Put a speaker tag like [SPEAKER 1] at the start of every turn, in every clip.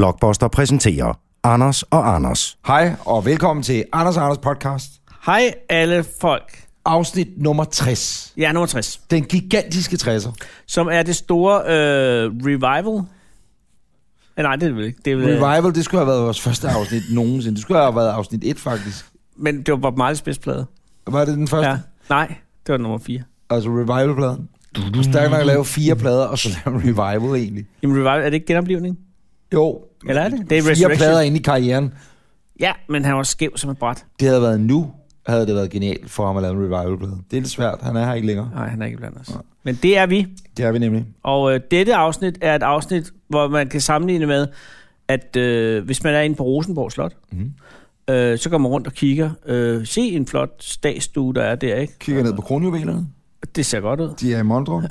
[SPEAKER 1] Blockbuster præsenterer Anders og Anders.
[SPEAKER 2] Hej og velkommen til Anders og Anders podcast,
[SPEAKER 3] Hej alle folk.
[SPEAKER 2] afsnit nummer 60.
[SPEAKER 3] Jeg er nummer 60,
[SPEAKER 2] Den gigantiske 60'er.
[SPEAKER 3] som er det store øh, revival. Eh, nej, det er det vel ikke. Det er vel,
[SPEAKER 2] Revival, det skulle have været vores første afsnit nogensinde. Det skulle have været afsnit 1 faktisk.
[SPEAKER 3] Men det var Bob Marley's bedste plade.
[SPEAKER 2] Var det den første?
[SPEAKER 3] Ja.
[SPEAKER 2] Ja.
[SPEAKER 3] Nej, det var nummer 4.
[SPEAKER 2] Altså Revival-pladen. Du er stærk nok at lave fire plader, og så lave Revival egentlig.
[SPEAKER 3] Jamen revival, er det ikke genoplivning?
[SPEAKER 2] Jo.
[SPEAKER 3] Eller er det? Det er
[SPEAKER 2] Fire
[SPEAKER 3] Resurrection.
[SPEAKER 2] plader ind i karrieren.
[SPEAKER 3] Ja, men han var skæv som et bræt.
[SPEAKER 2] Det havde været nu, havde det været genialt for ham at lave en Revival-plade. Det er lidt svært. Han er her ikke længere.
[SPEAKER 3] Nej, han er ikke blandt os. Men det er vi.
[SPEAKER 2] Det er vi nemlig.
[SPEAKER 3] Og øh, dette afsnit er et afsnit, hvor man kan sammenligne med, at øh, hvis man er inde på Rosenborg Slot,
[SPEAKER 2] Mhm.
[SPEAKER 3] mm. øh, så går man rundt og kigger. Øh, se en flot statsstue, der er der, ikke?
[SPEAKER 2] Kigger ned på kronjuvelerne.
[SPEAKER 3] Det ser godt ud.
[SPEAKER 2] De er i Mondrum.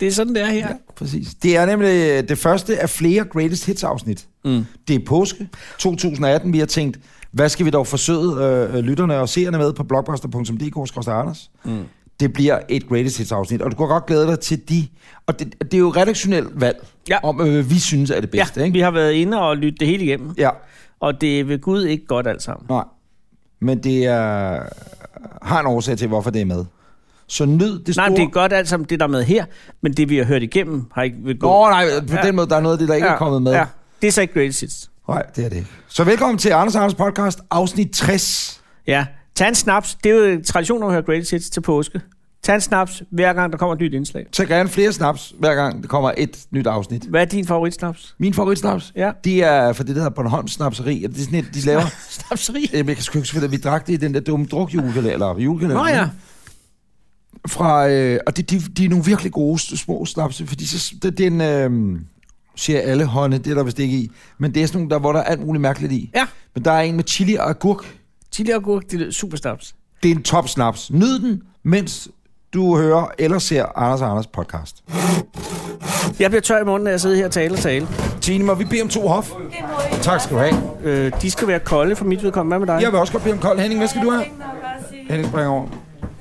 [SPEAKER 3] Det er sådan, det er her.
[SPEAKER 2] Ja, præcis. Det er nemlig øh, det første af flere Greatest Hits-afsnit.
[SPEAKER 3] Mm.
[SPEAKER 2] Det er påske 2018. Vi har tænkt, hvad skal vi dog forsøge øh, lytterne og seerne med på blogbuster.dk-anders? Mm. Det bliver et Greatest Hits-afsnit, og du kan godt glæde dig til de... Og det, det er jo redaktionelt valg ja.
[SPEAKER 3] Ja.
[SPEAKER 2] om, øh, hvad vi synes er det
[SPEAKER 3] Ja,
[SPEAKER 2] bedste, ja, ikke?
[SPEAKER 3] vi har været inde og lyttet det hele igennem,
[SPEAKER 2] Ja,
[SPEAKER 3] og det er ved Gud ikke godt alt sammen.
[SPEAKER 2] nej. Men det er, har en årsag til, hvorfor det er med. Så nyd det store...
[SPEAKER 3] Nej, men det er godt alt sammen, det der er med her, men det vi har hørt igennem, har ikke ved Gud.
[SPEAKER 2] Nå, nej, på ja.
[SPEAKER 3] Ja.
[SPEAKER 2] den måde, der er noget af det, der ikke ja. er kommet med. Ja.
[SPEAKER 3] det er så ikke greatest hits.
[SPEAKER 2] Nej, det er det ikke. Så velkommen til Anders og Anders podcast, afsnit 60.
[SPEAKER 3] Ja, tag en snaps, det er jo en tradition at høre greatest hits til påske. Tag en snaps, hver gang der kommer et nyt indslag.
[SPEAKER 2] Tag gerne flere snaps, hver gang der kommer et nyt afsnit.
[SPEAKER 3] Hvad er din favoritsnaps?
[SPEAKER 2] Min favoritsnaps,
[SPEAKER 3] Ja.
[SPEAKER 2] de er fra det, der hedder Bornholms Snapseri. Og det er sådan et, de laver...
[SPEAKER 3] Snapseri?
[SPEAKER 2] Jamen, jeg kan sgu ikke huske, hvad vi drak det i den der dumme drukjulekalender, eller julekalender.
[SPEAKER 3] Nå ja,
[SPEAKER 2] Fra, øh, og det, de, de er nogle virkelig gode s- små snaps, fordi så, det, det er en... Øh, siger alle hånde, det er der vist ikke i. Men det er sådan nogle, der, hvor der er alt muligt mærkeligt i.
[SPEAKER 3] ja.
[SPEAKER 2] Men der er en med chili og agurk.
[SPEAKER 3] Chili og gurk, det er super snaps.
[SPEAKER 2] Det er en top snaps. Nyd den, mens du hører eller ser Anders og Anders podcast.
[SPEAKER 3] Jeg bliver tør i munden, når jeg sidder her og taler og taler.
[SPEAKER 2] Tine, må vi bede om to hof? Tak skal du have.
[SPEAKER 3] Øh, de skal være kolde for mit vedkommende. Hvad med dig?
[SPEAKER 2] Jeg vil også godt bede om kold. Henning, hvad skal du have? Henning springer over.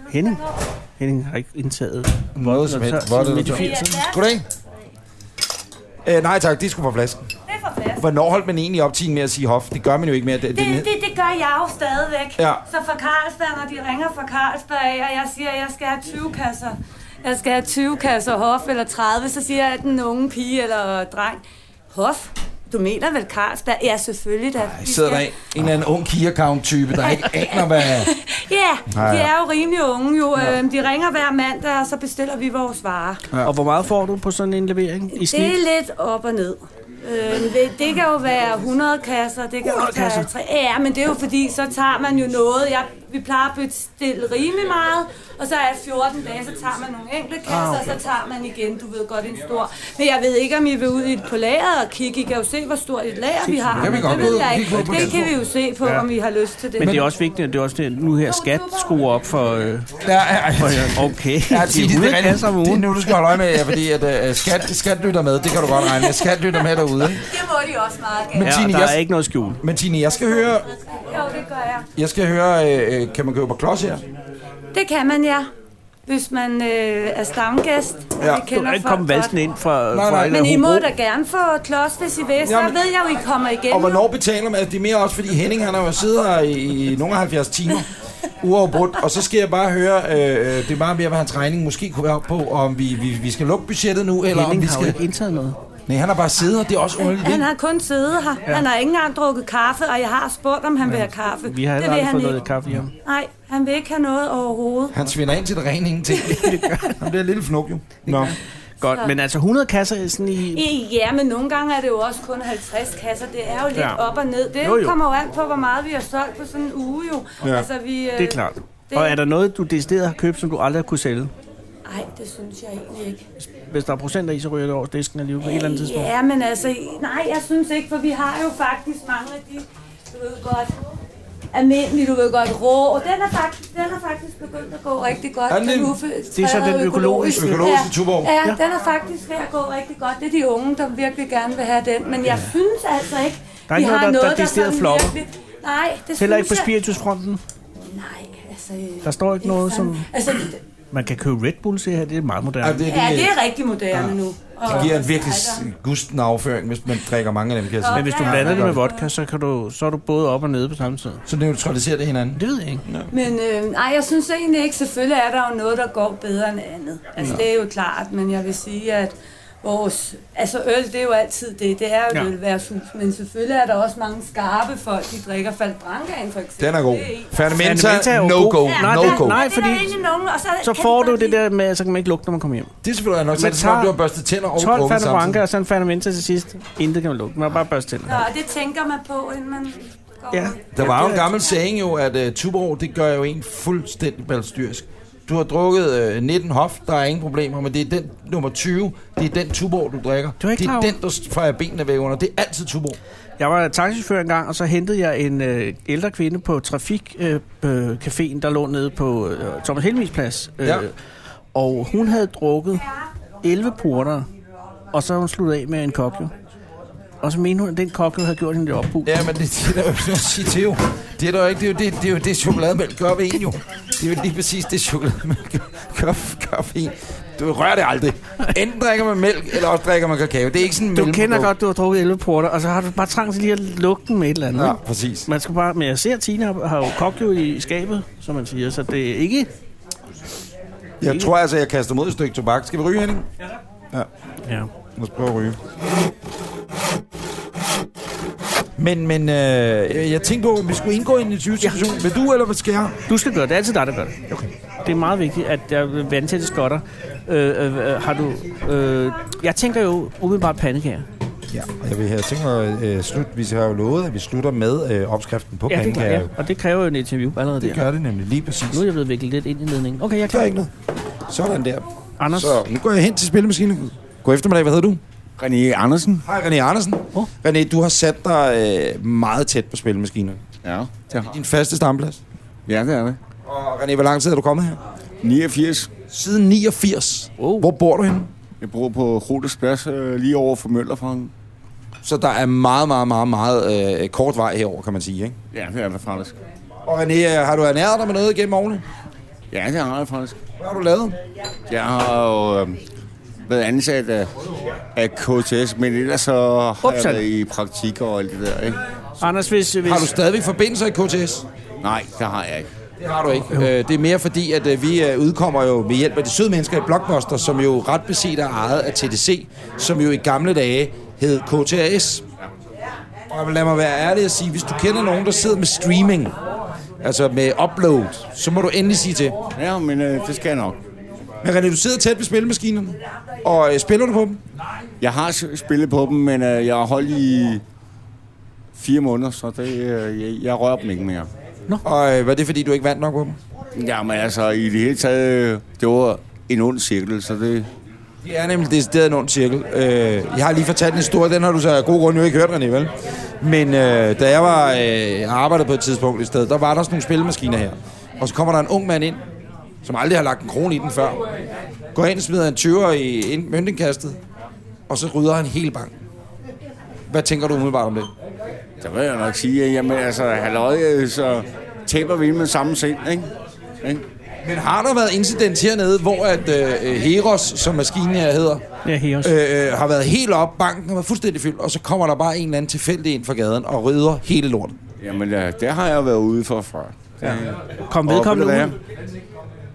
[SPEAKER 3] Henning. Henning har ikke indtaget.
[SPEAKER 2] Noget som helst. Hvor er det,
[SPEAKER 3] midt i
[SPEAKER 2] du tager?
[SPEAKER 3] 80'erne.
[SPEAKER 2] Goddag. Øh, nej tak, de skulle på flasken.
[SPEAKER 4] Det er for fast.
[SPEAKER 2] Hvornår holdt man egentlig op tiden med at sige hof? Det gør man jo ikke mere. Det,
[SPEAKER 4] Det,
[SPEAKER 2] det,
[SPEAKER 4] det, det gør jeg jo stadigvæk.
[SPEAKER 2] Ja.
[SPEAKER 4] Så fra Carlsberg, når de ringer fra Carlsberg af, og jeg siger, at jeg skal have 20 kasser. Jeg skal have 20 kasser hof eller 30, så siger jeg at den unge pige eller dreng, hof, du mener vel Carlsberg? Ja, selvfølgelig da.
[SPEAKER 5] Ej,
[SPEAKER 4] Vi
[SPEAKER 5] sidder der
[SPEAKER 4] skal-
[SPEAKER 5] en, en eller anden ung key-account-type, der ikke aner, hvad...
[SPEAKER 4] Ja, de er jo rimelig unge jo. Øhm, De ringer hver mandag, og så bestiller vi vores varer.
[SPEAKER 3] Og hvor meget får du på sådan en levering i snit?
[SPEAKER 4] Det er lidt op og ned. Øhm, det- det kan jo være 100 kasser, det kan
[SPEAKER 3] 100
[SPEAKER 4] også være
[SPEAKER 3] kasser?
[SPEAKER 4] tre. Ja, men det er jo fordi, så tager man jo noget. Jeg, vi plejer at bestille rimelig meget, og så er det 14 dage, så tager man nogle enkelte kasser, ah, okay. og så tager man igen, du ved godt, en stor. Men jeg ved ikke, om I vil ud i på lageret og kigge. I kan jo se, hvor stort et lager vi har.
[SPEAKER 5] Kan vi
[SPEAKER 4] men
[SPEAKER 5] godt
[SPEAKER 4] det ved
[SPEAKER 5] gå ud
[SPEAKER 4] jeg
[SPEAKER 5] og
[SPEAKER 4] ikke.
[SPEAKER 5] kigge på på
[SPEAKER 4] Det
[SPEAKER 5] den
[SPEAKER 4] kan vi jo se på, om I har lyst til det.
[SPEAKER 3] Men det er også vigtigt, at det er også det, nu her skat skruer op for... Øh,
[SPEAKER 5] Ja, ja, ja.
[SPEAKER 3] okay,
[SPEAKER 5] Ja,
[SPEAKER 3] det
[SPEAKER 5] Tine,
[SPEAKER 3] er 100
[SPEAKER 5] rigtigt.
[SPEAKER 3] kasser om
[SPEAKER 5] Det er
[SPEAKER 3] ugen.
[SPEAKER 5] nu, du skal holde øje med, ja, fordi at, uh, skat, skat lytter med. Det kan du godt regne med. Skat lytter med derude. ikke?
[SPEAKER 4] Det må de også meget gerne.
[SPEAKER 3] Ja,
[SPEAKER 5] Tine,
[SPEAKER 3] der
[SPEAKER 5] jeg-
[SPEAKER 3] er ikke noget skjul.
[SPEAKER 5] Men Tine, jeg skal høre...
[SPEAKER 4] Jo, det gør jeg.
[SPEAKER 5] Jeg skal høre, øh, øh, kan man købe på klods her?
[SPEAKER 4] Det kan man, ja. Hvis man øh, er stamgæst, og
[SPEAKER 5] Ja.
[SPEAKER 4] vi
[SPEAKER 3] Du
[SPEAKER 4] kender
[SPEAKER 3] kan
[SPEAKER 4] folk
[SPEAKER 3] ikke komme valsen
[SPEAKER 4] godt.
[SPEAKER 3] ind fra,
[SPEAKER 5] Nej,
[SPEAKER 3] fra
[SPEAKER 5] nej.
[SPEAKER 3] et
[SPEAKER 4] Men I må
[SPEAKER 3] Hobro.
[SPEAKER 4] da gerne få klods, hvis I vil. Så
[SPEAKER 5] Jamen-
[SPEAKER 4] ved jeg jo, I kommer igen.
[SPEAKER 5] Og hvornår betaler man? Altså, Det er mere også, fordi Henning, han har jo siddet her i, i nogle af 70 timer uafbrudt, og så skal jeg bare høre, øh, øh, det er meget mere, hvad hans regning måske kunne være op på, og om vi, vi, vi skal lukke budgettet nu, eller om
[SPEAKER 3] Henning
[SPEAKER 5] vi
[SPEAKER 3] har jo
[SPEAKER 5] skal...
[SPEAKER 3] ikke indtaget noget.
[SPEAKER 5] Nej, han har bare siddet her, det er også underligt.
[SPEAKER 4] Han
[SPEAKER 5] ikke?
[SPEAKER 4] har kun siddet her. Han har ikke engang drukket kaffe, og jeg har spurgt, om han vil have kaffe.
[SPEAKER 3] Vi har
[SPEAKER 4] det
[SPEAKER 3] heller
[SPEAKER 4] vil
[SPEAKER 3] aldrig
[SPEAKER 4] han
[SPEAKER 3] fået
[SPEAKER 4] ikke.
[SPEAKER 3] noget kaffe hjem.
[SPEAKER 4] Nej, han vil ikke have noget overhovedet.
[SPEAKER 5] Han svinder ind til det rene ingenting. han bliver en lille fnuk, jo. Nå.
[SPEAKER 3] Godt, men altså 100 kasser er sådan i...
[SPEAKER 4] I- Ja, men nogle gange er det jo også kun 50 kasser. Det er jo lidt
[SPEAKER 3] Ja.
[SPEAKER 4] op og ned. Det
[SPEAKER 3] Jo, jo.
[SPEAKER 4] kommer jo an på, hvor meget vi har solgt på sådan en uge jo. Altså, vi, øh,
[SPEAKER 3] Det er klart. Og er der noget, du decideret har købt, som du aldrig har kunne sælge?
[SPEAKER 4] Nej, øh, det synes jeg egentlig ikke.
[SPEAKER 3] Hvis der er procenter i, så ryger det over disken alligevel på et eller andet tidspunkt.
[SPEAKER 4] Ja, men altså, nej, jeg synes ikke, for vi har jo faktisk mange af de, du ved godt, almindelige, du ved godt, rå. Og den er faktisk, den er faktisk begyndt at gå rigtig godt.
[SPEAKER 5] Er den det?
[SPEAKER 4] uffe-
[SPEAKER 3] Det er så den
[SPEAKER 4] træder
[SPEAKER 3] økologiske-
[SPEAKER 5] økologiske Tuborg.
[SPEAKER 4] Ja, ja, den er faktisk ved at gå rigtig godt. Det er de unge, der virkelig gerne vil have den. Men jeg synes altså ikke,
[SPEAKER 3] Der er ikke noget, der- der decideret flopper.
[SPEAKER 4] virkelig- Nej, det
[SPEAKER 3] Heller ikke
[SPEAKER 4] synes
[SPEAKER 3] på
[SPEAKER 4] jeg...
[SPEAKER 3] spiritusfronten.
[SPEAKER 4] Nej, altså...
[SPEAKER 3] Der står ikke noget, som...
[SPEAKER 4] Altså,
[SPEAKER 3] Man kan købe Red Bull, se her. Det er meget moderne.
[SPEAKER 5] det,
[SPEAKER 4] ja, det er rigtig moderne nu.
[SPEAKER 5] De giver en virkelig gusten afføring, hvis man drikker mange af dem, kan jeg
[SPEAKER 3] Men
[SPEAKER 5] sige.
[SPEAKER 3] hvis du
[SPEAKER 4] Ja,
[SPEAKER 3] blander
[SPEAKER 4] det
[SPEAKER 3] det med
[SPEAKER 5] gør det.
[SPEAKER 3] vodka, så, kan du, så er du både op og nede på samme tid.
[SPEAKER 5] Så neutraliserer det hinanden.
[SPEAKER 3] Det ved jeg ikke. Ja.
[SPEAKER 4] Men øh, nej, jeg synes egentlig ikke, selvfølgelig er der jo noget, der går bedre end andet. Altså, det er jo klart, men jeg vil sige, at vores... Altså, øl, det er jo altid det. Det er jo
[SPEAKER 3] Ja.
[SPEAKER 4] ja. et ølværshus, men selvfølgelig er der også mange skarpe folk, de drikker Falbrancaen, for eksempel.
[SPEAKER 5] Den er god.
[SPEAKER 4] Det en-
[SPEAKER 5] Fermenta,
[SPEAKER 3] Fermenta er jo
[SPEAKER 5] no
[SPEAKER 3] god.
[SPEAKER 5] go,
[SPEAKER 4] Ja,
[SPEAKER 3] Nej,
[SPEAKER 5] no
[SPEAKER 3] den-
[SPEAKER 5] go.
[SPEAKER 3] nej,
[SPEAKER 4] men det er der
[SPEAKER 3] fordi-
[SPEAKER 4] egentlig nogen, og
[SPEAKER 3] Så
[SPEAKER 4] kan
[SPEAKER 3] får
[SPEAKER 4] de
[SPEAKER 3] du
[SPEAKER 4] godt
[SPEAKER 3] det
[SPEAKER 4] lide-
[SPEAKER 3] der med, at så kan man ikke lugte, når man kommer hjem.
[SPEAKER 5] Det er selvfølgelig nok, så er
[SPEAKER 3] Man
[SPEAKER 5] det som om,
[SPEAKER 3] tager
[SPEAKER 5] du har børstet tænder og
[SPEAKER 3] 12
[SPEAKER 5] drukket
[SPEAKER 3] Fanta Branca,
[SPEAKER 5] samtidig.
[SPEAKER 3] og så en Fanta Menta til sidst. Intet kan man lugte. Man har bare børste tænder.
[SPEAKER 4] Nå, det tænker man på, inden man går
[SPEAKER 3] Ja.
[SPEAKER 4] ud.
[SPEAKER 5] Der
[SPEAKER 3] Ja,
[SPEAKER 5] var jo
[SPEAKER 3] det
[SPEAKER 5] en
[SPEAKER 3] er-
[SPEAKER 5] gammel saying jo, at uh, Tuborg, det gør jo en fuldstændig balstyrsk. Du har drukket uh, 19 hof, der er ingen problemer, men det er den nummer 20, det er den Tuborg, du drikker.
[SPEAKER 3] Du er ikke
[SPEAKER 5] det
[SPEAKER 3] klar
[SPEAKER 5] er
[SPEAKER 3] over-
[SPEAKER 5] den, der fejrer benene væk under. Det er altid Tuborg.
[SPEAKER 3] Jeg var taxichauffør engang, og så hentede jeg en øh, ældre kvinde på trafikcaféen, øh, øh, caféen, der lå nede på øh, Thomas Helmis plads. Øh,
[SPEAKER 5] Ja.
[SPEAKER 3] Og hun havde drukket 11 porter, og så havde hun sluttet af med en kokjo. Og så mente hun, at den kokjo havde gjort hende lidt opbrug.
[SPEAKER 5] Ja, men det, det er der jo ikke noget at sige til jo. Det er der jo ikke. Det er jo det, det, er jo det chokolademælk gør ved en jo. Det er jo lige præcis det chokolademælk gør, gør, gør ved en. Du rører det aldrig. Enten drikker man mælk, eller også drikker man kakao. Det er ikke sådan en
[SPEAKER 3] Du kender
[SPEAKER 5] mellemprodukt.
[SPEAKER 3] godt, du har drukket 11 porter, og så har du bare trang til lige at lukke den med et eller andet.
[SPEAKER 5] Ja,
[SPEAKER 3] ikke?
[SPEAKER 5] præcis.
[SPEAKER 3] Man skal bare, men jeg ser, at Tina har, har jo kokjo i skabet, som man siger, så det er ikke...
[SPEAKER 2] Jeg tror altså, jeg kaster mod et stykke tobak. Skal vi ryge, Henning?
[SPEAKER 3] Ja.
[SPEAKER 2] Lad os prøve at ryge.
[SPEAKER 5] Men, men øh, jeg tænkte på, om vi skulle indgå i en diskussion. Ja. Vil du, eller hvad skal jeg?
[SPEAKER 3] Du skal gøre det. Det er altid dig, der gør det. Okay. Det er meget vigtigt, at jeg er vandtætte skotter. Øh, øh, øh, har du... Øh, jeg tænker jo umiddelbart pandekager.
[SPEAKER 2] Ja, og jeg vil have tænkt mig øh, slut. Vi har jo lovet, at vi slutter med øh, opskriften på
[SPEAKER 3] Ja, det gør
[SPEAKER 2] pandekager.
[SPEAKER 3] jeg. Og det kræver jo en interview allerede
[SPEAKER 2] Det
[SPEAKER 3] der.
[SPEAKER 2] gør det nemlig lige præcis.
[SPEAKER 3] Nu er jeg blevet viklet lidt ind i ledningen. Okay, jeg er
[SPEAKER 2] Det gør
[SPEAKER 3] klar.
[SPEAKER 2] ikke noget. Sådan der.
[SPEAKER 3] Anders,
[SPEAKER 2] Så nu går jeg hen til spillemaskinen. God eftermiddag, hvad hedder du?
[SPEAKER 6] René Andersen.
[SPEAKER 2] Hej, René Andersen.
[SPEAKER 3] Åh.
[SPEAKER 2] René, du har sat dig øh, meget tæt på spillemaskinen.
[SPEAKER 6] Ja, det har.
[SPEAKER 2] Din faste stamplads.
[SPEAKER 6] Ja, det er det.
[SPEAKER 2] Og René, hvor lang tid er du kommet her?
[SPEAKER 6] 89.
[SPEAKER 2] Siden 89.
[SPEAKER 3] Wow.
[SPEAKER 2] Hvor bor du henne?
[SPEAKER 6] Jeg bor på Rotes Plads, øh, lige over for Møllerfangen.
[SPEAKER 2] Så der er meget, meget, meget, meget øh, kort vej herover, kan man sige, ikke?
[SPEAKER 6] Ja, det er det faktisk.
[SPEAKER 2] Og René, øh, har du ernæret dig med noget gennem årene?
[SPEAKER 6] Ja, det har jeg faktisk.
[SPEAKER 2] Hvad har du lavet?
[SPEAKER 6] Jeg har jo øh, været ansat af, af KTS, men ellers så har jeg
[SPEAKER 3] Upsal.
[SPEAKER 6] været i praktik og alt det der, ikke?
[SPEAKER 3] Anders hvis, hvis...
[SPEAKER 2] Har du stadigvæk forbindelser i KTS?
[SPEAKER 6] Nej, det har jeg ikke.
[SPEAKER 2] Det har du ikke. Øh, det er mere fordi, at øh, vi øh, udkommer jo ved hjælp af de søde mennesker i Blockbuster, som jo ret beset er ejet af TDC, som jo i gamle dage hed KTAS. Og lad mig være ærlig og sige, hvis du kender nogen, der sidder med streaming, altså med upload, så må du endelig sige til.
[SPEAKER 6] Ja, men øh, det skal jeg nok.
[SPEAKER 2] Men René, du sidder tæt ved spillemaskinerne, og øh, spiller du på dem?
[SPEAKER 6] Jeg har s- spillet på dem, men øh, jeg har holdt i fire måneder, så det, øh, jeg, jeg rører dem ikke mere.
[SPEAKER 2] Og øh, var det fordi, du ikke vandt nok på dem?
[SPEAKER 6] Jamen altså, i det hele taget, øh, det var en ond cirkel, så det,
[SPEAKER 2] Det er nemlig decideret en ond cirkel. Øh, jeg har lige fortalt en historie, den har du så af god grund jo ikke hørt, René, vel? Men øh, da jeg var øh, arbejdede på et tidspunkt et sted, der var der sådan nogle spillemaskiner her. Og så kommer der en ung mand ind, som aldrig har lagt en krone i den før. Går hen og smider en 20'er i ind- møntindkastet, og så rydder han hele banken. Hvad tænker du umiddelbart om det?
[SPEAKER 6] Der vil jeg nok sige, at jamen, altså, halløj, så taber vi med samme sind, ikke? ikke?
[SPEAKER 2] Men har der været incident hernede, hvor at øh, Heros, som maskinen her hedder,
[SPEAKER 3] Ja, Heros.
[SPEAKER 2] øh, øh, har været helt op, banken har været fuldstændig fyldt, og så kommer der bare en eller anden tilfældig ind fra gaden og rydder hele lortet.
[SPEAKER 6] Jamen, øh, det har jeg været ude for før.
[SPEAKER 3] Kom
[SPEAKER 6] Og ved du
[SPEAKER 3] vedkommende
[SPEAKER 6] hvad?
[SPEAKER 3] ud.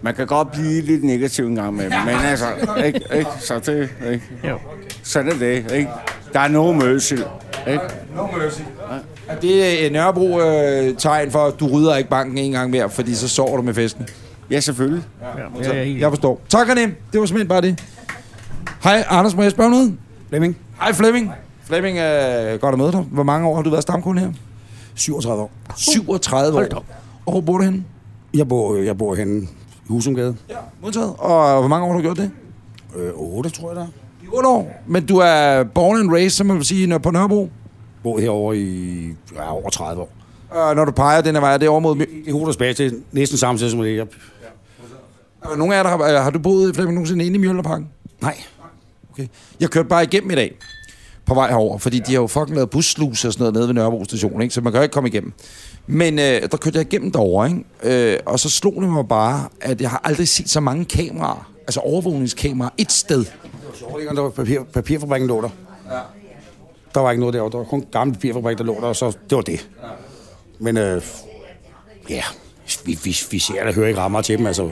[SPEAKER 6] Man kan godt blive lidt negativ en gang med, men altså, ikke, ikke, så det, ikke.
[SPEAKER 3] Jo.
[SPEAKER 6] Sådan er det, ikke? Der er nogen mødsel, ikke?
[SPEAKER 2] Er det øh, Nørrebro øh, tegn for, at du rydder ikke banken en gang mere, fordi så sover du med festen?
[SPEAKER 6] Ja, selvfølgelig.
[SPEAKER 3] Ja, ja, ja.
[SPEAKER 2] Jeg forstår. Tak, René. Det var simpelthen bare det. Hej, Anders, må jeg spørge om noget?
[SPEAKER 7] Flemming,
[SPEAKER 2] Hej, Flemming. Flemming, øh, godt at møde dig. Hvor mange år har du været stamkunde her?
[SPEAKER 7] 37 år.
[SPEAKER 2] 37
[SPEAKER 3] Hold da
[SPEAKER 2] år.
[SPEAKER 3] op.
[SPEAKER 2] Og hvor bor du henne?
[SPEAKER 7] Jeg bor, øh, jeg bor henne i Husumgade.
[SPEAKER 2] Modtaget. Og hvor mange år har du gjort det?
[SPEAKER 7] Øh, 8, tror jeg der.
[SPEAKER 2] I 8 år. Men du er born and raised, som man vil sige, når- på Nørrebro.
[SPEAKER 7] Bor herovre i ja, over 30 år.
[SPEAKER 2] Og Øh, når du peger den her vej, er det over mod... Mø-
[SPEAKER 7] Det er hovedet tilbage til næsten samme tid, som det er.
[SPEAKER 2] Er der Nogle af jer, der har, øh, har du boet Flemming nogensinde inde i Mjølnerparken?
[SPEAKER 7] Nej.
[SPEAKER 2] Okay. Jeg kørte bare igennem i dag på vej herover, fordi de har jo fucking lavet bussluser og sådan noget nede ved Nørrebro station, ikke? så man kan jo ikke komme igennem. Men øh, der kørte jeg igennem derovre, ikke? Øh, og så slog det mig bare, at jeg har aldrig set så mange kameraer, altså overvågningskameraer, et sted.
[SPEAKER 7] Sjovlæggeren, der var papir, papirfabrikken lå der. Ja. Der var ikke noget derovre. Der var kun en gammel papirfabrik, der lå der, og så det var det. Ja. Men øh, ja, vi, vi, vi ser og hører ikke rammer til dem, altså.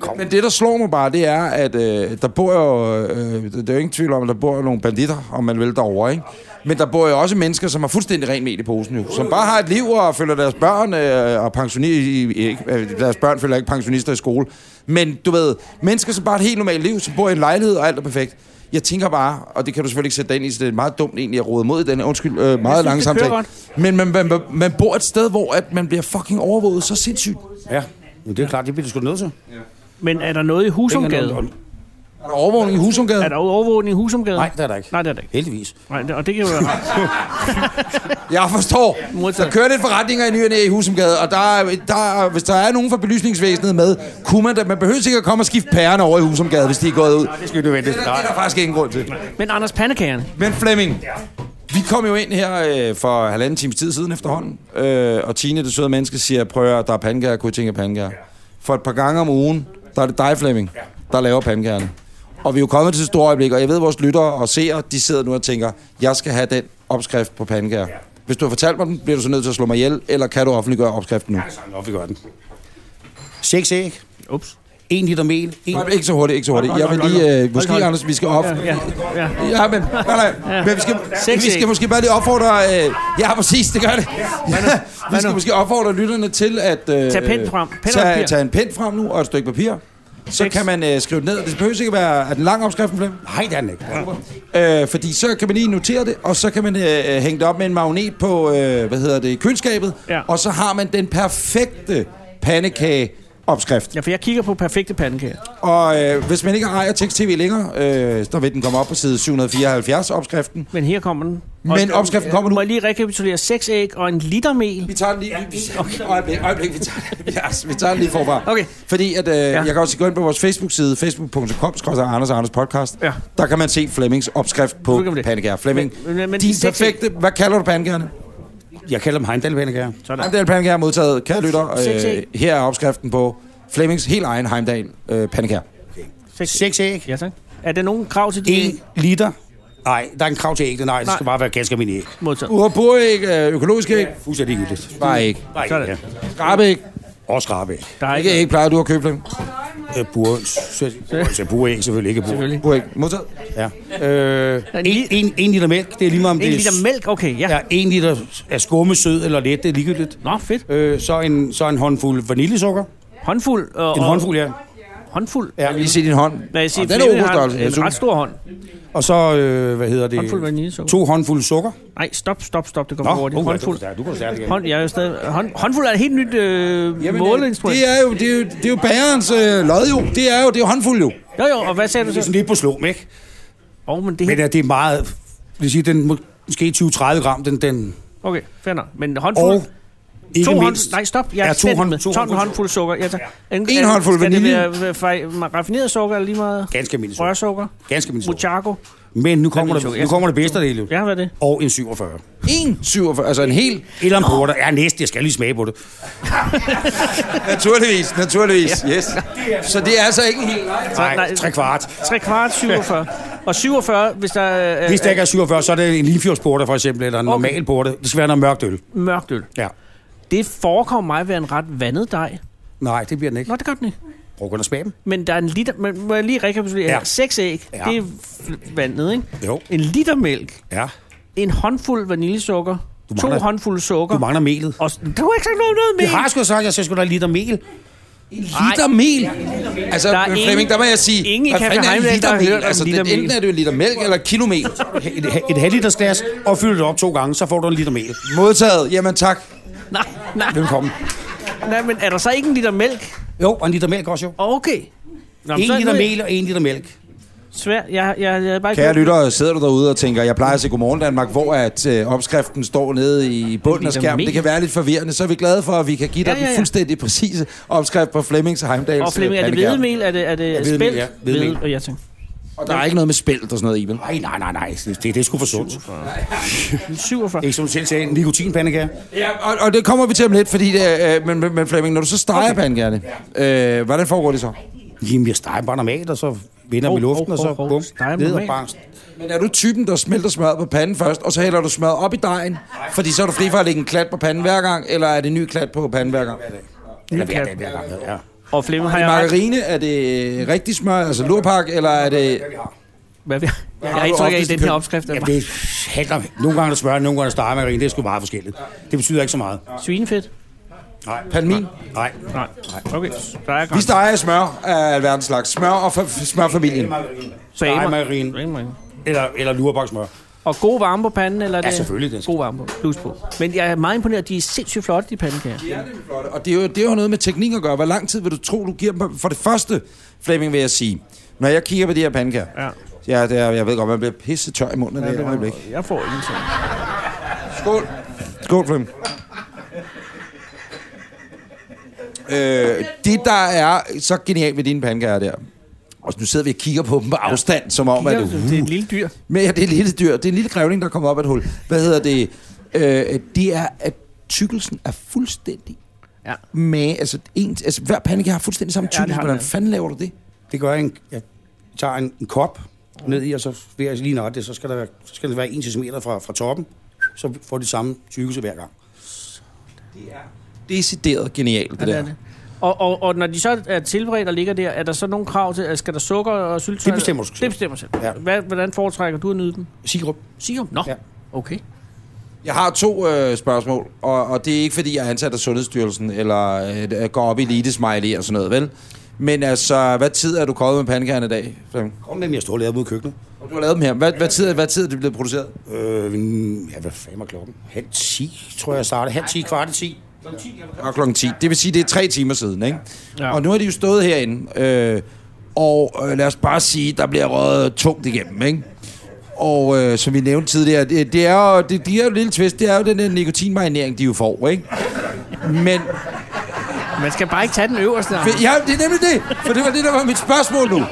[SPEAKER 7] Kom.
[SPEAKER 2] Men det, der slår mig bare, det er, at øh, der bor jo... Øh, det er jo ingen tvivl om, at der bor jo nogle banditter, om man vil, derovre, ikke? Men der bor jo også mennesker, som har fuldstændig rent med i posen jo. Som bare har et liv og følger deres børn øh, og pensionister... Ikke, øh, deres børn følger ikke pensionister i skole. Men du ved, mennesker, som bare har et helt normalt liv, som bor i en lejlighed, og alt er perfekt. Jeg tænker bare, og det kan du selvfølgelig ikke sætte dig ind i, så det er meget dumt egentlig at råde mod i den, her- undskyld, øh, meget lange
[SPEAKER 3] det
[SPEAKER 2] samtale.
[SPEAKER 3] kører
[SPEAKER 2] Men man, man, man, man, bor et sted, hvor at man bliver fucking overvåget så sindssygt.
[SPEAKER 7] Ja, men det er klart, det bliver du sgu nødt til.
[SPEAKER 3] Men er der noget i Husumgade?
[SPEAKER 2] Er der overvågning i Husumgade?
[SPEAKER 3] Er der overvågning i Husumgade?
[SPEAKER 7] Nej, det er der ikke.
[SPEAKER 3] Nej, det er der ikke.
[SPEAKER 7] Heldigvis.
[SPEAKER 3] Nej, det- og det kan jo være...
[SPEAKER 2] Jeg forstår.
[SPEAKER 3] Modtaget.
[SPEAKER 2] Der kører lidt forretninger i ny og Næ i Husumgade, og der, er- der, er- hvis der er nogen fra belysningsvæsenet med, kunne man da, man behøver sikkert komme og skifte pærerne over i Husumgade, hvis de er gået ud. Det
[SPEAKER 7] Det skal du vente.
[SPEAKER 2] er, der, det er der faktisk ingen grund til.
[SPEAKER 3] Men Anders Pandekagerne,
[SPEAKER 2] Men Flemming, vi kom jo ind her øh, for halvanden times tid siden efterhånden, øh, og Tine, det søde menneske, siger, prøv at høre, der er pandekager, kunne I tænke jer pandekager? For et par gange om ugen, der er det dig, Flemming, der laver pandekagerne. Og vi er jo kommet til et stort øjeblik, og jeg ved, at vores lyttere og seere, de sidder nu og tænker, jeg skal have den opskrift på pandekager. Hvis du har fortalt mig den, bliver du så nødt til at slå mig ihjel, eller kan du offentliggøre opskriften nu?
[SPEAKER 7] Nå, vi gør den. Seks æg.
[SPEAKER 3] Ups.
[SPEAKER 7] 1 liter mel. En...
[SPEAKER 2] Nej, ikke så hurtigt, ikke så hurtigt. Jeg vil lige, øh, måske, Anders, vi skal op.
[SPEAKER 3] Ja, ja.
[SPEAKER 2] Ja, men, nej, nej. men vi, skal,
[SPEAKER 3] Sex
[SPEAKER 2] vi skal
[SPEAKER 3] ikke.
[SPEAKER 2] måske bare lige opfordre... Øh, ja, præcis, det gør det. Ja, vi skal måske opfordre lytterne til at... Øh,
[SPEAKER 3] Tag pind frem. Pind og
[SPEAKER 2] tage,
[SPEAKER 3] papir.
[SPEAKER 2] tage en pind frem nu og et stykke papir. Så
[SPEAKER 3] Seks.
[SPEAKER 2] kan man øh, skrive det ned. Det behøver ikke være... Er den lang opskriften, Flemming?
[SPEAKER 7] Nej, det er den ikke.
[SPEAKER 2] Øh, fordi så kan man lige notere det, og så kan man øh, hænge det op med en magnet på, øh, hvad hedder det, køleskabet.
[SPEAKER 3] Ja.
[SPEAKER 2] Og så har man den perfekte pandekage opskrift.
[SPEAKER 3] ja, for jeg kigger på perfekte pandekager.
[SPEAKER 2] Og øh, hvis man ikke ejer tekst-tv længere, øh, så vil den komme op på side 774, opskriften.
[SPEAKER 3] Men her kommer den.
[SPEAKER 2] Men opskriften kommer nu.
[SPEAKER 3] Må jeg lige rekapitulere? Seks æg og en liter mel.
[SPEAKER 2] Vi tager den lige... Vi, vi, okay. øjeblik, øjeblik, vi tager, vi, tager, vi tager den lige forfra.
[SPEAKER 3] Okay.
[SPEAKER 2] Fordi at, øh, ja. jeg kan også gå ind på vores Facebook-side, facebook.com, skrøster Anders og Anders podcast.
[SPEAKER 3] Ja.
[SPEAKER 2] Der kan man se Flemmings opskrift
[SPEAKER 3] Nu
[SPEAKER 2] på
[SPEAKER 3] kan man det.
[SPEAKER 2] pandekager. Flemming,
[SPEAKER 3] Men- men- men
[SPEAKER 2] din
[SPEAKER 3] de seks-
[SPEAKER 2] perfekte... Hvad kalder du pandekagerne?
[SPEAKER 7] Jeg kalder dem Heimdall-pandekager.
[SPEAKER 3] Sådan.
[SPEAKER 2] Heimdal pandekager er modtaget. Kære
[SPEAKER 3] Seks
[SPEAKER 2] lytter, øh,
[SPEAKER 3] æg.
[SPEAKER 2] her er opskriften på Flemmings helt egen Heimdal øh, pandekager.
[SPEAKER 7] Seks æg.
[SPEAKER 3] Ja, tak. Er der nogen krav til de æg?
[SPEAKER 7] 1 liter. Nej, der er en krav til æggene. Nej, det skal
[SPEAKER 3] Nej.
[SPEAKER 7] bare være ganske almindelige æg.
[SPEAKER 3] Modtaget.
[SPEAKER 2] Urbur ikke, øh, økologisk ikke,
[SPEAKER 7] Fuldstændig hyggeligt.
[SPEAKER 2] bare ikke.
[SPEAKER 7] Nej,
[SPEAKER 3] Sådan.
[SPEAKER 7] ja.
[SPEAKER 2] Skrabe ikke,
[SPEAKER 7] Og skrabe æg.
[SPEAKER 3] Der er
[SPEAKER 2] ikke
[SPEAKER 3] ikke
[SPEAKER 2] ikke plejer du at købe Flemming.
[SPEAKER 7] Øh, burhøns. Så burhøns selvfølgelig ikke burhøns.
[SPEAKER 3] selvfølgelig.
[SPEAKER 2] Bur ikke. Modtaget.
[SPEAKER 7] Ja. Øh,
[SPEAKER 3] En
[SPEAKER 7] en,
[SPEAKER 3] li-
[SPEAKER 7] en, en, liter mælk, det er lige meget om det
[SPEAKER 3] En
[SPEAKER 7] er-
[SPEAKER 3] liter mælk, okay, ja.
[SPEAKER 7] Ja, en liter af skumme, sød eller let, det er ligegyldigt.
[SPEAKER 3] Nå, fedt.
[SPEAKER 7] Øh, så, en, så en håndfuld vaniljesukker.
[SPEAKER 3] Håndfuld. øh, Og,
[SPEAKER 7] En håndfuld, ja.
[SPEAKER 3] Og, håndfuld.
[SPEAKER 2] Jeg vil lige se din hånd.
[SPEAKER 3] Hvad jeg siger,
[SPEAKER 2] Og den er
[SPEAKER 3] Flemming har
[SPEAKER 2] oberstørrelse,
[SPEAKER 3] en,
[SPEAKER 2] jeg
[SPEAKER 3] en
[SPEAKER 2] synes.
[SPEAKER 3] ret stor hånd.
[SPEAKER 7] Og så, øh, hvad hedder det?
[SPEAKER 3] Håndfuld vaniljesukker.
[SPEAKER 7] To håndfulde sukker.
[SPEAKER 3] Nej, stop, stop, stop. Det kommer hurtigt.
[SPEAKER 7] uh,
[SPEAKER 3] Håndfuld.
[SPEAKER 7] Du, du går stærkt igen.
[SPEAKER 3] Hånd, jeg er jo stadig, hånd, håndfuld er et helt nyt øh, måleinstrument.
[SPEAKER 2] Det er jo, det er jo, det er jo bærens øh, lod jo. Det er jo, det er jo håndfuld jo.
[SPEAKER 3] Jo, jo, og hvad sagde du
[SPEAKER 7] Det er
[SPEAKER 3] så?
[SPEAKER 7] sådan lidt på slum, ikke?
[SPEAKER 3] Åh, oh, men det er
[SPEAKER 7] Men
[SPEAKER 3] helt...
[SPEAKER 7] ja, det er meget... Det vil sige, den må- måske 20-30 gram, den... den
[SPEAKER 3] Okay, fair nok. Men håndfuld...
[SPEAKER 7] og ikke
[SPEAKER 3] to hånd,
[SPEAKER 7] mindst...
[SPEAKER 3] nej, stop. Jeg
[SPEAKER 7] Ja,
[SPEAKER 3] er
[SPEAKER 7] to
[SPEAKER 3] slet ikke
[SPEAKER 7] hånd-
[SPEAKER 3] med.
[SPEAKER 7] to
[SPEAKER 3] 12
[SPEAKER 7] håndfulde-
[SPEAKER 3] håndfuld sukker. Ja, tak. En,
[SPEAKER 2] håndfuld vanilje.
[SPEAKER 3] Skal det være fra- fra- raffineret sukker eller lige meget
[SPEAKER 7] Ganske almindelig sukker.
[SPEAKER 3] rørsukker?
[SPEAKER 7] Ganske almindelig sukker.
[SPEAKER 3] Mochaco?
[SPEAKER 7] Men nu kommer,
[SPEAKER 3] Vaniljesukker,
[SPEAKER 7] der, nu
[SPEAKER 3] ja.
[SPEAKER 7] kommer det bedste del, jo.
[SPEAKER 3] Ja, hvad er det?
[SPEAKER 7] Og en 47.
[SPEAKER 2] 1,47. Altså en hel...
[SPEAKER 7] Eller en porter. Ja, næste. Jeg skal lige smage på det.
[SPEAKER 2] Naturligvis, naturligvis. Yes. Så det er altså ikke en hel...
[SPEAKER 3] Så-
[SPEAKER 7] Nej, tre kvart.
[SPEAKER 3] 3 kvart, 47. Og 47, hvis der er øh,
[SPEAKER 7] Hvis der ikke er 47, så er det en limfjordsporter for eksempel, eller en
[SPEAKER 3] Okay.
[SPEAKER 7] normal porter. Det skal være noget mørkt øl.
[SPEAKER 3] mørkt øl.
[SPEAKER 7] Ja.
[SPEAKER 3] Det forekommer mig at være en ret vandet dej.
[SPEAKER 7] Nej, det bliver den ikke.
[SPEAKER 3] Nå, det gør den ikke.
[SPEAKER 7] Prøv kun at smage dem.
[SPEAKER 3] Men der er en liter... Men må jeg lige rekapitulere? Ja.
[SPEAKER 7] Ja.
[SPEAKER 3] Seks æg, ja.
[SPEAKER 7] Ja.
[SPEAKER 3] det er f- vandet, ikke?
[SPEAKER 7] Jo.
[SPEAKER 3] En liter mælk,
[SPEAKER 7] Ja.
[SPEAKER 3] en håndfuld vaniljesukker,
[SPEAKER 7] Du
[SPEAKER 3] to
[SPEAKER 7] mangler-
[SPEAKER 3] håndfulde sukker...
[SPEAKER 7] Du mangler melet.
[SPEAKER 3] Og, s- du har ikke sagt noget, om noget med.
[SPEAKER 7] Det har jeg sgu sagt, jeg skal sgu da liter mel.
[SPEAKER 2] Liter mel. Altså,
[SPEAKER 3] Der er
[SPEAKER 2] der
[SPEAKER 3] ingen-
[SPEAKER 2] Flemming, der må jeg sige,
[SPEAKER 3] ingen i
[SPEAKER 2] hvad
[SPEAKER 3] Café
[SPEAKER 2] fanden er en
[SPEAKER 3] Heimdall, der
[SPEAKER 2] liter
[SPEAKER 3] har hørt om
[SPEAKER 2] mel? Altså,
[SPEAKER 3] liter
[SPEAKER 2] det,
[SPEAKER 3] mel.
[SPEAKER 2] enten er det jo en liter mælk eller kilo mel.
[SPEAKER 7] Et, et halvliters glas, og fylder det op to gange, så får du en liter mel.
[SPEAKER 2] Modtaget. Jamen tak.
[SPEAKER 3] Nej, nej,
[SPEAKER 7] Velkommen.
[SPEAKER 3] nej, men er der så ikke en liter mælk?
[SPEAKER 7] Jo, og en liter mælk også jo.
[SPEAKER 3] Okay. Nå, men
[SPEAKER 7] En
[SPEAKER 3] så er det
[SPEAKER 7] liter
[SPEAKER 3] nu-
[SPEAKER 7] mel og en liter mælk.
[SPEAKER 3] Svær, jeg, jeg, jeg er bare ikke...
[SPEAKER 2] Kære lyttere, sidder du derude og tænker, jeg plejer at se Godmorgen Danmark, hvor at, øh, opskriften står nede i bunden af
[SPEAKER 3] Liter
[SPEAKER 2] skærmen.
[SPEAKER 3] mel.
[SPEAKER 2] Det kan være lidt forvirrende, så er vi glade for, at vi kan give dig
[SPEAKER 3] Ja, ja, ja.
[SPEAKER 2] den fuldstændig præcise opskrift på Flemmings og Heimdals øh,
[SPEAKER 3] Og Flemming, er det
[SPEAKER 2] pandekager.
[SPEAKER 3] hvedemel? Er det, er det
[SPEAKER 7] hvedemel,
[SPEAKER 3] spelt?
[SPEAKER 7] ja. Hvedemel.
[SPEAKER 3] Hvede- og jeg tænker,
[SPEAKER 2] Og der er ikke noget med spælt og sådan noget i, vel?
[SPEAKER 7] Nej, nej, nej, nej. Det, det er sgu for sundt.
[SPEAKER 3] 47.
[SPEAKER 7] Ikke som du selv sagde, en nikotinpandekage.
[SPEAKER 2] Ja, og, og det kommer vi til om lidt, fordi det, øh, men, men, men Flemming, når du så steger okay. pandekærne, øh, hvordan foregår det så?
[SPEAKER 7] Jamen, jeg steger bare normalt, og så vinder med
[SPEAKER 3] Hov,
[SPEAKER 7] luften, og
[SPEAKER 3] hov,
[SPEAKER 7] så
[SPEAKER 3] hov, hov.
[SPEAKER 7] bum,
[SPEAKER 3] Nej,
[SPEAKER 7] ned og
[SPEAKER 3] normalt.
[SPEAKER 7] bare
[SPEAKER 2] Men er du typen, der smelter smøret på panden først, og så hælder du smøret op i dejen, fordi så er du fri for at lægge en klat på panden hver gang, eller er det en ny klat på panden hver gang?
[SPEAKER 3] Ny kat. Og Flemming har
[SPEAKER 2] I
[SPEAKER 3] jeg ret.
[SPEAKER 2] margarine, er det rigtig smør, altså lurpak, eller er det...
[SPEAKER 3] Hvad vi Jeg har
[SPEAKER 2] du
[SPEAKER 3] indtryk af, at
[SPEAKER 2] oftest
[SPEAKER 3] den her
[SPEAKER 2] købt?
[SPEAKER 3] opskrift er
[SPEAKER 7] Ja, det handler om. Nogle gange er der smør, nogle gange er der stegemargarine. Det er sgu meget forskelligt. Det betyder ikke så meget.
[SPEAKER 3] svinefedt.
[SPEAKER 7] Nej.
[SPEAKER 2] Palmin?
[SPEAKER 7] Nej.
[SPEAKER 3] Nej, okay. Der er
[SPEAKER 2] Vi
[SPEAKER 3] grænser.
[SPEAKER 2] steger smør af alverdens slags. Smør og fa- smørfamilien.
[SPEAKER 3] Så Emma-
[SPEAKER 7] Stegemargarine.
[SPEAKER 3] Rengmarin.
[SPEAKER 7] Eller, eller lurbaksmør.
[SPEAKER 3] Og god varme på panden, eller er
[SPEAKER 7] Ja,
[SPEAKER 3] det?
[SPEAKER 7] selvfølgelig, den skal-
[SPEAKER 3] God varme på. Plus på. Men jeg er meget imponeret. De er sindssygt flotte, de pandekager.
[SPEAKER 2] Og det er, jo, det er jo noget med teknik at gøre. Hvor lang tid vil du tro, du giver dem? For det første, Flemming, vil jeg sige. Når jeg kigger på de her pandekager,
[SPEAKER 3] Ja.
[SPEAKER 2] ja, det er, jeg ved godt, man bliver pisse tør i munden af det her øjeblik.
[SPEAKER 3] Jeg får ingenting.
[SPEAKER 2] Skål. Skål, Flemming. Øh, det, der er så genialt ved dine pandekager der, og nu sidder vi og kigger på dem på afstand, som om, at
[SPEAKER 3] Kigger du- Det er
[SPEAKER 2] uh,
[SPEAKER 3] et lille dyr.
[SPEAKER 2] Men ja, det er et lille dyr. Det er en lille grævling, der kommer op af et hul. Hvad hedder det? Øh, det er, at tykkelsen er fuldstændig
[SPEAKER 3] Ja.
[SPEAKER 2] med... Altså, en, altså hver pandekage har fuldstændig samme
[SPEAKER 3] Ja, det har
[SPEAKER 2] tykkelse. Ja,
[SPEAKER 3] den,
[SPEAKER 2] Hvordan
[SPEAKER 3] ja.
[SPEAKER 2] fanden laver du det?
[SPEAKER 7] Det gør jeg. En, jeg tager en, en kop ned i, og så vil jeg lige nøje det. Så skal der være, så skal der være 1 cm fra, fra toppen. Så får de samme tykkelse hver gang.
[SPEAKER 2] Decideret genialt, det,
[SPEAKER 3] Ja,
[SPEAKER 2] det
[SPEAKER 3] det
[SPEAKER 2] der.
[SPEAKER 3] er det. Og, og, og når de så er tilberedt og ligger der, er der så nogle krav til, at skal der sukker og syltetøj?
[SPEAKER 7] Det bestemmer du selv.
[SPEAKER 3] Det bestemmer selv.
[SPEAKER 7] Ja.
[SPEAKER 3] Ja. Hvad, hvordan foretrækker du at nyde dem?
[SPEAKER 7] Sirup.
[SPEAKER 3] Sirup? Nå,
[SPEAKER 7] Ja.
[SPEAKER 3] ja. okay.
[SPEAKER 2] Jeg har to øh, spørgsmål, og, og det er ikke, fordi jeg er ansat af Sundhedsstyrelsen, eller øh, går op i elite-smiley og sådan noget, vel? Men altså, hvad tid er du kommet med pandekagerne i dag? Flemming?
[SPEAKER 7] Kom med, jeg står og laver ude i køkkenet.
[SPEAKER 2] Du har lavet dem her. Hvad, hvad, tid, hvad tid er det blevet produceret?
[SPEAKER 7] Øh, ja, hvad fanden var klokken? Halv 10, tror jeg, jeg startede. Halv 10, kvart i 10.
[SPEAKER 2] og klokken 10. Det vil sige, det er tre timer siden, ikke? Ja.
[SPEAKER 3] Ja.
[SPEAKER 2] Og nu har de jo stået herinde, øh, og øh, lad os bare sige, der bliver røget tungt igennem, ikke? Og øh, som vi nævnte tidligere, det, det er jo, det, de er jo et lille twist, det er jo den der nikotinmarinering, de jo får, ikke? Men,
[SPEAKER 3] Man skal bare ikke tage den øverste.
[SPEAKER 2] for, ja, det er nemlig det, for det var det, der var mit spørgsmål nu.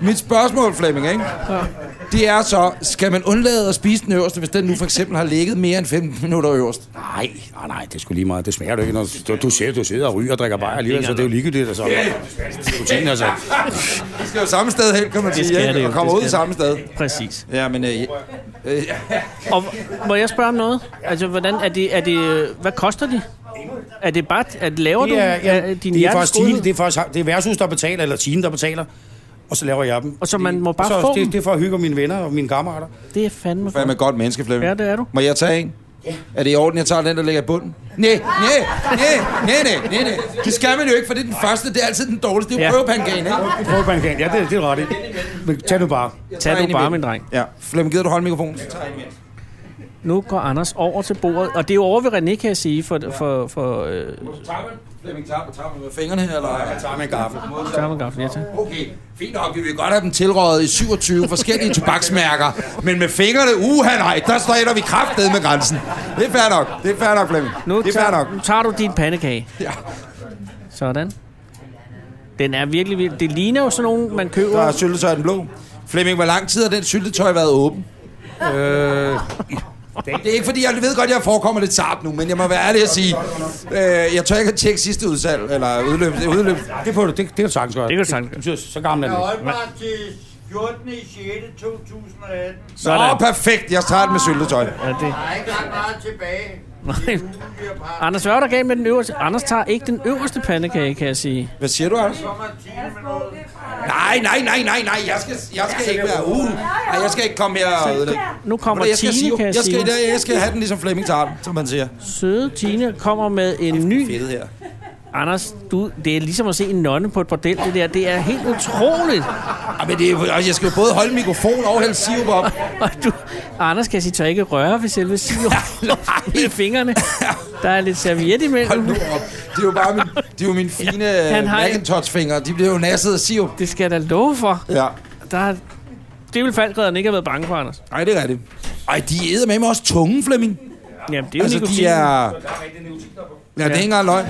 [SPEAKER 2] Mit spørgsmål, Flemming, ikke? Det er så, skal man undlade at spise den øverste, hvis den nu for eksempel har ligget mere end 15 minutter øverst?
[SPEAKER 7] Nej, nej, nej, det skulle lige meget. Det smager du ikke. Når du, du, ser, du sidder og ryger og drikker bajer alligevel, så det er jo ligegyldigt. Altså. Protein, altså.
[SPEAKER 2] Det skal jo samme sted hen, kan man sige,
[SPEAKER 3] skal
[SPEAKER 2] ikke?
[SPEAKER 3] det jo,
[SPEAKER 2] Og kommer
[SPEAKER 3] det
[SPEAKER 2] ud
[SPEAKER 3] skal
[SPEAKER 2] samme sted.
[SPEAKER 3] Præcis.
[SPEAKER 2] Ja, men... Øh, øh,
[SPEAKER 3] Og h- må jeg spørge om noget? Altså, hvordan er det, er det, øh, hvad koster de? Er det bare, at laver
[SPEAKER 7] Det er,
[SPEAKER 3] du øh,
[SPEAKER 7] ja,
[SPEAKER 3] din
[SPEAKER 7] det er faktisk
[SPEAKER 3] hjerteskole?
[SPEAKER 7] Tine, det er faktisk det er værtshus, der betaler, eller Tine, der betaler. Og så laver jeg dem.
[SPEAKER 3] Og så man må bare
[SPEAKER 7] så,
[SPEAKER 3] få
[SPEAKER 7] det,
[SPEAKER 3] dem.
[SPEAKER 7] det er for at hygge mine venner og mine kammerater.
[SPEAKER 3] Det er fandme
[SPEAKER 2] fandme
[SPEAKER 3] for.
[SPEAKER 2] et godt menneske, Flemming.
[SPEAKER 3] Ja, det er du.
[SPEAKER 2] Må jeg tage en? Ja. Er det i orden, jeg tager den, der ligger i bunden? Nej, nej, nej, nej, nej, nej. Det skal man jo ikke, for det er den første. Det er altid den dårligste. Det er
[SPEAKER 3] Ja.
[SPEAKER 2] jo prøvepankagen, ikke?
[SPEAKER 7] Prøv at ja, det, det er ret. i. Men tag nu bare.
[SPEAKER 3] Tag
[SPEAKER 2] en
[SPEAKER 3] du bare,
[SPEAKER 2] imellem.
[SPEAKER 3] min dreng.
[SPEAKER 2] Ja. Flemming, gider du holde mikrofonen?
[SPEAKER 3] Nu går Anders over til bordet, og det er jo over ved René, kan jeg sige, for, for, for øh,
[SPEAKER 2] Flemming, tager man, tager man med fingrene, eller? Jeg tager med en gaffel.
[SPEAKER 3] Starmangaffen, ja tak.
[SPEAKER 2] Okay, fint nok. Vi vil godt have dem tilrådet i 27 forskellige tobaksmærker. Men med fingrene, uha nej, der stræder vi kraftedet med grænsen. Det er fair nok. Det er fair nok, Flemming.
[SPEAKER 3] Nu,
[SPEAKER 2] det er fair nok.
[SPEAKER 3] tager, nu tager du din pandekage.
[SPEAKER 2] Ja.
[SPEAKER 3] Sådan. Den er virkelig vild. Det ligner jo sådan nogen, man køber.
[SPEAKER 2] Der er syltetøj i den blå. Flemming, hvor lang tid har den syltetøj været åben? Øh... Det er ikke fordi, jeg ved godt, jeg forekommer lidt sart nu, men jeg må være ærlig at sige, øh, jeg tør ikke at tjekke sidste udsalg, eller udløb. Det, er udløb.
[SPEAKER 7] Det, får du, det, det kan du sagtens gøre.
[SPEAKER 3] Det kan du sagtens
[SPEAKER 7] Det, det, så gammel er den. ikke.
[SPEAKER 6] Holdbar til 14. i 6. 2018.
[SPEAKER 2] Åh,
[SPEAKER 3] Sådan.
[SPEAKER 2] oh, perfekt, jeg starter med syltetøj.
[SPEAKER 3] Ja, det.
[SPEAKER 6] Der er ikke ret meget tilbage.
[SPEAKER 3] Nej.
[SPEAKER 6] Vi har bare
[SPEAKER 3] Anders, hvad er der galt med den øverste? Anders tager ikke den øverste pandekage, kan jeg sige.
[SPEAKER 2] Hvad siger du, Anders?
[SPEAKER 6] kommet 10 minutter.
[SPEAKER 2] Nej, nej, nej, nej, nej, jeg skal, jeg skal ikke være uge. Nej, jeg skal ikke komme her og ødelægge.
[SPEAKER 3] Nu kommer
[SPEAKER 2] Jeg skal,
[SPEAKER 3] Tine,
[SPEAKER 2] sive.
[SPEAKER 3] kan jeg
[SPEAKER 2] jeg, skal,
[SPEAKER 3] sige.
[SPEAKER 2] jeg skal have den ligesom Flemming tager den, som man siger.
[SPEAKER 3] Søde Tine kommer med en ny...
[SPEAKER 2] Fedt her.
[SPEAKER 3] Anders, du, det er ligesom at se en nonne på et bordel, det der. Det er helt utroligt.
[SPEAKER 2] Ah, men det er, jo- jeg skal jo både holde mikrofon og hælde sirup op.
[SPEAKER 3] Og du, Anders, kan jeg sige, tør ikke røre ved selve sirup i fingrene. Der er lidt serviet
[SPEAKER 2] Hold
[SPEAKER 3] imellem.
[SPEAKER 2] nu op. Det er jo bare min, det er jo mine fine ja,
[SPEAKER 3] han har en-
[SPEAKER 2] Macintosh-fingre. De bliver jo nasset af sirup.
[SPEAKER 3] Det skal jeg da love for.
[SPEAKER 2] Ja.
[SPEAKER 3] Der er, det ville faldgræderne ikke have været bange for, Anders.
[SPEAKER 2] Ej, det er rigtigt. Ej, de æder med mig også tunge, Mm, Flemming.
[SPEAKER 3] Jamen, det er jo
[SPEAKER 2] Altså,
[SPEAKER 3] nikotin.
[SPEAKER 2] de er... Ja, det er ikke engang løgn.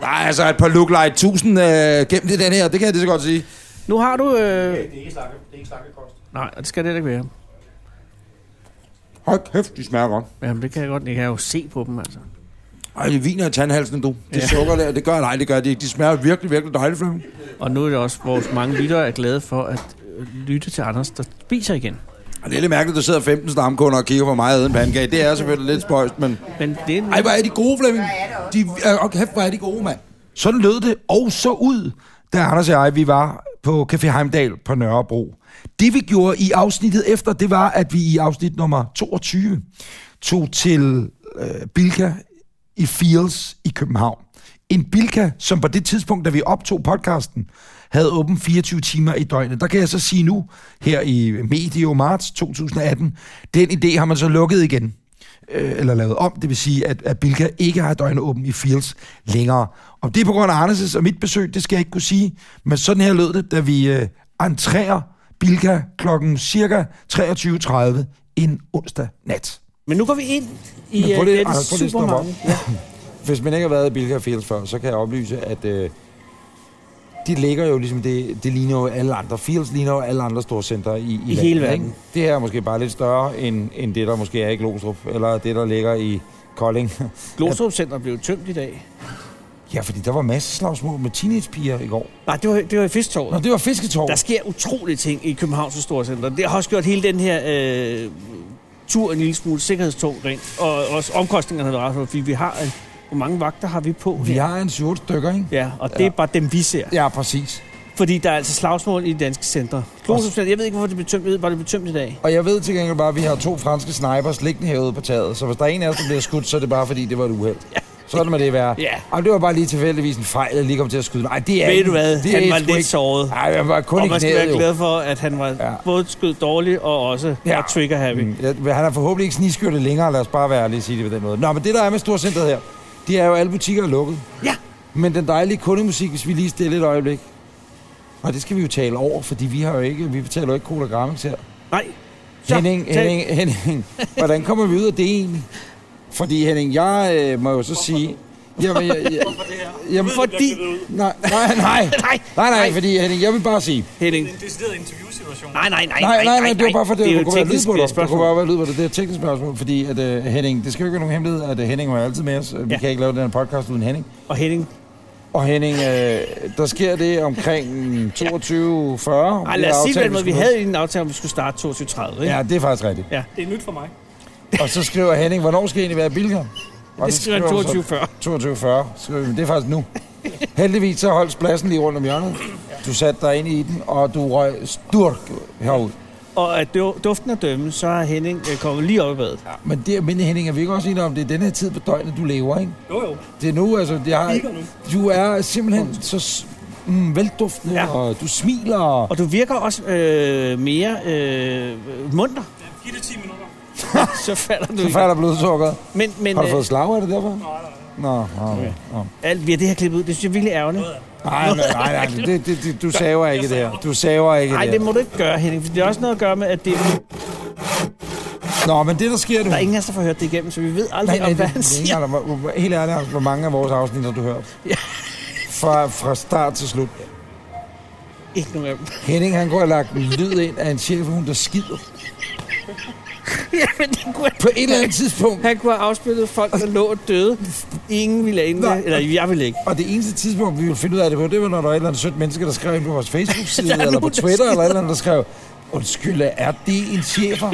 [SPEAKER 2] Nej, altså et par look like 1000 øh, gennem det den her, det kan jeg lige så godt sige.
[SPEAKER 3] Nu har du... Øh... Det er ikke slakke, det er ikke slakkekost. Nej, og det skal det heller ikke være.
[SPEAKER 2] Hold kæft, de smager godt.
[SPEAKER 3] Jamen, det kan jeg godt. Jeg kan jo se på dem, altså.
[SPEAKER 2] Ej, det viner i tandhalsen, du. Det
[SPEAKER 3] Ja.
[SPEAKER 2] sukker der, det gør nej, det gør de ikke. De smager virkelig, virkelig dejligt, Flemming.
[SPEAKER 3] Og nu er det også, vores mange lyttere er glade for, at øh, lytte til Anders, der spiser igen.
[SPEAKER 5] Og det er lidt mærkeligt, at der sidder 15 stamkunder og kigger på mig og en pandekage. Det er selvfølgelig lidt spøjst, men...
[SPEAKER 3] Men det er en
[SPEAKER 5] Ej, hvor er de gode, Flemming. De, øh, og kæft, hvor er de gode, mand.
[SPEAKER 2] Sådan lød det og så ud, da Anders og jeg vi var på Café Heimdal på Nørrebro. Det vi gjorde i afsnittet efter, det var, at vi i afsnit nummer 22 tog til øh, Bilka i Fields i København. En Bilka, som på det tidspunkt, da vi optog podcasten, havde åben 24 timer i døgnet. Der kan jeg så sige nu, her i medio marts 2018, den idé har man så lukket igen øh, eller lavet om. Det vil sige, at, at Bilka ikke har døgnåben i Fields længere. Om det er på grund af Anders' og mit besøg, det skal jeg ikke kunne sige. Men sådan her lød det, da vi øh, entrerer Bilka klokken cirka 23.30 en onsdag nat.
[SPEAKER 3] Men nu går vi ind i
[SPEAKER 2] Men prøv
[SPEAKER 3] øh,
[SPEAKER 2] lige,
[SPEAKER 3] dette
[SPEAKER 2] Anders, prøv lige at stoppe op.
[SPEAKER 3] supermarked. Ja.
[SPEAKER 2] Hvis man ikke har været i Bilka Fields før, så kan jeg oplyse, at øh, de ligger jo ligesom, det, det ligner jo alle andre. Fields ligner jo alle andre store centre i, i, landet,
[SPEAKER 3] hele
[SPEAKER 2] ikke?
[SPEAKER 3] verden.
[SPEAKER 2] Det her er måske bare lidt større, end, end det, der måske er i Glostrup, eller det, der ligger i Kolding.
[SPEAKER 3] Glostrup Center blev tømt i dag.
[SPEAKER 2] Ja, fordi der var masser af slagsmål med teenagepiger i går.
[SPEAKER 3] Nej, det var, det var i Fisktårnet.
[SPEAKER 2] Nå, det var fisketår.
[SPEAKER 3] Der sker utrolige ting i Københavns Storcenter. Det har også gjort hele den her øh, tur en lille smule sikkerhedstung rent. Og også omkostningerne har været ret høje, fordi vi har... En, hvor mange vagter har vi på?
[SPEAKER 2] Vi
[SPEAKER 3] her?
[SPEAKER 2] har en 7 stykker, ikke?
[SPEAKER 3] Ja, og det er bare dem, vi ser.
[SPEAKER 2] Ja, præcis.
[SPEAKER 3] Fordi der er altså slagsmål i de danske centre. Klostrupcenter, jeg ved ikke, hvorfor det blev tømt. Jeg ved bare, det blev tømt i dag.
[SPEAKER 2] Og jeg ved til gengæld bare, at vi har to franske snipers liggende herude på taget. Så hvis der er en af os, der bliver skudt, så er det bare fordi, det var et uheld. Ja. Sådan må det være.
[SPEAKER 3] Ja.
[SPEAKER 2] Ej, det var bare lige tilfældigvis en fejl, at lige kom til at skyde. Nej, det er
[SPEAKER 3] Ved
[SPEAKER 2] ikke-
[SPEAKER 3] du hvad?
[SPEAKER 2] Det
[SPEAKER 3] Han
[SPEAKER 2] er
[SPEAKER 3] var
[SPEAKER 2] sgu
[SPEAKER 3] lidt
[SPEAKER 2] ikke.
[SPEAKER 3] såret.
[SPEAKER 2] Nej, jeg var kun
[SPEAKER 3] Og
[SPEAKER 2] i
[SPEAKER 3] man skal
[SPEAKER 2] knæet,
[SPEAKER 3] være
[SPEAKER 2] jo.
[SPEAKER 3] glad for, at han var
[SPEAKER 2] Ja.
[SPEAKER 3] ja. både skød dårligt og også
[SPEAKER 2] Ja.
[SPEAKER 3] ja. trigger happy. Mm.
[SPEAKER 2] Mm. Ja, han har forhåbentlig ikke sniskyrtet længere, lad os bare være ærlige og sige det på den måde. Nå, men det der er med Storcenteret her, det er jo, at alle butikker er lukket.
[SPEAKER 3] Ja.
[SPEAKER 2] Men den dejlige kundemusik, hvis vi lige stille et øjeblik. Og det skal vi jo tale over, fordi vi har jo ikke, vi betaler jo ikke Cola Grammix her.
[SPEAKER 3] Nej. Så,
[SPEAKER 2] Henning,
[SPEAKER 3] tag-
[SPEAKER 2] Henning, Henning, hvordan kommer vi ud af det egentlig? Fordi Henning, jeg øh, må jo så sige... Jamen, jeg, jeg, jamen, fordi... Nej, nej, nej,
[SPEAKER 3] Nej,
[SPEAKER 2] nej, nej,
[SPEAKER 3] nej.
[SPEAKER 2] fordi Henning, jeg vil bare sige...
[SPEAKER 3] Henning.
[SPEAKER 8] decideret interviewsituation.
[SPEAKER 3] Nej, nej, nej,
[SPEAKER 2] Nej, nej, nej, det var bare for det,
[SPEAKER 3] det er
[SPEAKER 2] det
[SPEAKER 3] jo
[SPEAKER 2] kunne være lyd
[SPEAKER 3] teknisk
[SPEAKER 2] på dig. Det kunne
[SPEAKER 3] spørgsmål.
[SPEAKER 2] bare være lyd på dig. Det er et teknisk spørgsmål, fordi at, øh, Henning, det skal jo ikke være nogen hemmelighed, at øh, Henning var altid med os. Vi
[SPEAKER 3] Ja.
[SPEAKER 2] kan ikke lave den her podcast uden Henning.
[SPEAKER 3] Og Henning,
[SPEAKER 2] Og Henning, øh, der sker det omkring 22.40.
[SPEAKER 3] Ej, lad os sige det på den måde. Vi havde en aftale, om vi skulle starte 22.30, ikke?
[SPEAKER 2] Ja, det er faktisk rigtigt.
[SPEAKER 8] Det er nyt for mig.
[SPEAKER 2] Og så skriver Henning, hvornår skal I egentlig være i Bilka? Og
[SPEAKER 3] det
[SPEAKER 2] så
[SPEAKER 3] skriver han
[SPEAKER 2] du så-
[SPEAKER 3] 22.40.
[SPEAKER 2] 22.40, skriver vi, men det er faktisk nu. Heldigvis så holdt pladsen lige rundt om hjørnet. Du satte dig ind i den, og du røg sturk herud.
[SPEAKER 3] Og at du- duften er dømme, så er Henning øh, kommet lige op i badet. Ja.
[SPEAKER 2] Men det, men Henning, er vi ikke også enige om, det er den her tid på døgnet, du lever, ikke?
[SPEAKER 8] Jo, jo.
[SPEAKER 2] Det er nu, altså, det har,
[SPEAKER 8] Kigger nu.
[SPEAKER 2] du er simpelthen så s- mm, velduftende, ja.
[SPEAKER 3] Ja.
[SPEAKER 2] og du smiler. Og,
[SPEAKER 3] Og du virker også øh, mere øh, munter,
[SPEAKER 8] Giv det 10 minutter.
[SPEAKER 3] så falder du
[SPEAKER 2] så falder blodsukkeret.
[SPEAKER 3] Men, men
[SPEAKER 2] Har du
[SPEAKER 3] øh,
[SPEAKER 2] fået slag af det derfor? Nej, nej. Nå, okay. Nå.
[SPEAKER 3] alt, bliver det her klippet ud? Det synes jeg er virkelig ærgerligt.
[SPEAKER 2] Nej, nej, nej, nej. Det, det, det, du saver ikke det her. Du saver ikke
[SPEAKER 3] Nej,
[SPEAKER 2] det
[SPEAKER 3] det
[SPEAKER 2] her.
[SPEAKER 3] må du ikke gøre, Henning, for det har også noget at gøre med, at det, der
[SPEAKER 2] Nå, men det, der sker nu...
[SPEAKER 3] er ingen af os, der får hørt det igennem, så vi ved
[SPEAKER 2] Nej,
[SPEAKER 3] aldrig,
[SPEAKER 2] nej,
[SPEAKER 3] om, hvad
[SPEAKER 2] det,
[SPEAKER 3] han
[SPEAKER 2] det,
[SPEAKER 3] siger.
[SPEAKER 2] er ikke, hvor- hvor- helt ærligt, Anders, hvor mange af vores afsnit har du hørt?
[SPEAKER 3] Ja.
[SPEAKER 2] Fra, fra start til slut.
[SPEAKER 3] Ikke nogen af dem.
[SPEAKER 2] Henning, han går og lagt en lyd ind af en chefhund, der skider.
[SPEAKER 3] Jamen, det kunne,
[SPEAKER 2] På et eller andet tidspunkt.
[SPEAKER 3] han kunne have afspillet folk, der lå og døde. Ingen ville ane
[SPEAKER 2] Nej.
[SPEAKER 3] det, Øh, eller jeg ville ikke.
[SPEAKER 2] Og det eneste tidspunkt, vi ville finde ud af det på, det var, når der var et eller andet sødt menneske, der skrev ind på vores
[SPEAKER 3] Der
[SPEAKER 2] Facebook-side,
[SPEAKER 3] er
[SPEAKER 2] eller på
[SPEAKER 3] nogen, der
[SPEAKER 2] Twitter,
[SPEAKER 3] skider.
[SPEAKER 2] eller et eller andet, der skrev, Undskyld, er det en chefer?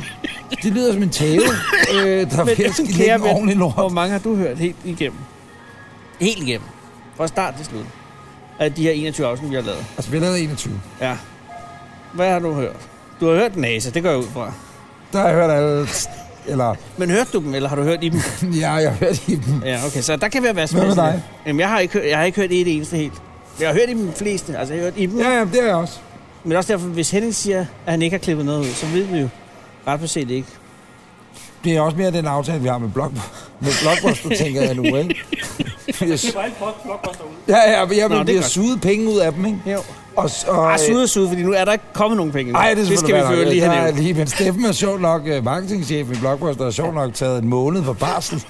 [SPEAKER 2] Det lyder som en tale, øh, der er ved at skide
[SPEAKER 3] kære
[SPEAKER 2] en
[SPEAKER 3] ven,
[SPEAKER 2] ordentlig
[SPEAKER 3] Hvor
[SPEAKER 2] lort.
[SPEAKER 3] mange har du hørt helt igennem? Helt igennem. Fra start til slut. Af de her 21 afsnit, vi har lavet.
[SPEAKER 2] Altså, vi har lavet 21.
[SPEAKER 3] Ja. Hvad har du hørt? Du har hørt NASA, det går jeg ud fra.
[SPEAKER 2] Der har jeg hørt alle... Eller,
[SPEAKER 3] Men hørte du dem, eller har du hørt i dem?
[SPEAKER 2] ja, jeg har hørt i dem.
[SPEAKER 3] Ja, okay, så der kan være masser
[SPEAKER 2] Hvad med
[SPEAKER 3] af-
[SPEAKER 2] dig?
[SPEAKER 3] Jamen, jeg har, ikke, hørt- jeg har ikke hørt et eneste helt. Jeg har hørt i dem fleste, altså jeg har hørt i dem.
[SPEAKER 2] Ja,
[SPEAKER 3] Ja.
[SPEAKER 2] ja, det har jeg også.
[SPEAKER 3] Men også derfor, hvis Henning siger, at han ikke har klippet noget ud, så ved vi jo ret beset ikke.
[SPEAKER 2] Det er også mere den aftale, vi har med, blog, med Blockbuster, tænker jeg nu, ikke? Jeg
[SPEAKER 8] Det
[SPEAKER 2] s-
[SPEAKER 8] var alt blok, blockbuster ud.
[SPEAKER 2] ja, ja, men jeg
[SPEAKER 3] Nå, det
[SPEAKER 2] vil
[SPEAKER 3] er
[SPEAKER 2] blive
[SPEAKER 3] godt.
[SPEAKER 2] suget penge ud af dem, ikke?
[SPEAKER 3] Jo.
[SPEAKER 2] Og, s- og,
[SPEAKER 3] Bare sude og sude, fordi nu er der ikke kommet nogen penge.
[SPEAKER 2] Nej, det,
[SPEAKER 3] det skal vi føre lige
[SPEAKER 2] her
[SPEAKER 3] hernede.
[SPEAKER 2] lige, men Steffen er sjov nok, øh, marketingchef i Blockbuster, er sjov nok taget en måned for barsel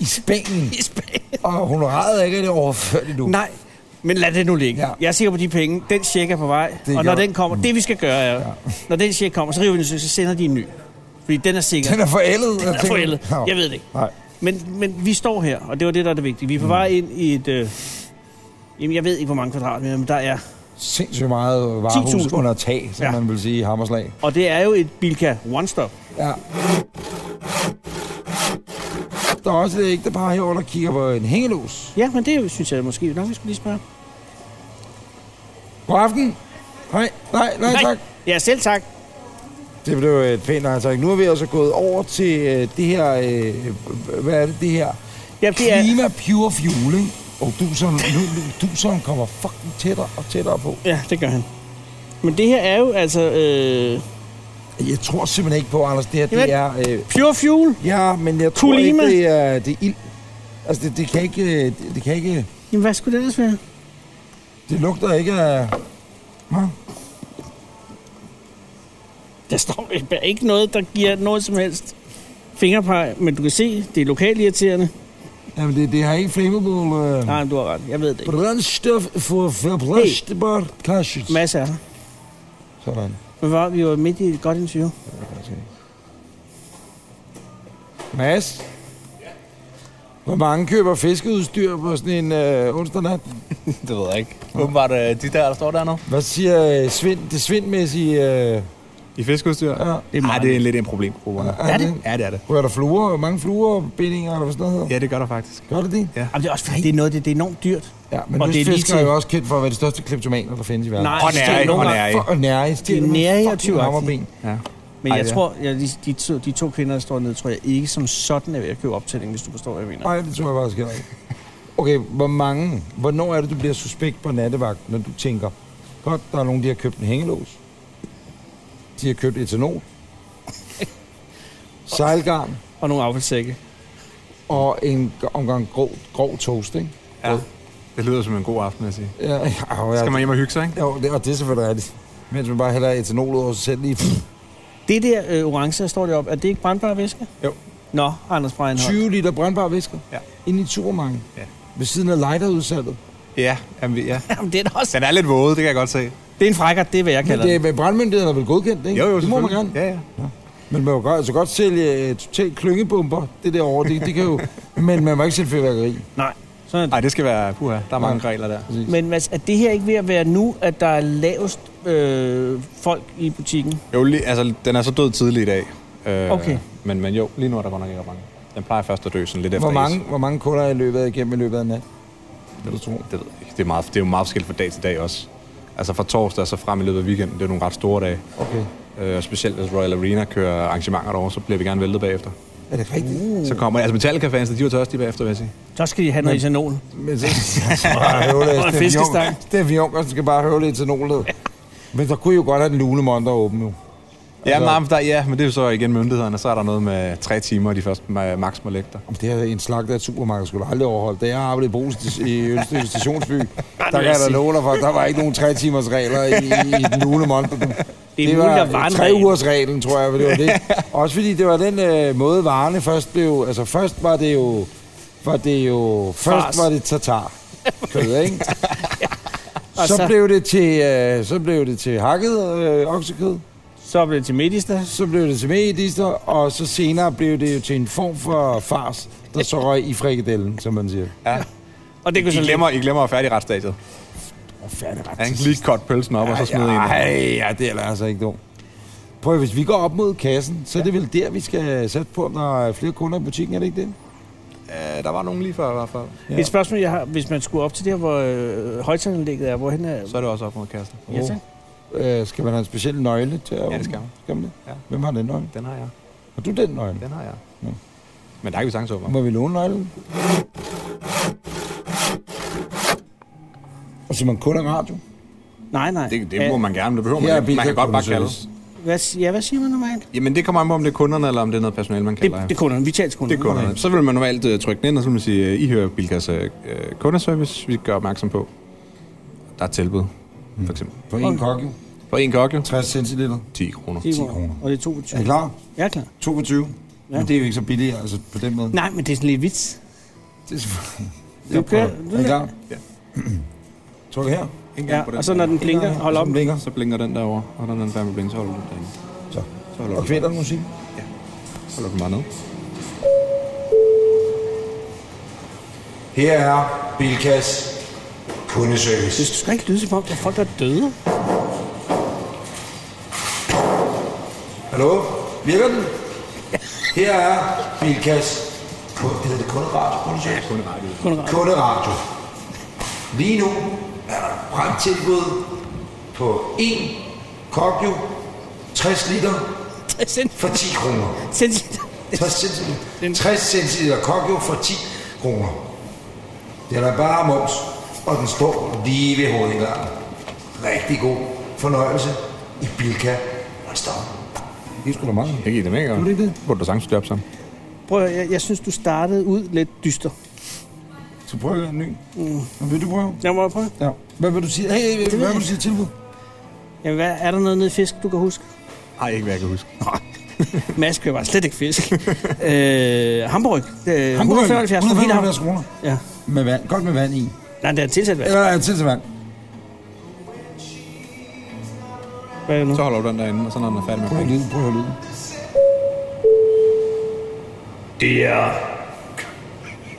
[SPEAKER 2] i Spanien,
[SPEAKER 3] I Spanien.
[SPEAKER 2] og honoraret er ikke det overført endnu.
[SPEAKER 3] Nej, men lad det nu ligge.
[SPEAKER 2] Ja.
[SPEAKER 3] Ja. Jeg er sikker på de penge. Den check er på vej.
[SPEAKER 2] Det
[SPEAKER 3] Det og når
[SPEAKER 2] gør-
[SPEAKER 3] den kommer, det vi skal gøre er, ja. når den check kommer, så river vi den, i stykker, så sender de en ny. Fordi den er sikker.
[SPEAKER 2] Den er forældet. Den
[SPEAKER 3] er forældet. Jeg ved det ikke.
[SPEAKER 2] Nej. Mm.
[SPEAKER 3] Men, men vi står her, og det var det, der er det vigtige. Vi er på vej ind i et... Øh, jamen, jeg ved ikke, hvor mange kvadratmeter, men der er
[SPEAKER 2] sindssygt meget øh, varehus
[SPEAKER 3] 10.000.
[SPEAKER 2] under tag, som
[SPEAKER 3] Ja.
[SPEAKER 2] ja. man vil sige i Hammerslag.
[SPEAKER 3] Og det er jo et Bilka One Stop.
[SPEAKER 2] Ja. Der er også et ægtepar herovre, der kigger på en hængelås.
[SPEAKER 3] Ja, men det synes jeg måske nok, vi skulle lige spørge.
[SPEAKER 2] God aften. Nej, nej, nej, tak.
[SPEAKER 3] Ja, selv tak.
[SPEAKER 2] Det blev øh, et pænt nej tak. Nu er vi altså gået over til øh, det her, øh, hvad er det, det her?
[SPEAKER 3] Ja, det er,
[SPEAKER 2] Klima Pure Fuel, ikke? Og du som, nu, nu, du som kommer fucking tættere og tættere på.
[SPEAKER 3] ja, det gør han. Men det her er jo altså øh,
[SPEAKER 2] Jeg tror simpelthen ikke på, Anders, det her, det er... Øh,
[SPEAKER 3] pure fuel.
[SPEAKER 2] ja, men jeg tror
[SPEAKER 3] Kulima.
[SPEAKER 2] ikke, det er, det er ild. Altså, det, det kan ikke... øh, Det, det kan ikke...
[SPEAKER 3] Jamen, hvad skulle det ellers være?
[SPEAKER 2] Det lugter ikke af... Hva?
[SPEAKER 3] Der står ikke noget, der giver noget som helst fingerpeg, men du kan se, det er lokalt irriterende.
[SPEAKER 2] Jamen, det, det har ikke flammable... Øh,
[SPEAKER 3] Nej, men du har ret. Jeg ved det ikke.
[SPEAKER 2] brændstof for forbrændstbart hey. kasset.
[SPEAKER 3] Masser er der.
[SPEAKER 2] Sådan.
[SPEAKER 3] Men var, vi var midt i et godt interview.
[SPEAKER 2] Mads? Hvor mange køber fiskeudstyr på sådan en øh, onsdag nat?
[SPEAKER 9] Det ved jeg ikke. Åbenbart øh, de der, der står der nu.
[SPEAKER 2] Hvad siger øh, Svind, det svindmæssige... Øh,
[SPEAKER 9] I fiskeudstyr?
[SPEAKER 2] ja.
[SPEAKER 9] Nej, det er en lidt en problem, grupperne.
[SPEAKER 2] Er det?
[SPEAKER 9] Ja, det er det.
[SPEAKER 2] Rører der fluer? Hvor mange fluerbindinger, eller hvad sådan noget hedder?
[SPEAKER 9] Ja, det gør der faktisk.
[SPEAKER 2] Gør det det?
[SPEAKER 3] Jamen, det er også fordi, det er noget, det, det er enormt dyrt.
[SPEAKER 2] Ja, men
[SPEAKER 3] Og
[SPEAKER 2] nu
[SPEAKER 3] det er lige
[SPEAKER 2] fisker er
[SPEAKER 3] til-
[SPEAKER 2] jo også kendt for at være de største kleptomaner, der findes i verden.
[SPEAKER 3] Nej,
[SPEAKER 9] Og
[SPEAKER 3] det er
[SPEAKER 9] nære,
[SPEAKER 3] nogle
[SPEAKER 9] og
[SPEAKER 3] gange-
[SPEAKER 9] nære.
[SPEAKER 2] For, og nærige.
[SPEAKER 3] Det er nærige og tyvagtige.
[SPEAKER 2] Hammerben.
[SPEAKER 3] Men
[SPEAKER 9] Ej,
[SPEAKER 3] jeg
[SPEAKER 9] ja.
[SPEAKER 3] tror, ja, de, de, to, de to kvinder, der står nede, tror jeg ikke som sådan er ved at købe optælling, hvis du forstår, hvad jeg mener.
[SPEAKER 2] Nej, det tror jeg faktisk heller ikke. Okay, hvor mange, hvornår er det, du bliver suspekt på nattevagt, når du tænker, godt, der er nogen, der har købt en hængelås. De har købt etanol. Sejlgarn
[SPEAKER 3] Og nogle affaldssække.
[SPEAKER 2] og en g- omgang grov, grov toast, ikke?
[SPEAKER 9] Ja. Det lyder som en god aften, vil jeg sige.
[SPEAKER 2] Ja, ja, og,
[SPEAKER 9] Skal man
[SPEAKER 2] jeg,
[SPEAKER 9] hjem og hælde sig, ikke?
[SPEAKER 2] jo, det, og det er selvfølgelig rigtigt. Mens man bare hælder etanol ud over sig selv lige.
[SPEAKER 3] Det der øh, orange, der står deroppe, er det ikke brandbare væske?
[SPEAKER 9] Jo.
[SPEAKER 3] Nå, Anders Breinholt.
[SPEAKER 2] 20 liter brandbar væske.
[SPEAKER 9] Ja.
[SPEAKER 2] Ind i turmangen.
[SPEAKER 9] Ja.
[SPEAKER 2] Ved siden af lighterudsalget.
[SPEAKER 9] Ja, jamen, vi- ja.
[SPEAKER 3] Jamen, det er da også...
[SPEAKER 9] Den er lidt våde, det kan jeg godt se.
[SPEAKER 3] Det er en frækker, det er, hvad jeg
[SPEAKER 2] Men
[SPEAKER 3] kalder
[SPEAKER 2] det
[SPEAKER 3] det.
[SPEAKER 2] er med brandmyndigheden er vel godkendt, ikke?
[SPEAKER 9] Jo, jo,
[SPEAKER 2] det må man
[SPEAKER 9] selvfølgelig.
[SPEAKER 2] gerne.
[SPEAKER 9] Ja, ja.
[SPEAKER 2] Men man må godt, altså godt sælge uh, totalt klyngebomber, det der over, det, det kan jo... men man må ikke sælge fyrværkeri.
[SPEAKER 3] Nej, sådan er det.
[SPEAKER 9] Nej, det skal være... Puha, der er mange regler der.
[SPEAKER 3] Men Mads, er det her ikke ved at være nu, at der er lavest øh, folk i butikken?
[SPEAKER 9] Jo, lige, altså, den er så død tidlig i dag. Øh,
[SPEAKER 3] Okay.
[SPEAKER 9] Men, men jo, lige nu er der godt nok ikke ret mange. Den plejer først at dø sådan lidt efter
[SPEAKER 2] Hvor mange,
[SPEAKER 9] is.
[SPEAKER 2] hvor mange kunder er i løbet af igennem i løbet af nat? Vil du tro?
[SPEAKER 9] Det ved jeg ikke. Det er, meget, det er jo meget forskelligt fra dag til dag også. Altså fra torsdag og så frem i løbet af weekenden, det er nogle ret store dage.
[SPEAKER 2] Okay.
[SPEAKER 9] Øh, og specielt hvis Royal Arena kører arrangementer derovre, så bliver vi gerne væltet bagefter.
[SPEAKER 2] Er det rigtigt? Uh.
[SPEAKER 9] Så kommer... Altså Metallica-fans, de var tørstige bagefter, vil jeg sige.
[SPEAKER 3] Så skal de have noget etanol.
[SPEAKER 2] Men så jeg skal bare høvle
[SPEAKER 3] Og en
[SPEAKER 2] af Steffen Juncker.
[SPEAKER 3] fiskestang.
[SPEAKER 2] Steffen Juncker skal bare høvle til nogen Men der kunne I jo godt have den lunemonter åben nu.
[SPEAKER 9] Ja, altså, men, der, ja, men det er jo så igen myndighederne. Så er der noget med tre timer, de første ma- max må lægge dig.
[SPEAKER 2] Om det her en slagt af et supermarked skulle du aldrig overholde. Da jeg arbejdede i Brugsen i Ølstykke Stationsby, der kan jeg da love dig for, at der var ikke nogen tre timers regler i, i den lunemonter.
[SPEAKER 3] Det er muligt, der var en
[SPEAKER 2] tre
[SPEAKER 3] regel.
[SPEAKER 2] ugers reglen, tror jeg, for det var det. Også fordi det var den øh, måde, varerne først blev... Altså først var det jo... Var det jo først
[SPEAKER 3] Fars.
[SPEAKER 2] var det tatar. Kød, ikke?
[SPEAKER 3] Og
[SPEAKER 2] Så
[SPEAKER 3] så-
[SPEAKER 2] blev det til, øh, så blev det til hakket øh, oksekød,
[SPEAKER 3] Så bliver det til Medister.
[SPEAKER 2] så blev det til medister, og så senere blev det jo til en form for fars, der så røg i frikadellen, som man siger.
[SPEAKER 3] Og det kunne så
[SPEAKER 9] I
[SPEAKER 3] lemme.
[SPEAKER 9] glemmer, I glemmer at færdig retsstadiet. Ja, ikke? lige kort pølsen op, og så smider I en.
[SPEAKER 2] Ej, ja, det er da altså ikke dumt. Prøv, at- hvis vi går op mod kassen, så er det vel der, vi skal sætte på, om der er flere kunder i butikken, er det ikke det?
[SPEAKER 9] Øh, der var nogen lige før i hvert fald.
[SPEAKER 3] Et spørgsmål, jeg har, hvis man skulle op til der, hvor øh, højtalanlægget er, hvorhen er...
[SPEAKER 9] Så er det også op mod kassen.
[SPEAKER 3] Ja, tak.
[SPEAKER 2] Øh, skal man have en speciel nøgle til at
[SPEAKER 9] Ja,
[SPEAKER 2] åbne?
[SPEAKER 9] det skal man.
[SPEAKER 2] Skal man det?
[SPEAKER 9] Ja.
[SPEAKER 2] Hvem har den nøgle?
[SPEAKER 9] Den har jeg.
[SPEAKER 2] Har du den nøgle?
[SPEAKER 9] Den har jeg.
[SPEAKER 2] Ja.
[SPEAKER 9] Men der kan vi sagtens åbne.
[SPEAKER 2] Må vi låne nøglen? Og så man kun er radio.
[SPEAKER 3] Nej, nej.
[SPEAKER 9] Det, det må man gerne, men det behøver
[SPEAKER 2] Her er
[SPEAKER 9] man ikke. Man kan
[SPEAKER 2] Bilka
[SPEAKER 9] godt bare kalde
[SPEAKER 2] kundeservice.
[SPEAKER 9] Oh.
[SPEAKER 3] Hvad, si- ja, hvad siger man normalt?
[SPEAKER 9] Jamen det kommer an på, om det er kunderne, eller om det er noget personale, man
[SPEAKER 3] Det,
[SPEAKER 9] kalder.
[SPEAKER 3] det er kunderne. Vi taler til kunderne.
[SPEAKER 9] Det er kunderne. Så vil man normalt øh, trykke den ind, og så vil man sige, øh, I hører Bilkas øh, kundeservice, vi gør opmærksom på. Der er tilbud, Hmm. for eksempel.
[SPEAKER 2] På en kokke.
[SPEAKER 9] For en kokke,
[SPEAKER 2] 60 centiliter.
[SPEAKER 9] 10 kroner.
[SPEAKER 3] Det er kroner. Og det er 22.
[SPEAKER 2] Er I klar?
[SPEAKER 3] Jeg er klar.
[SPEAKER 2] 22. Ja. Men det er jo ikke så billigt, altså på den måde.
[SPEAKER 3] Nej, men det er sådan lidt vits.
[SPEAKER 2] Det er selvfølgelig...
[SPEAKER 3] Du
[SPEAKER 2] Jeg prøver.
[SPEAKER 3] kører- du
[SPEAKER 2] Er I
[SPEAKER 3] lader-
[SPEAKER 2] klar?
[SPEAKER 9] Ja.
[SPEAKER 2] Tryk her.
[SPEAKER 3] Ja, og så når den blinker, hold op.
[SPEAKER 2] Den blinker.
[SPEAKER 9] Så blinker den derovre, og når den er færdig med at blinke, så holder du den derinde.
[SPEAKER 2] Så.
[SPEAKER 9] Så holder
[SPEAKER 2] Og
[SPEAKER 9] du,
[SPEAKER 2] kvæler musik.
[SPEAKER 9] holder du den bare ned.
[SPEAKER 2] Her er Bilkas
[SPEAKER 3] Det
[SPEAKER 10] Kundeservice.
[SPEAKER 3] skal ikke lyde som om, der er folk, der er døde.
[SPEAKER 5] Hallo? Virker den? Her er Bilkas. Kun- Hedder det kunderadio? Kundeservice?
[SPEAKER 3] Kunderadio.
[SPEAKER 5] Kunderadio. Lige nu er der brandtilbud på en kokju 60 liter for 10 kroner. 60 centiliter. 60 centiliter kokjo for 10 kroner. Den er bare moms, og den står lige ved hovedindgangen. Rigtig god fornøjelse i Bilka. Og stop.
[SPEAKER 9] Det skulle da meget. Jeg giver det med, Du det ikke det? Burde du sagtens job sammen.
[SPEAKER 3] Prøv at, jeg, jeg synes, du startede ud lidt dyster.
[SPEAKER 2] Så prøv en ny. Mm. Vil du prøve?
[SPEAKER 3] Jeg må prøve.
[SPEAKER 2] Ja. Hvad vil du sige? Hey, hey, hey,
[SPEAKER 3] ved
[SPEAKER 2] hvad
[SPEAKER 3] jeg
[SPEAKER 2] vil du sige tilbud?
[SPEAKER 3] Jamen, hvad, er der noget nede i fisk, du kan huske?
[SPEAKER 9] Nej, ikke hvad jeg kan huske.
[SPEAKER 3] Mads køber bare slet ikke fisk. øh, Hamburg. Øh, 175 for hele Hamburg.
[SPEAKER 2] 175 kroner.
[SPEAKER 3] Ja.
[SPEAKER 2] Med vand. Godt med vand i.
[SPEAKER 3] Nej, det er tilsat vand.
[SPEAKER 2] Eller er det til vand?
[SPEAKER 3] Hvad er det nu?
[SPEAKER 9] Så holder du den derinde, og så når den er færdig med
[SPEAKER 2] Prøv at
[SPEAKER 9] at
[SPEAKER 2] lyde, prøv at lyde.
[SPEAKER 10] Det er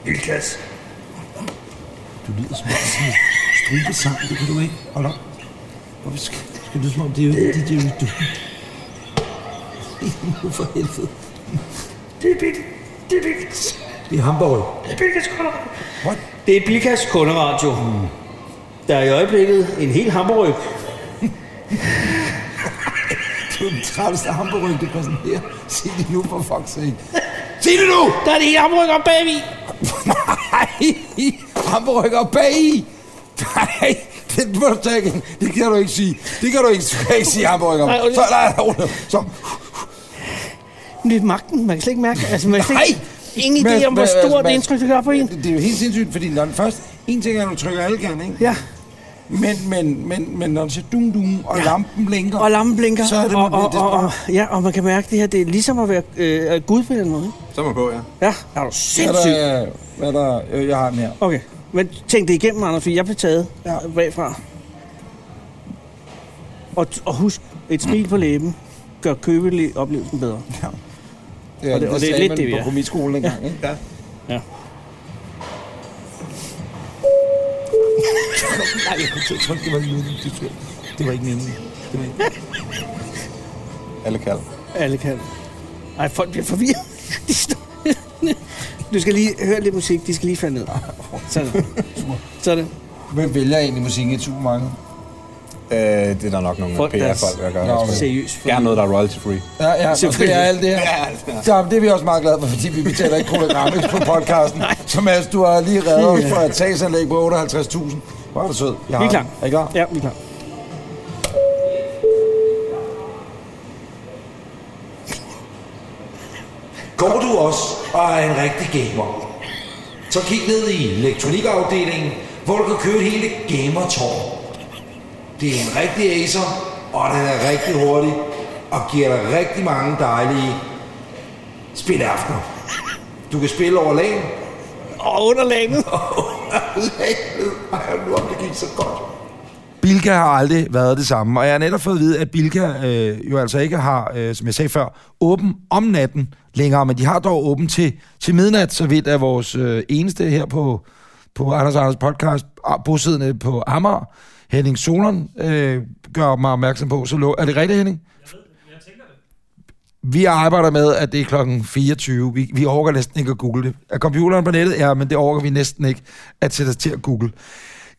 [SPEAKER 10] Vilkas.
[SPEAKER 2] Du lyder som om sådan en stribesang, det kan du ikke. Hold op. Hvorfor skal, skal du lyde som om, det er jo ikke det, det er jo du. Nu for helvede.
[SPEAKER 10] Det er Bilkas. Det er Bilkas.
[SPEAKER 2] Det er Hamburg.
[SPEAKER 10] Det er Bilkas kunderadio.
[SPEAKER 3] Det er Bilkas kunderadio. Mm. Der er i øjeblikket en hel hamburg.
[SPEAKER 2] Det er den travleste Hamburg, det præsenterer. Se det nu for fuck's sake.
[SPEAKER 10] Sig det nu!
[SPEAKER 3] Der er en hel hamburg oppe bagved.
[SPEAKER 2] Nej, Hamburg op bag i. Nej, det må du tage igen. Det kan du ikke sige. Det kan du ikke, du kan ikke sige Hamburg op.
[SPEAKER 3] Nej,
[SPEAKER 2] Så,
[SPEAKER 3] undskyld.
[SPEAKER 2] nej, nej, så.
[SPEAKER 3] Men det er magten. Man kan slet ikke mærke. Altså, man kan slet
[SPEAKER 2] Nej!
[SPEAKER 3] ikke... Ingen idé
[SPEAKER 2] Mads,
[SPEAKER 3] om, hvor
[SPEAKER 2] Mads,
[SPEAKER 3] stort det
[SPEAKER 2] Mads.
[SPEAKER 3] indtryk, det gør på en.
[SPEAKER 2] Det, det er jo helt sindssygt, fordi når den først... En ting er, at du trykker alle gerne, ikke?
[SPEAKER 3] Ja.
[SPEAKER 2] Men, men, men, men når den siger dum dum, og ja. lampen blinker...
[SPEAKER 3] Og lampen blinker.
[SPEAKER 2] Så er det, man
[SPEAKER 3] og,
[SPEAKER 2] bliver
[SPEAKER 3] og, og, og, ja, og man kan mærke det her. Det er ligesom at være øh, gud på den måde. ikke?
[SPEAKER 9] Så er man på, ja.
[SPEAKER 3] Ja, der er du sindssygt.
[SPEAKER 2] Hvad er der, hvad er der øh, jeg har den her.
[SPEAKER 3] Okay, men tænk det igennem, Anders, for jeg blev taget
[SPEAKER 2] Ja.
[SPEAKER 3] ja. bagfra. Og, og husk, et smil på læben gør købelig oplevelsen bedre.
[SPEAKER 2] Ja,
[SPEAKER 3] og det er
[SPEAKER 2] sagde
[SPEAKER 3] lidt
[SPEAKER 2] man
[SPEAKER 3] det, vi
[SPEAKER 2] på
[SPEAKER 3] er.
[SPEAKER 2] komiskolen engang, ikke? Ja.
[SPEAKER 3] Ja.
[SPEAKER 2] Nej, jeg kunne ikke tro, det var ikke meningen. Det tror jeg- Det var ikke meningen. Det var ikke...
[SPEAKER 9] Alle kald.
[SPEAKER 3] Alle kan. Ej, folk bliver forvirret. De står... Du skal lige høre lidt musik, de skal lige falde ned. Sådan. Sådan.
[SPEAKER 2] Hvem vælger egentlig musikken i et supermarked?
[SPEAKER 9] Øh, det er der nok nogle
[SPEAKER 3] Folk, der-
[SPEAKER 9] PR-folk, der gør.
[SPEAKER 2] Nå,
[SPEAKER 9] også.
[SPEAKER 3] Seriøst.
[SPEAKER 9] Gerne noget, der er royalty-free.
[SPEAKER 2] Ja, ja, og det
[SPEAKER 3] Selvfølgelig.
[SPEAKER 2] er alt det her. Ja, det er vi også meget glade for, fordi vi betaler ikke programmet på podcasten. Så Mads, du har lige reddet os fra et sagsanlæg på 58.000. Hvor er du sød. Jeg
[SPEAKER 3] Vi
[SPEAKER 2] har
[SPEAKER 3] er klar.
[SPEAKER 2] den. Er I klar?
[SPEAKER 3] Ja, vi er klar.
[SPEAKER 5] Går du også og er en rigtig gamer, så kig ned i elektronikafdelingen, hvor du kan købe et hele gamertårn. Det er en rigtig Acer, og den er rigtig hurtig, og giver dig rigtig mange dejlige spilaftener. Du kan spille over lagen.
[SPEAKER 3] Og underlaget.
[SPEAKER 5] Ej, nu om det gik så godt.
[SPEAKER 2] Bilka har aldrig været det samme, og jeg har netop fået at vide, at Bilka øh, jo altså ikke har, øh, som jeg sagde før, åben om natten længere, men de har dog åben til, til midnat, så vidt er vores øh, eneste her på, på Anders Anders podcast, ah, bosiddende på Amager, Henning Solon, øh, gør mig opmærksom på. Så lå, er det rigtigt, Henning? Vi arbejder med, at det er klokken 24. Vi, vi overgår næsten ikke at google det. Er computeren på nettet? Ja, men det overgår vi næsten ikke at sætte os til at google.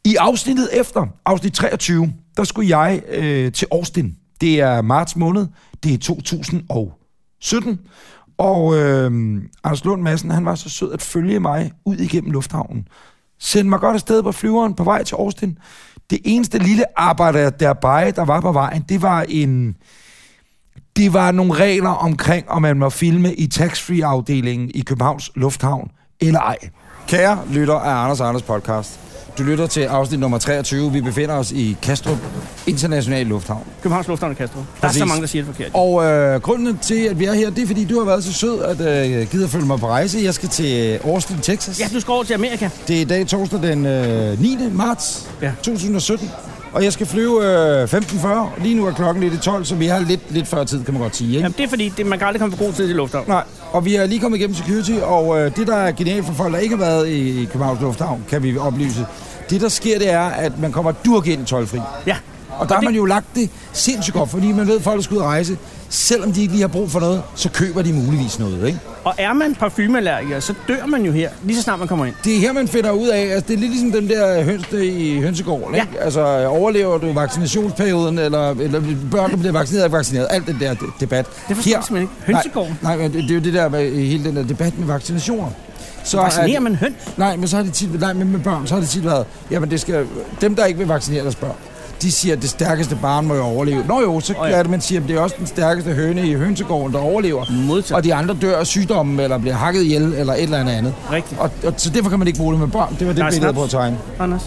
[SPEAKER 2] I afsnittet efter, afsnit 23, der skulle jeg øh, til Austin. Det er marts måned. Det er 2017. Og øh, Anders Lund Madsen, han var så sød at følge mig ud igennem lufthavnen. Send mig godt afsted på flyveren på vej til Austin. Det eneste lille arbejde, der, bare, der var på vejen, det var en det var nogle regler omkring, om man må filme i tax-free-afdelingen i Københavns Lufthavn eller ej. Kære lytter af Anders og Anders podcast, du lytter til afsnit nummer 23. Vi befinder os i Kastrup International Lufthavn.
[SPEAKER 3] Københavns Lufthavn og Kastrup. Der er
[SPEAKER 2] Præcis.
[SPEAKER 3] så mange, der siger det forkert.
[SPEAKER 2] Og øh, grunden til, at vi er her, det er, fordi du har været så sød, at øh, gider følge mig på rejse. Jeg skal til øh, Austin, Texas.
[SPEAKER 3] Ja, du skal over til Amerika.
[SPEAKER 2] Det er i dag torsdag den øh, 9. marts ja.
[SPEAKER 3] Ja.
[SPEAKER 2] 2017, og jeg skal flyve øh, 15.40. Lige nu er klokken lidt i 12, så vi har lidt, lidt før tid, kan man godt sige. Ikke?
[SPEAKER 3] Jamen, det er fordi, det, man kan aldrig komme for god tid til lufthavn.
[SPEAKER 2] Nej, og vi er lige kommet igennem security, og øh, det, der er genialt for folk, der ikke har været i, i Københavns Lufthavn, kan vi oplyse, Det, der sker, det er, at man kommer durk ind i tolvfri.
[SPEAKER 3] Ja.
[SPEAKER 2] Og der har man jo lagt det sindssygt godt, fordi man ved, at folk skal ud og rejse. Selvom de ikke lige har brug for noget, så køber de muligvis noget, ikke?
[SPEAKER 3] Og er man parfumeallergiker, så dør man jo her, lige så snart man kommer ind.
[SPEAKER 2] Det er her, man finder ud af, altså det er lidt ligesom dem der høns der i hønsegården, ikke? Altså overlever du vaccinationsperioden, eller, eller børn, der bliver vaccineret, er ikke vaccineret. Alt den der de- debat.
[SPEAKER 3] Det forstår jeg simpelthen ikke. Hønsegården?
[SPEAKER 2] Nej, nej, men det, det er jo det der med hele den der debat med vaccinationer. Så
[SPEAKER 3] Vaccinerer
[SPEAKER 2] er-
[SPEAKER 3] man høns?
[SPEAKER 2] Nej, men så har det tit, nej, men med børn, så har det tit været, jamen det skal, dem der ikke vil vaccinere deres børn, de siger, at det stærkeste barn må jo overleve. Nå jo, så oh, ja. er det, man siger, at det er også den stærkeste høne i hønsegården, der overlever.
[SPEAKER 3] Modtaget.
[SPEAKER 2] Og de andre dør af sygdommen, eller bliver hakket ihjel, eller et eller andet andet.
[SPEAKER 3] Rigtigt.
[SPEAKER 2] Og, og, så derfor kan man ikke bruge det med børn. Det var det Nej,
[SPEAKER 3] Nej,
[SPEAKER 2] billede
[SPEAKER 3] snaps.
[SPEAKER 2] på at tegne.
[SPEAKER 3] Anders.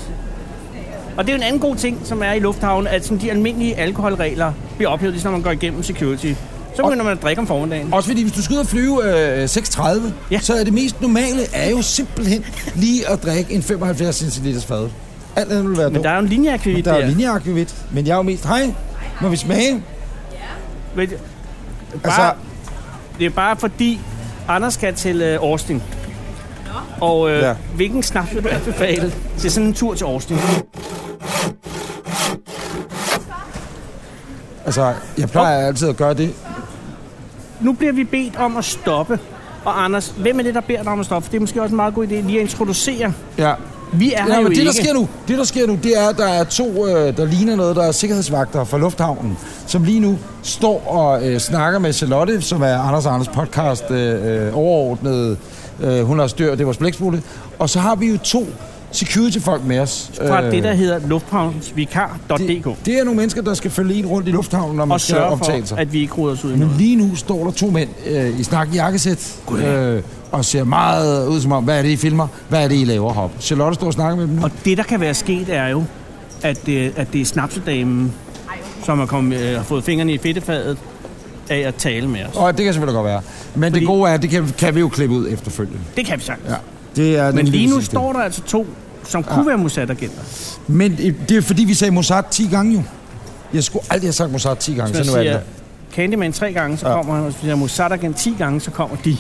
[SPEAKER 3] Og det er jo en anden god ting, som er i lufthavnen, at sådan de almindelige alkoholregler bliver ophævet, ligesom når man går igennem security. Så begynder man at drikke om formiddagen.
[SPEAKER 2] Også fordi, hvis du skal ud og flyve øh, 6.30, ja. så er det mest normale er jo simpelthen lige at drikke en 75 cl fad. Alt andet vil være
[SPEAKER 3] Men der er jo en linjeakvavit
[SPEAKER 2] Men der. er
[SPEAKER 3] der.
[SPEAKER 2] jo linjeakvavit. Men jeg er jo mest, hej, må vi smage?
[SPEAKER 3] Men, bare, altså... Det er bare fordi, Anders skal til øh, Austin. Og øh, ja.
[SPEAKER 2] Ja.
[SPEAKER 3] hvilken snaps vil du anbefale til sådan en tur til Austin?
[SPEAKER 2] Altså, jeg plejer altid at gøre det.
[SPEAKER 3] Nu bliver vi bedt om at stoppe. Og Anders, hvem er det, der beder dig om at stoppe? Det er måske også en meget god idé lige at introducere.
[SPEAKER 2] Ja.
[SPEAKER 3] Vi er her
[SPEAKER 2] ja,
[SPEAKER 3] jo
[SPEAKER 2] men det,
[SPEAKER 3] ikke.
[SPEAKER 2] der sker nu, det, der sker nu, det er, at der er to, øh, der ligner noget, der er sikkerhedsvagter fra Lufthavnen, som lige nu står og øh, snakker med Charlotte, som er Anders og Anders podcast øh, øh, overordnet. Øh, hun har styr, det var blækspulte. Og så har vi jo to security-folk med os.
[SPEAKER 3] Fra øh... det, der hedder lufthavnsvikar.dk. Det,
[SPEAKER 2] det er nogle mennesker, der skal følge en rundt i lufthavnen, når man
[SPEAKER 3] og
[SPEAKER 2] skal
[SPEAKER 3] sørge
[SPEAKER 2] optage
[SPEAKER 3] for,
[SPEAKER 2] sig.
[SPEAKER 3] at vi ikke ruder os ud i
[SPEAKER 2] Men
[SPEAKER 3] noget.
[SPEAKER 2] lige nu står der to mænd øh, i snakken jakkesæt, øh, og ser meget ud som om, hvad er det, I filmer? Hvad er det, I laver hop? Charlotte står og snakker med dem nu.
[SPEAKER 3] Og det, der kan være sket, er jo, at, øh, at det er snapsedamen, som har, kommet, øh, har fået fingrene i fedtefadet af at tale med os.
[SPEAKER 2] Og det kan selvfølgelig godt være. Men Fordi... det gode er, at det kan, kan vi jo klippe ud efterfølgende.
[SPEAKER 3] Det kan vi sagtens. Ja.
[SPEAKER 2] Det er
[SPEAKER 3] Men
[SPEAKER 2] nemlig
[SPEAKER 3] lige nu
[SPEAKER 2] det sidste.
[SPEAKER 3] står der altså to, som ja. kunne være Mossad-agenter.
[SPEAKER 2] Men øh, det er fordi, vi sagde Mossad 10 gange jo. Jeg skulle aldrig have sagt Mossad 10 gange,
[SPEAKER 3] Så
[SPEAKER 2] så nu er det
[SPEAKER 3] siger
[SPEAKER 2] der.
[SPEAKER 3] Candyman tre gange, så ja. kommer han. Hvis vi siger Mossad-agent 10 gange, så kommer de.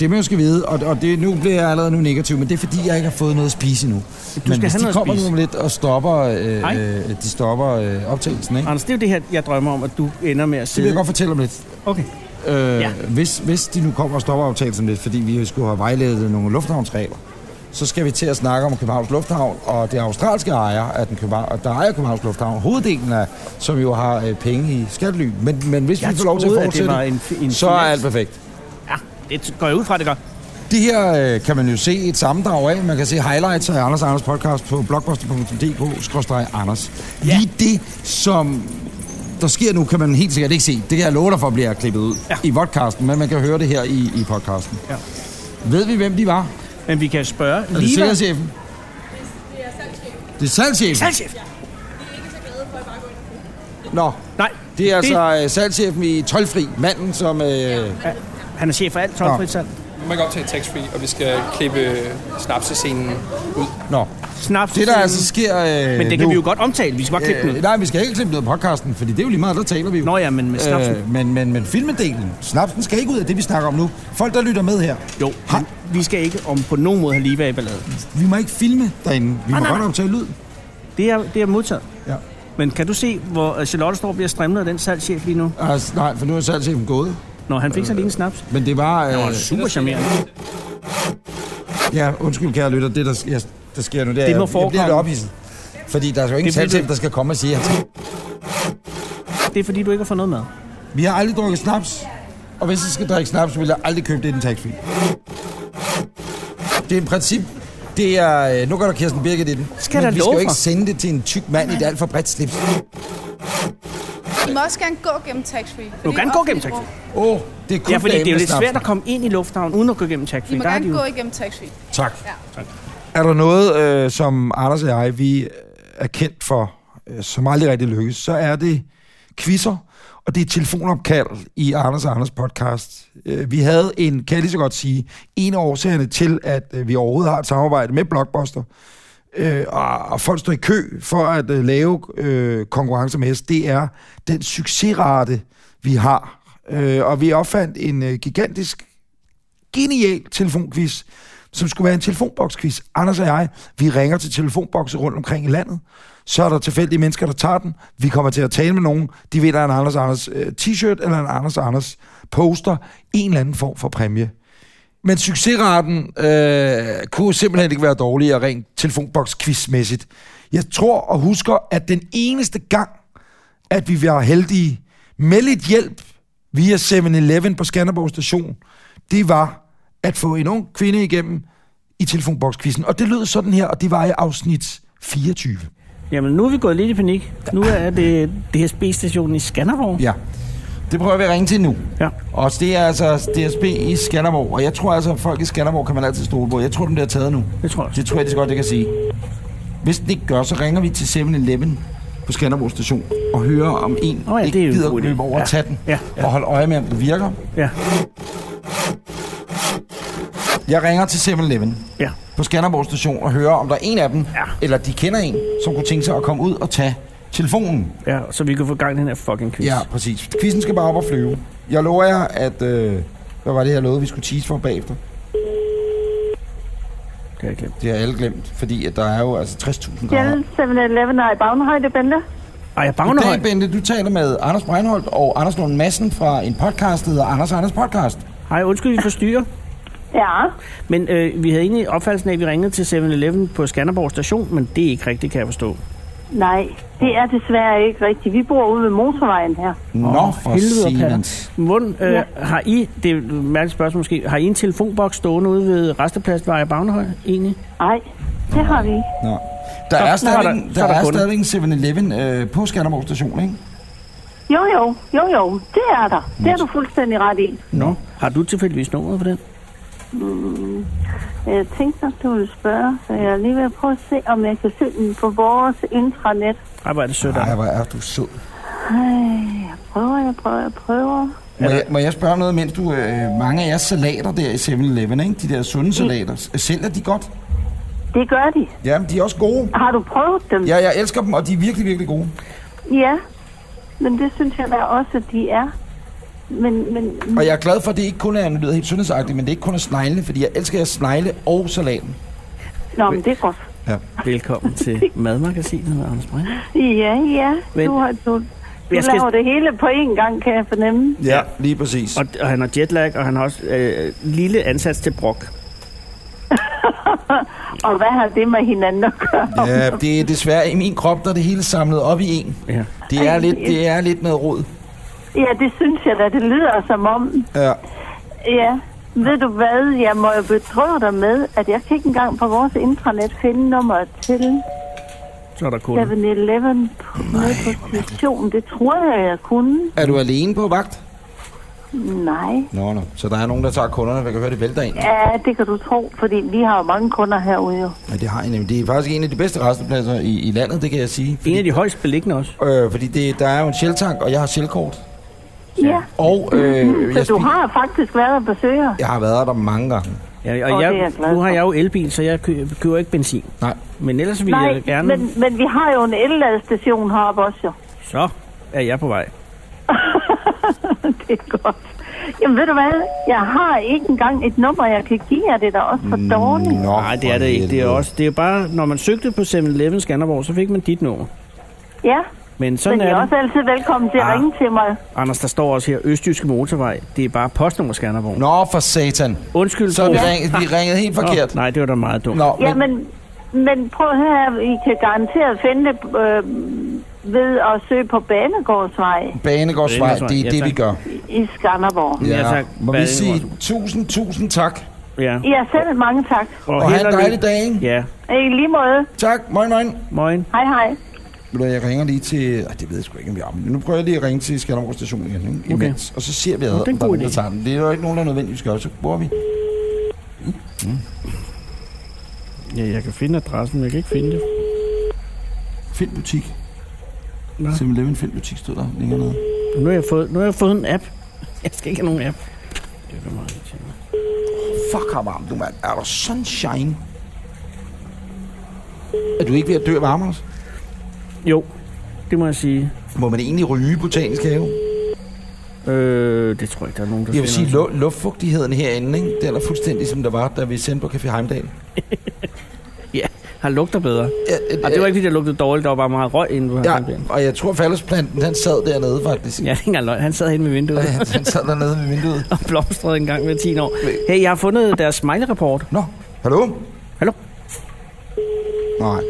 [SPEAKER 2] Det man jo skal vide, og, og det, nu bliver jeg allerede nu negativ, men det er fordi, jeg ikke har fået noget at spise endnu. Du men
[SPEAKER 3] have
[SPEAKER 2] hvis de
[SPEAKER 3] noget at
[SPEAKER 2] kommer
[SPEAKER 3] spise.
[SPEAKER 2] nu om lidt og stopper, øh,
[SPEAKER 3] Hej.
[SPEAKER 2] øh, de stopper øh, optagelsen, ikke?
[SPEAKER 3] Anders, det er jo det her, jeg drømmer om, at du ender med at
[SPEAKER 2] Det
[SPEAKER 3] sidde.
[SPEAKER 2] vil jeg godt fortælle om lidt.
[SPEAKER 3] Okay.
[SPEAKER 2] Øh,
[SPEAKER 3] Ja.
[SPEAKER 2] ja. hvis, hvis de nu kommer og stopper optagelsen lidt, fordi vi skulle have vejledet nogle lufthavnsregler, så skal vi til at snakke om Københavns Lufthavn, og det australske ejer, af den København, der ejer Københavns Lufthavn, hoveddelen af, som jo har øh, penge i skattely. Men, men hvis
[SPEAKER 3] Jeg
[SPEAKER 2] vi får lov til
[SPEAKER 3] troede,
[SPEAKER 2] at
[SPEAKER 3] at det
[SPEAKER 2] fortsætte,
[SPEAKER 3] var en fi- en
[SPEAKER 2] så er
[SPEAKER 3] finans-
[SPEAKER 2] alt perfekt.
[SPEAKER 3] Ja, det går jeg ud fra, det gør.
[SPEAKER 2] Det her øh, kan man jo se et sammendrag af. Man kan se highlights af Anders og Anders podcast på blogposter.dk-anders. Ja. Lige det, som der sker nu, kan man helt sikkert ikke se. Det kan jeg love dig for, bliver klippet ud ja. i podcasten, men man kan høre det her i, i podcasten.
[SPEAKER 3] Ja.
[SPEAKER 2] Ved vi, hvem de var?
[SPEAKER 3] Men vi kan spørge
[SPEAKER 2] Er det sikkerhedschefen? Det er salgschefen.
[SPEAKER 3] Salgschef!
[SPEAKER 2] Nå,
[SPEAKER 3] Nej,
[SPEAKER 2] det er altså øh, salgschefen i Tolfri, manden som... Øh, ja.
[SPEAKER 3] han er chef for alt tolvfrit salg.
[SPEAKER 11] Nu må jeg godt tage tax-free, og vi skal klippe snapsescenen ud.
[SPEAKER 2] Nå,
[SPEAKER 3] Snaps.
[SPEAKER 2] det der altså sker øh,
[SPEAKER 3] Men det kan
[SPEAKER 2] nu,
[SPEAKER 3] vi jo godt omtale. Vi skal bare klippe den ud.
[SPEAKER 2] Øh, nej, vi skal ikke klippe noget af podcasten, fordi det er jo lige meget, der taler vi jo. Øh,
[SPEAKER 3] Nå ja, men med snapsen.
[SPEAKER 2] men, men, men filmedelen, snapsen skal ikke ud af det, vi snakker om nu. Folk, der lytter med her,
[SPEAKER 3] Jo, men vi skal ikke om på nogen måde have lige været i balladen.
[SPEAKER 2] vi må ikke filme derinde. Vi
[SPEAKER 3] Nej,
[SPEAKER 2] må
[SPEAKER 3] nej,
[SPEAKER 2] godt
[SPEAKER 3] nej.
[SPEAKER 2] optage lyd.
[SPEAKER 3] Det er, det er modtaget.
[SPEAKER 2] Ja.
[SPEAKER 3] Men kan du se, hvor øh, Charlotte står og bliver strimlet af den salgschef lige nu?
[SPEAKER 2] Altså, nej, for nu er salgschefen gået.
[SPEAKER 3] Nå, han fik sig lige en snaps.
[SPEAKER 2] Men det var... øh,
[SPEAKER 3] Han var super charmerende.
[SPEAKER 2] Ja, undskyld, kære lytter, det der, s- jeg, der sker nu, det er,
[SPEAKER 3] Det må
[SPEAKER 2] jeg, jeg bliver
[SPEAKER 3] forekomme.
[SPEAKER 2] lidt ophidset. Fordi der er jo ingen
[SPEAKER 3] Det er fordi
[SPEAKER 2] salgschef,
[SPEAKER 3] du-
[SPEAKER 2] der skal komme og sige, at
[SPEAKER 3] Det er fordi, du ikke har fået noget med.
[SPEAKER 2] vi har aldrig drukket snaps. Og hvis jeg skal drikke snaps, vil jeg aldrig købe det i den taxfree. Det er et princip. Det er, øh, nu går der Kirsten Birgit i den.
[SPEAKER 12] Skal
[SPEAKER 2] Men
[SPEAKER 12] der
[SPEAKER 2] vi
[SPEAKER 12] love
[SPEAKER 2] skal jo
[SPEAKER 12] for?
[SPEAKER 2] ikke sende det til en tyk mand i et alt for bredt slips.
[SPEAKER 12] I må også gerne gå gennem tax-free.
[SPEAKER 3] Du må gerne gå gennem taxfree.
[SPEAKER 2] Åh, oh, det er kun
[SPEAKER 3] Ja, fordi det er
[SPEAKER 2] damen,
[SPEAKER 3] jo lidt
[SPEAKER 2] der
[SPEAKER 3] svært
[SPEAKER 2] snapser.
[SPEAKER 3] at komme ind i lufthavnen uden at gå gennem
[SPEAKER 12] I
[SPEAKER 3] taxfree.
[SPEAKER 12] må
[SPEAKER 3] Der er de
[SPEAKER 12] gerne
[SPEAKER 3] jo.
[SPEAKER 12] gå igennem tax-free.
[SPEAKER 2] Tak.
[SPEAKER 12] Ja.
[SPEAKER 2] Er der noget, øh, som Anders og jeg, vi øh, er kendt for, øh, som aldrig rigtig lykkes, så er det quizzer, og det er telefonopkald i Anders og Anders podcast. Øh, vi havde en, kan jeg lige så godt sige, en af årsagerne til, at øh, vi overhovedet har et samarbejde med Blockbuster, øh, og, og folk står i kø for at øh, lave øh, konkurrencer med os, det er den succesrate, vi har. Øh, og vi opfandt en øh, gigantisk genial telefonquiz, som skulle være en telefonboksquiz. Anders og jeg, vi ringer til telefonbokse rundt omkring i landet. Så er der tilfældige mennesker, der tager den. Vi kommer til at tale med nogen. De vinder en Anders og Anders øh, t-shirt eller en Anders og Anders poster. En eller anden form for præmie. Men succesraten øh, kunne simpelthen ikke være dårligere rent telefonboks-quizmæssigt. Jeg tror og husker, at den eneste gang, at vi var heldige med lidt hjælp via 7-Eleven på Skanderborg station, det var at få en ung kvinde igennem i telefonbokskvisten. Og det lød sådan her, og det var i afsnit 24.
[SPEAKER 3] Jamen, nu er vi gået lidt i panik. Nu er det DSB-stationen i Skanderborg.
[SPEAKER 2] Ja. Det prøver vi at ringe til nu.
[SPEAKER 3] Ja.
[SPEAKER 2] Og det er altså DSB i Skanderborg. Og jeg tror altså, at folk i Skanderborg kan man altid stole på. Jeg tror, den bliver taget nu.
[SPEAKER 3] Det tror jeg
[SPEAKER 2] Det tror jeg, det er godt, det kan sige. Hvis den ikke gør, så ringer vi til 7-Eleven på Skanderborg station og hører, om en oh ja, ikke
[SPEAKER 3] det er jo en
[SPEAKER 2] gider
[SPEAKER 3] god idé.
[SPEAKER 2] løbe over
[SPEAKER 3] Ja.
[SPEAKER 2] og tage den.
[SPEAKER 3] Ja, ja.
[SPEAKER 2] Og holde øje med, om den virker.
[SPEAKER 3] Ja.
[SPEAKER 2] Jeg ringer til 7-Eleven
[SPEAKER 3] ja.
[SPEAKER 2] på Skanderborg station og hører, om der er en af dem, ja. eller de kender en, som kunne tænke sig at komme ud og tage telefonen.
[SPEAKER 3] Ja, så vi kan få gang i den her fucking quiz.
[SPEAKER 2] Ja, præcis. Quizzen skal bare op og flyve. Jeg lover jer, at... Øh, hvad var det, jeg lovede, vi skulle tease for bagefter?
[SPEAKER 3] Kan jeg glemme.
[SPEAKER 2] Det har alle glemt, fordi at der er jo altså 60.000 grader.
[SPEAKER 13] Hjælp 7-Eleven er i Bagnehøj, det bente.
[SPEAKER 3] Ej,
[SPEAKER 2] Goddag, Bente. Du taler med Anders Breinholt og Anders Lund Madsen fra en podcast, der hedder Anders og Anders Podcast.
[SPEAKER 3] Hej, undskyld, vi forstyrrer.
[SPEAKER 13] Ja.
[SPEAKER 3] Men øh, vi havde egentlig opfattelsen af, at vi ringede til 7-Eleven på Skanderborg station, men det er ikke rigtigt, kan jeg forstå.
[SPEAKER 13] Nej, det er desværre ikke rigtigt. Vi bor ude ved motorvejen her.
[SPEAKER 2] Nå, for
[SPEAKER 3] Patter. Hvordan øh,
[SPEAKER 13] Ja.
[SPEAKER 3] har I, det er et mærkeligt spørgsmål måske, har I en telefonboks stående ude ved Restepladsvej i Bagnehøj egentlig?
[SPEAKER 13] Nej, det har vi ikke.
[SPEAKER 2] Nå. Der
[SPEAKER 3] Så-
[SPEAKER 2] er
[SPEAKER 3] så har
[SPEAKER 2] stadig, der,
[SPEAKER 3] der- så
[SPEAKER 2] der,
[SPEAKER 3] er der
[SPEAKER 2] er
[SPEAKER 3] kunder.
[SPEAKER 2] stadig en 7-Eleven øh, på Skanderborg station, ikke?
[SPEAKER 13] Jo, jo, jo, jo. Det er der. Det er du fuldstændig ret i.
[SPEAKER 3] Nå. Har du tilfældigvis nummeret på den?
[SPEAKER 13] Mm. Jeg tænkte nok, du ville spørge, så jeg er lige ved at prøve at se, om jeg kan se den på vores intranet.
[SPEAKER 3] Ej, hvor er det sødt. Ej,
[SPEAKER 2] hvor er du sød.
[SPEAKER 13] Ej, jeg prøver, jeg prøver, jeg prøver.
[SPEAKER 2] Må jeg, må jeg spørge om noget, mens du... Øh, mange af jeres salater der i 7-Eleven, ikke? De der sunde salater. s- Sælger de godt?
[SPEAKER 13] Mm. Det gør de.
[SPEAKER 2] Jamen, de er også gode.
[SPEAKER 13] Har du prøvet dem?
[SPEAKER 2] Ja, jeg elsker dem, og de er virkelig, virkelig gode.
[SPEAKER 13] Ja, men det synes jeg da også, at de er. Men, men,
[SPEAKER 2] Og jeg er glad for, at det ikke kun er, nu lyder det helt sundhedsagtigt, men det er ikke kun er sneglene, fordi jeg elsker jeres snegle og salaten.
[SPEAKER 13] Nå, men det er godt.
[SPEAKER 2] Ja.
[SPEAKER 3] Velkommen til Madmagasinet, Anders Brink.
[SPEAKER 13] Ja, ja.
[SPEAKER 3] Men-
[SPEAKER 13] Men, du har, du, du
[SPEAKER 3] Jeg skal-
[SPEAKER 13] laver det hele på én gang, kan jeg fornemme.
[SPEAKER 2] Ja, lige præcis.
[SPEAKER 3] Og, og han har jetlag, og han har også øh, lille ansats til brok.
[SPEAKER 13] Og hvad har det med hinanden at gøre?
[SPEAKER 2] Ja, det er desværre i min krop, der er det hele samlet op i en.
[SPEAKER 3] Ja.
[SPEAKER 2] Det er lidt, det er lidt noget rod.
[SPEAKER 13] Ja, det synes jeg da, det lyder som om.
[SPEAKER 2] Ja.
[SPEAKER 13] Ja, ved du hvad, jeg må jo bedrøve dig med, at jeg kan ikke engang på vores intranet finde nummeret til
[SPEAKER 3] Så er der kun.
[SPEAKER 13] 7-Eleven på- nede på stationen. Det tror jeg, jeg kunne.
[SPEAKER 2] Er du alene på vagt?
[SPEAKER 13] Nej.
[SPEAKER 2] Nå, nå. Så der er nogen, der tager kunderne, jeg kan høre, det vælter ind.
[SPEAKER 13] Ja, det kan du tro, fordi vi har jo mange kunder herude jo.
[SPEAKER 2] Ja, det har jeg nemlig. Det er faktisk en af de bedste restepladser i, i landet, det kan jeg sige.
[SPEAKER 3] En af de højst beliggende også.
[SPEAKER 2] Øh, fordi det, der er jo en sjeltank, og jeg har sjelkort.
[SPEAKER 13] Ja,
[SPEAKER 2] Og øh,
[SPEAKER 13] Mm. så
[SPEAKER 2] jeg,
[SPEAKER 13] du
[SPEAKER 2] spi-
[SPEAKER 13] har faktisk været og besøger.
[SPEAKER 2] jeg har været der mange gange.
[SPEAKER 3] Ja,
[SPEAKER 13] Åh,
[SPEAKER 3] og
[SPEAKER 13] det er jeg
[SPEAKER 3] jeg,
[SPEAKER 13] glad
[SPEAKER 3] nu har jeg jo elbil, så jeg kø, køber ikke benzin.
[SPEAKER 2] Nej.
[SPEAKER 3] Men ellers vil
[SPEAKER 13] Nej,
[SPEAKER 3] jeg øh, gerne...
[SPEAKER 13] men, men vi har jo en elladestation heroppe også jo.
[SPEAKER 3] Så er jeg på vej.
[SPEAKER 13] Jamen ved du hvad, jeg har ikke engang et nummer, jeg kan give jer. Det er da også
[SPEAKER 3] Mm.
[SPEAKER 13] for dårligt.
[SPEAKER 3] Nej, det er det ikke. Det er, også, det er bare, når man søgte på 7-Eleven Skanderborg, så fik man dit nummer.
[SPEAKER 13] Ja,
[SPEAKER 3] Men sådan
[SPEAKER 13] Sådan men I
[SPEAKER 3] er
[SPEAKER 13] er
[SPEAKER 3] det.
[SPEAKER 13] også altid velkommen til at
[SPEAKER 3] Ah.
[SPEAKER 13] ringe til mig.
[SPEAKER 3] Anders, der står også her, Østjyske Motorvej. Det er bare postnummer Skanderborg.
[SPEAKER 2] Nå, for satan.
[SPEAKER 3] Undskyld.
[SPEAKER 2] Så er vi
[SPEAKER 3] Bo.
[SPEAKER 2] ringet- vi er ringet helt
[SPEAKER 3] Nå,
[SPEAKER 2] forkert.
[SPEAKER 3] Nej, det var da meget dumt.
[SPEAKER 2] Nå,
[SPEAKER 13] Ja, men, men prøv at høre, her. I kan garanteret finde det øh, ved at søge på Banegårdsvej
[SPEAKER 2] Banegårdsvej, det er
[SPEAKER 3] Ja,
[SPEAKER 2] det, vi
[SPEAKER 3] tak.
[SPEAKER 2] gør.
[SPEAKER 13] i Skanderborg.
[SPEAKER 3] Ja, tak.
[SPEAKER 2] Må vi
[SPEAKER 3] Banegårdsvej.
[SPEAKER 2] sige tusind, tusind tak.
[SPEAKER 3] Ja.
[SPEAKER 13] Ja, selv mange tak.
[SPEAKER 2] Og have en dejlig dag, ikke?
[SPEAKER 3] Ja.
[SPEAKER 13] I lige måde.
[SPEAKER 2] Tak. Moin, moin.
[SPEAKER 3] Moin.
[SPEAKER 13] Hej, hej.
[SPEAKER 2] Ved du hvad, Jeg ringer lige til... Ej, det ved jeg sgu ikke, om vi har men Nu prøver jeg lige at ringe til Skanderborg station igen, ikke?
[SPEAKER 3] Okay.
[SPEAKER 2] Imens. Og så ser vi,
[SPEAKER 3] Nå,
[SPEAKER 2] ad,
[SPEAKER 3] det er en
[SPEAKER 2] om der
[SPEAKER 3] god
[SPEAKER 2] nogen, der
[SPEAKER 3] idé.
[SPEAKER 2] tager den. Det er jo ikke nogen, der er nødvendigt, vi skal gøre, så bruger vi.
[SPEAKER 3] Ja, jeg kan finde adressen, men jeg kan ikke finde det.
[SPEAKER 2] Find butik. Simpelthen Find butik stod der længere nede.
[SPEAKER 3] Nu har jeg fået, nu har jeg fået en app. Jeg skal ikke have nogen app. Det er da meget irriterende.
[SPEAKER 2] Fuck, hvor varmt du, mand. Er der sunshine? Er du ikke ved at dø af varme, Anders?
[SPEAKER 3] Jo, det må jeg sige.
[SPEAKER 2] Må man egentlig ryge i botanisk have?
[SPEAKER 3] Øh, det tror jeg ikke, der er nogen, der
[SPEAKER 2] Jeg vil sige,
[SPEAKER 3] finder.
[SPEAKER 2] lu- luftfugtigheden herinde, ikke? den er fuldstændig som der var, da vi sendte på Café Heimdal.
[SPEAKER 3] Ja, han lugter bedre. Ja, det var ikke, fordi der lugtede dårligt, der var bare meget røg inde på
[SPEAKER 2] øh, Ja,
[SPEAKER 3] ja.
[SPEAKER 2] og jeg tror, fallosplanten, han sad dernede faktisk.
[SPEAKER 3] Ja, det er ikke engang løgn. Han sad henne ved vinduet.
[SPEAKER 2] Ja, han sad dernede ved vinduet.
[SPEAKER 3] og blomstrede en gang hver 10 år. Hey, jeg har fundet deres smiley-rapport.
[SPEAKER 2] Nå, hallo?
[SPEAKER 3] Hallo?
[SPEAKER 2] Nej,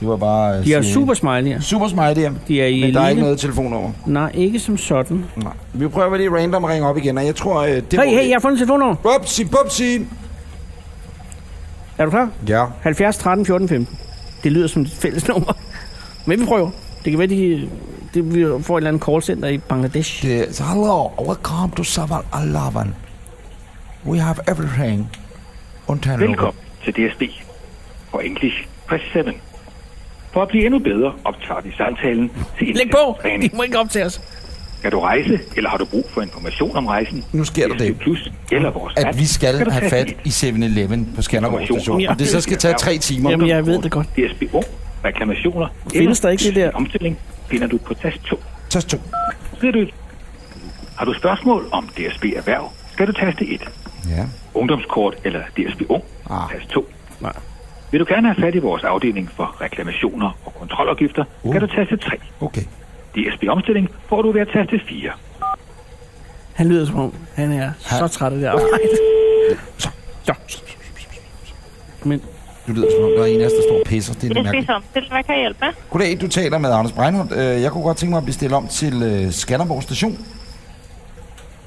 [SPEAKER 2] det var bare... øh,
[SPEAKER 3] De er
[SPEAKER 2] sådan-
[SPEAKER 3] super smiley'er.
[SPEAKER 2] Super smiley'er.
[SPEAKER 3] De er i
[SPEAKER 2] Men der er
[SPEAKER 3] elite.
[SPEAKER 2] ikke noget telefonnummer.
[SPEAKER 3] Nej, ikke som sådan.
[SPEAKER 2] Nej. Vi prøver lige random at ringe op igen, og jeg tror... øh, Det
[SPEAKER 3] Hey, hey, jeg har fundet telefonnummer.
[SPEAKER 2] Bubsi, bubsi.
[SPEAKER 3] Er du klar?
[SPEAKER 2] Ja.
[SPEAKER 3] 70 13 14 15. Det lyder som et fælles nummer. Men vi prøver. Det kan være, de, det, vi får et eller andet callcenter i Bangladesh.
[SPEAKER 2] Det, hello, welcome to Sabar Alavan. We have everything. Undtagen
[SPEAKER 14] Velkommen til DSB og English Press 7. For at blive endnu bedre, optager vi samtalen til
[SPEAKER 3] Læg på! De må ikke optage os.
[SPEAKER 14] Kan du rejse, eller har du brug for information om rejsen?
[SPEAKER 2] Nu sker der det,
[SPEAKER 14] Plus, eller vores
[SPEAKER 2] at
[SPEAKER 14] app,
[SPEAKER 2] vi
[SPEAKER 14] kan
[SPEAKER 2] skal
[SPEAKER 14] du
[SPEAKER 2] have
[SPEAKER 14] tage
[SPEAKER 2] fat
[SPEAKER 14] dit
[SPEAKER 2] i 7-Eleven på Skanderborg Station. Om det så skal tage tre timer.
[SPEAKER 3] ved det godt.
[SPEAKER 14] DSB Ung, reklamationer,
[SPEAKER 3] Findes der ikke det der?
[SPEAKER 14] omstilling, finder du på tast 2.
[SPEAKER 2] Tast 2.
[SPEAKER 14] Ved du, har du spørgsmål om DSB Erhverv, skal du taste 1.
[SPEAKER 2] Ja.
[SPEAKER 14] Ungdomskort eller DSB Ung, ah. tast 2.
[SPEAKER 3] Nej.
[SPEAKER 14] Vil du gerne have fat i vores afdeling for reklamationer og kontrolafgifter, uh. kan du taste 3.
[SPEAKER 2] Okay.
[SPEAKER 14] DSB Omstilling får du ved at taste 4.
[SPEAKER 3] Han lyder som om, han er så træt af det arbejde. Så. Så. Men...
[SPEAKER 2] Du lyder som om, der er en af os, der står og pisser. Det er lidt mærkeligt.
[SPEAKER 15] Omstilling, hvad kan jeg hjælpe med?
[SPEAKER 2] Goddag, du taler med Anders Breinholt. Øh, Jeg kunne godt tænke mig at blive stillet om til øh, Skanderborg Station.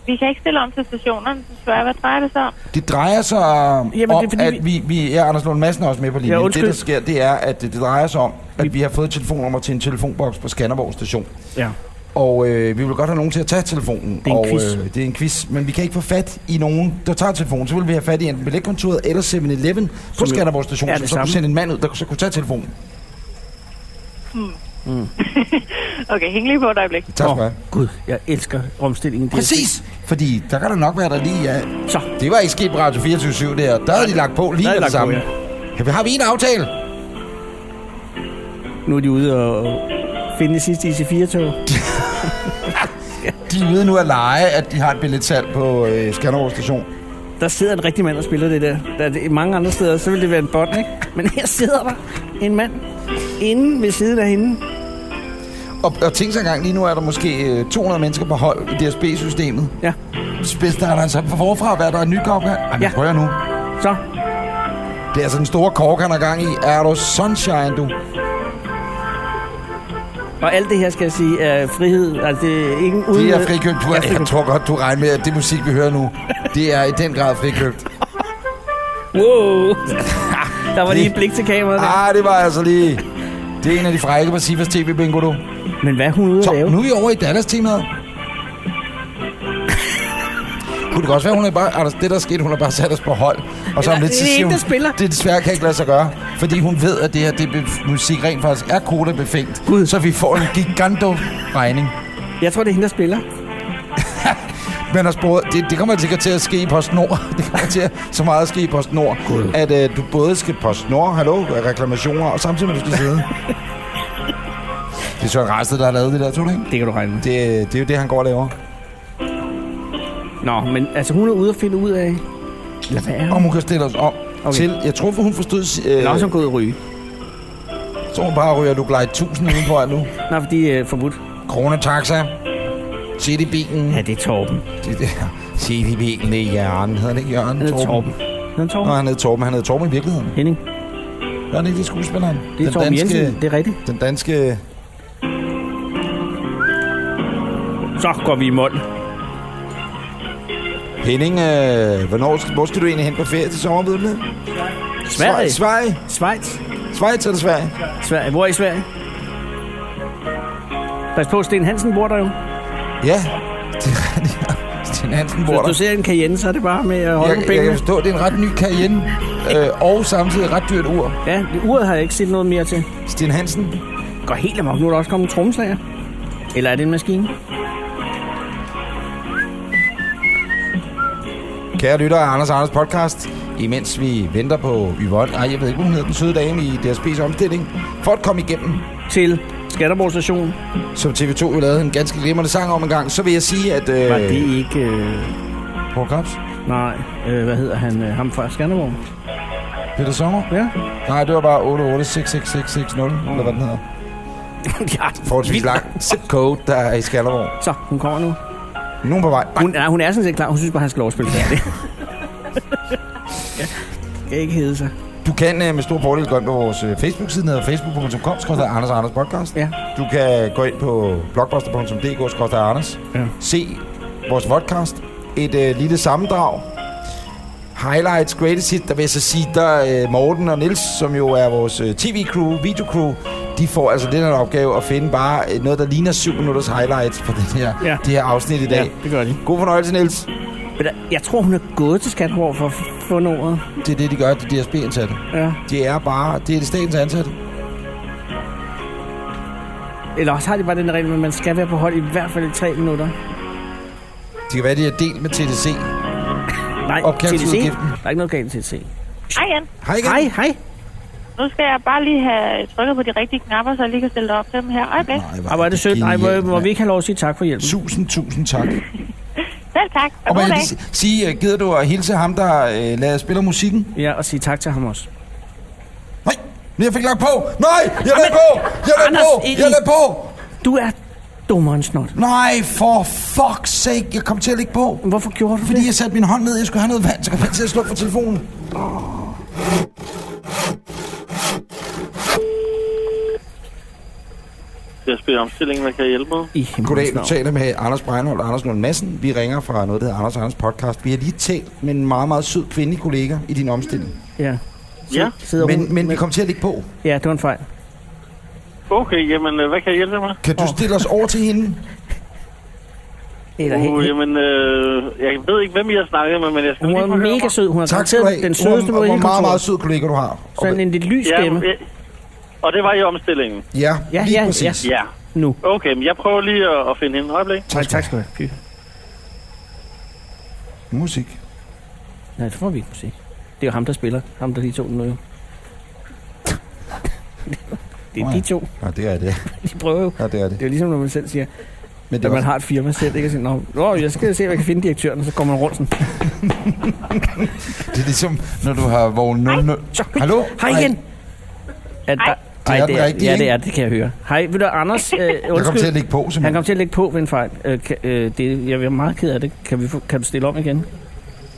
[SPEAKER 15] Vi kan ikke stille om til stationerne, desværre. Hvad drejer det sig om?
[SPEAKER 2] Det drejer sig om,
[SPEAKER 15] Jamen, det er fordi,
[SPEAKER 2] at vi... vi ja, Anders Lund Madsen er også med på linjen.
[SPEAKER 15] Ja,
[SPEAKER 2] det,
[SPEAKER 15] undskyld.
[SPEAKER 2] der sker, det er, at det, det drejer sig om, at vi har fået et telefonnummer til en telefonboks på Skanderborg Station.
[SPEAKER 3] Ja.
[SPEAKER 2] Og øh, vi vil godt have nogen til at tage telefonen.
[SPEAKER 3] Det er en
[SPEAKER 2] og,
[SPEAKER 3] quiz.
[SPEAKER 2] Øh, det er en quiz, men vi kan ikke få fat i nogen, der tager telefonen. Så vil vi have fat i enten billetkontoret eller 7-Eleven på
[SPEAKER 3] jo
[SPEAKER 2] Skanderborg Station,
[SPEAKER 3] er
[SPEAKER 2] som
[SPEAKER 3] det
[SPEAKER 2] så kunne
[SPEAKER 3] samme.
[SPEAKER 2] sende en mand ud, der så kunne tage telefonen.
[SPEAKER 15] Hmm.
[SPEAKER 3] Mm.
[SPEAKER 15] Okay, hæng lige på et øjeblik.
[SPEAKER 2] Tak skal du have.
[SPEAKER 3] Gud, jeg elsker omstillingen.
[SPEAKER 2] Præcis, fordi der kan der nok være, der lige er...
[SPEAKER 3] Så.
[SPEAKER 2] Det var ikke sket på Radio 24 der. Der havde de lagt på lige
[SPEAKER 3] Der
[SPEAKER 2] med det
[SPEAKER 3] havde de lagt på,
[SPEAKER 2] samme. Ja. vi- Har vi en aftale?
[SPEAKER 3] Nu er de ude og finde det sidste IC4-tog.
[SPEAKER 2] De er ude nu at lege, at de har et billetsalg på øh, Skanderborg Station.
[SPEAKER 3] Der sidder en rigtig mand og spiller det der. der er det, mange andre steder, så ville det være en bot, ikke? Men her sidder der en mand inde ved siden af hende.
[SPEAKER 2] Og, og tænk sig engang, lige nu er der måske øh, 200 mennesker på hold i DSB-systemet.
[SPEAKER 3] Ja.
[SPEAKER 2] Spids, der er der altså forfra, hvad der er en ny opgang. Ej, men ja. prøv at høre nu.
[SPEAKER 3] Så.
[SPEAKER 2] Det er altså den store kork, han har gang i. Er du sunshine, du?
[SPEAKER 3] Og alt det her, skal jeg sige, er frihed. Altså, det er ingen uden...
[SPEAKER 2] Det er frikøbt. Du, jeg tror godt, du regner med, at det musik, vi hører nu, det er i den grad frikøbt.
[SPEAKER 3] Wow. Der var lige et blik til kameraet.
[SPEAKER 2] Ah, det var altså lige... Det er en af de frække på Sivas TV, Bingo, du.
[SPEAKER 3] Men hvad er hun ude
[SPEAKER 2] at lave? Nu er vi over i Dallas-temaet. Kunne det også være, hun er bare... Anders, det der er sket, hun har bare sat os på hold. Og så om
[SPEAKER 3] Eller,
[SPEAKER 2] lidt, så
[SPEAKER 3] det er
[SPEAKER 2] siger
[SPEAKER 3] en,
[SPEAKER 2] hun,
[SPEAKER 3] der spiller.
[SPEAKER 2] det desværre kan ikke lade sig gøre. Fordi hun ved, at det her det er be- musik rent faktisk er kodebefængt. Gud. Så vi får en giganto-regning.
[SPEAKER 3] Jeg tror, det er hende, der spiller.
[SPEAKER 2] Men har sporet, det, det kommer sikkert til at ske i PostNord. Det kommer til at, så meget at ske i PostNord, at øh, du både skal PostNord, hallo, reklamationer, og samtidig med, du skal sidde. det er Søren Rasted, der har lavet det der, tror du ikke?
[SPEAKER 3] Det kan du regne med.
[SPEAKER 2] Det, det er jo det, han går og laver.
[SPEAKER 3] Nå, men altså, hun er ude og finde ud af... Ja, hvad er hun?
[SPEAKER 2] Om hun kan stille os om okay. til... Jeg tror, for hun forstod... Øh,
[SPEAKER 3] Nå, så er hun gået og ryge.
[SPEAKER 2] Så hun bare ryger, du glide 1000 uden på her nu.
[SPEAKER 3] Nej, for de er øh, forbudt.
[SPEAKER 2] Kronetaxa. Sæt i bilen.
[SPEAKER 3] Ja, det er Torben.
[SPEAKER 2] Det, det, sæt i bilen, det er Jørgen. Hedder han ikke Jørgen?
[SPEAKER 3] Han hedder Torben. Han hedder Torben.
[SPEAKER 2] Nå, han hed Torben. Han hed Torben i virkeligheden.
[SPEAKER 3] Henning.
[SPEAKER 2] Var han ikke det skuespilleren?
[SPEAKER 3] Det er Torben Jensen, det er rigtigt.
[SPEAKER 2] Den danske...
[SPEAKER 3] Så går vi i mål.
[SPEAKER 2] Henning, øh, hvornår, hvor skal du egentlig hen på ferie til sommervidnet?
[SPEAKER 3] Sverige.
[SPEAKER 2] Sverige.
[SPEAKER 3] Schweiz.
[SPEAKER 2] Schweiz eller Sverige?
[SPEAKER 3] Sverige. Hvor er I Sverige? Pas på, Sten Hansen bor der jo.
[SPEAKER 2] Ja, det er rigtigt. Sten Hansen bor
[SPEAKER 3] Hvis
[SPEAKER 2] der.
[SPEAKER 3] du ser en Cayenne, så er det bare med at holde på
[SPEAKER 2] Jeg, jeg
[SPEAKER 3] pengene.
[SPEAKER 2] kan forstå, det er en ret ny Cayenne, øh, og samtidig et ret dyrt ur.
[SPEAKER 3] Ja, det uret har jeg ikke set noget mere til.
[SPEAKER 2] Sten Hansen?
[SPEAKER 3] Går helt amok. Nu er der også kommet en trommeslager. Eller er det en maskine?
[SPEAKER 2] Kære lytter af Anders og Anders podcast, imens vi venter på Yvonne, ej, jeg ved ikke, hvad hun hedder, den søde dame i DSB's omstilling, for at komme igennem
[SPEAKER 3] til Skanderborg Station.
[SPEAKER 2] Som TV2 jo lavede en ganske glimrende sang om en gang, så vil jeg sige, at... Øh,
[SPEAKER 3] Var det ikke... Øh,
[SPEAKER 2] Paul Krabs?
[SPEAKER 3] Nej, øh, hvad hedder han? Øh, ham fra Skanderborg.
[SPEAKER 2] Peter Sommer?
[SPEAKER 3] Ja.
[SPEAKER 2] Nej, det var bare 88666660, eller hvad den hedder.
[SPEAKER 3] ja,
[SPEAKER 2] forholdsvis lang zip code, der er i Skanderborg.
[SPEAKER 3] Så, hun kommer nu.
[SPEAKER 2] Nogen på vej.
[SPEAKER 3] Hun, nej, hun er sådan set klar. Hun synes bare, han skal lov at spille færdig. Skal ikke hede sig.
[SPEAKER 2] Du kan øh, med stor fordel gå ind på vores øh, Facebook-side, der hedder facebook.com, skrøster Anders og Anders Podcast.
[SPEAKER 3] Ja.
[SPEAKER 2] Du kan gå ind på blogbuster.dk, skrøster Anders.
[SPEAKER 3] Ja.
[SPEAKER 2] Se vores podcast. Et øh, lille sammendrag. Highlights, greatest hit, der vil jeg så sige, der øh, Morten og Nils, som jo er vores øh, tv-crew, videocrew, de får altså den her opgave at finde bare øh, noget, der ligner 7 minutters highlights på den her,
[SPEAKER 3] Ja.
[SPEAKER 2] ja. det her afsnit i dag.
[SPEAKER 3] Ja, det gør de.
[SPEAKER 2] God fornøjelse, Nils.
[SPEAKER 3] Men der- jeg tror, hun er gået til Skanderborg for at få noget.
[SPEAKER 2] Det er det, de gør, de DSB-ansatte.
[SPEAKER 3] Ja.
[SPEAKER 2] Det er bare, det er det statens ansatte.
[SPEAKER 3] Eller også har de bare den regel, at man skal være på hold i hvert fald i tre minutter.
[SPEAKER 2] Det kan være, de er delt med TDC.
[SPEAKER 3] Nej, TDC.
[SPEAKER 2] Opkaldelsesudgiften.
[SPEAKER 3] Der er ikke noget galt til TDC.
[SPEAKER 15] Hej igen.
[SPEAKER 2] Hej igen.
[SPEAKER 3] Hej, hej.
[SPEAKER 15] Nu skal jeg bare lige have trykket på de rigtige knapper, så jeg lige kan stille dig op til dem her. Øjeblik.
[SPEAKER 3] Ej, hvor er det sødt. Nej, må, må vi ikke have lov at sige tak for hjælpen?
[SPEAKER 2] Tusind, tusind tak.
[SPEAKER 15] Selv tak. Og,
[SPEAKER 2] Og
[SPEAKER 15] god
[SPEAKER 2] må jeg
[SPEAKER 15] dag.
[SPEAKER 2] lige si- sige, øh, gider du at hilse ham, der øh, lader spiller musikken?
[SPEAKER 3] Ja, og sige tak til ham også.
[SPEAKER 2] Nej, men jeg fik lagt på. Nej, jeg lagde på. Jeg lagde
[SPEAKER 3] Anders,
[SPEAKER 2] på. Jeg
[SPEAKER 3] Eli.
[SPEAKER 2] lagde på.
[SPEAKER 3] Du er dummere end snot.
[SPEAKER 2] Nej, for fuck's sake. Jeg kom til at lægge på.
[SPEAKER 3] Hvorfor gjorde du
[SPEAKER 2] Fordi jeg satte min hånd ned. Jeg skulle have noget vand, så kom jeg til at slukke for telefonen.
[SPEAKER 16] Jeg spørger omstillingen, hvad kan jeg hjælpe med?
[SPEAKER 3] I
[SPEAKER 2] Goddag, du taler med Anders Breinholt og Anders Lund Madsen. Vi ringer fra noget, der hedder Anders og Anders Podcast. Vi har lige talt med en meget, meget sød kvindelig kollega i din omstilling.
[SPEAKER 3] Ja.
[SPEAKER 16] Ja.
[SPEAKER 3] Sidder hun
[SPEAKER 2] Men, men vi kom til at lægge på.
[SPEAKER 3] Ja, det var en fejl.
[SPEAKER 16] Okay, jamen, øh, hvad kan jeg hjælpe dig med?
[SPEAKER 2] Kan du stille os over til hende?
[SPEAKER 3] Eller
[SPEAKER 16] uh, jamen, øh, jeg ved ikke, hvem jeg har snakket med, men jeg skal
[SPEAKER 3] Hun
[SPEAKER 16] lige
[SPEAKER 3] er
[SPEAKER 16] prøve at høre
[SPEAKER 3] mega
[SPEAKER 16] mig.
[SPEAKER 3] sød. Hun er garanteret den sødeste på
[SPEAKER 2] Hvor
[SPEAKER 3] hele
[SPEAKER 2] meget, meget
[SPEAKER 3] kontoret.
[SPEAKER 2] sød kollega du har.
[SPEAKER 3] Sådan en lidt lys stemme.
[SPEAKER 16] Ja, øh, og det var i omstillingen.
[SPEAKER 2] Ja,
[SPEAKER 3] Ja,
[SPEAKER 2] lige
[SPEAKER 3] ja,
[SPEAKER 2] præcis.
[SPEAKER 3] ja.
[SPEAKER 16] Ja.
[SPEAKER 3] Nu.
[SPEAKER 16] Okay, men jeg prøver lige at, at finde hende. Øjeblik.
[SPEAKER 3] Tak, tak skal du have. Fy.
[SPEAKER 2] Musik.
[SPEAKER 3] Nej, det får vi ikke musik. Det er jo ham, der spiller. Ham, der lige tog den nu jo. det er de to.
[SPEAKER 2] Ja, det er det.
[SPEAKER 3] De prøver jo.
[SPEAKER 2] Ja, det er det.
[SPEAKER 3] Det er jo ligesom, når man selv siger,
[SPEAKER 2] Men
[SPEAKER 3] men
[SPEAKER 2] det er
[SPEAKER 3] når man
[SPEAKER 2] også-
[SPEAKER 3] har et firma selv, ikke? Og siger, "Nå, Nå, jeg skal se, om jeg kan finde direktøren, og så kommer man rundt sådan.
[SPEAKER 2] Det er ligesom, når du har vågen 00... Hallo?
[SPEAKER 3] Hej igen! Er, der,
[SPEAKER 2] Det er den
[SPEAKER 3] Ej, det er,
[SPEAKER 2] rigtige,
[SPEAKER 3] ja,
[SPEAKER 2] ikke?
[SPEAKER 3] det er, det kan jeg høre. Hej, ved du, Anders, øh, undskyld.
[SPEAKER 2] Jeg kom til at lægge på,
[SPEAKER 3] Han
[SPEAKER 2] simpelthen.
[SPEAKER 3] kom til at lægge på ved en fejl. Øh, kan, øh, det, jeg er meget ked af det. Kan, vi få, kan du stille om igen?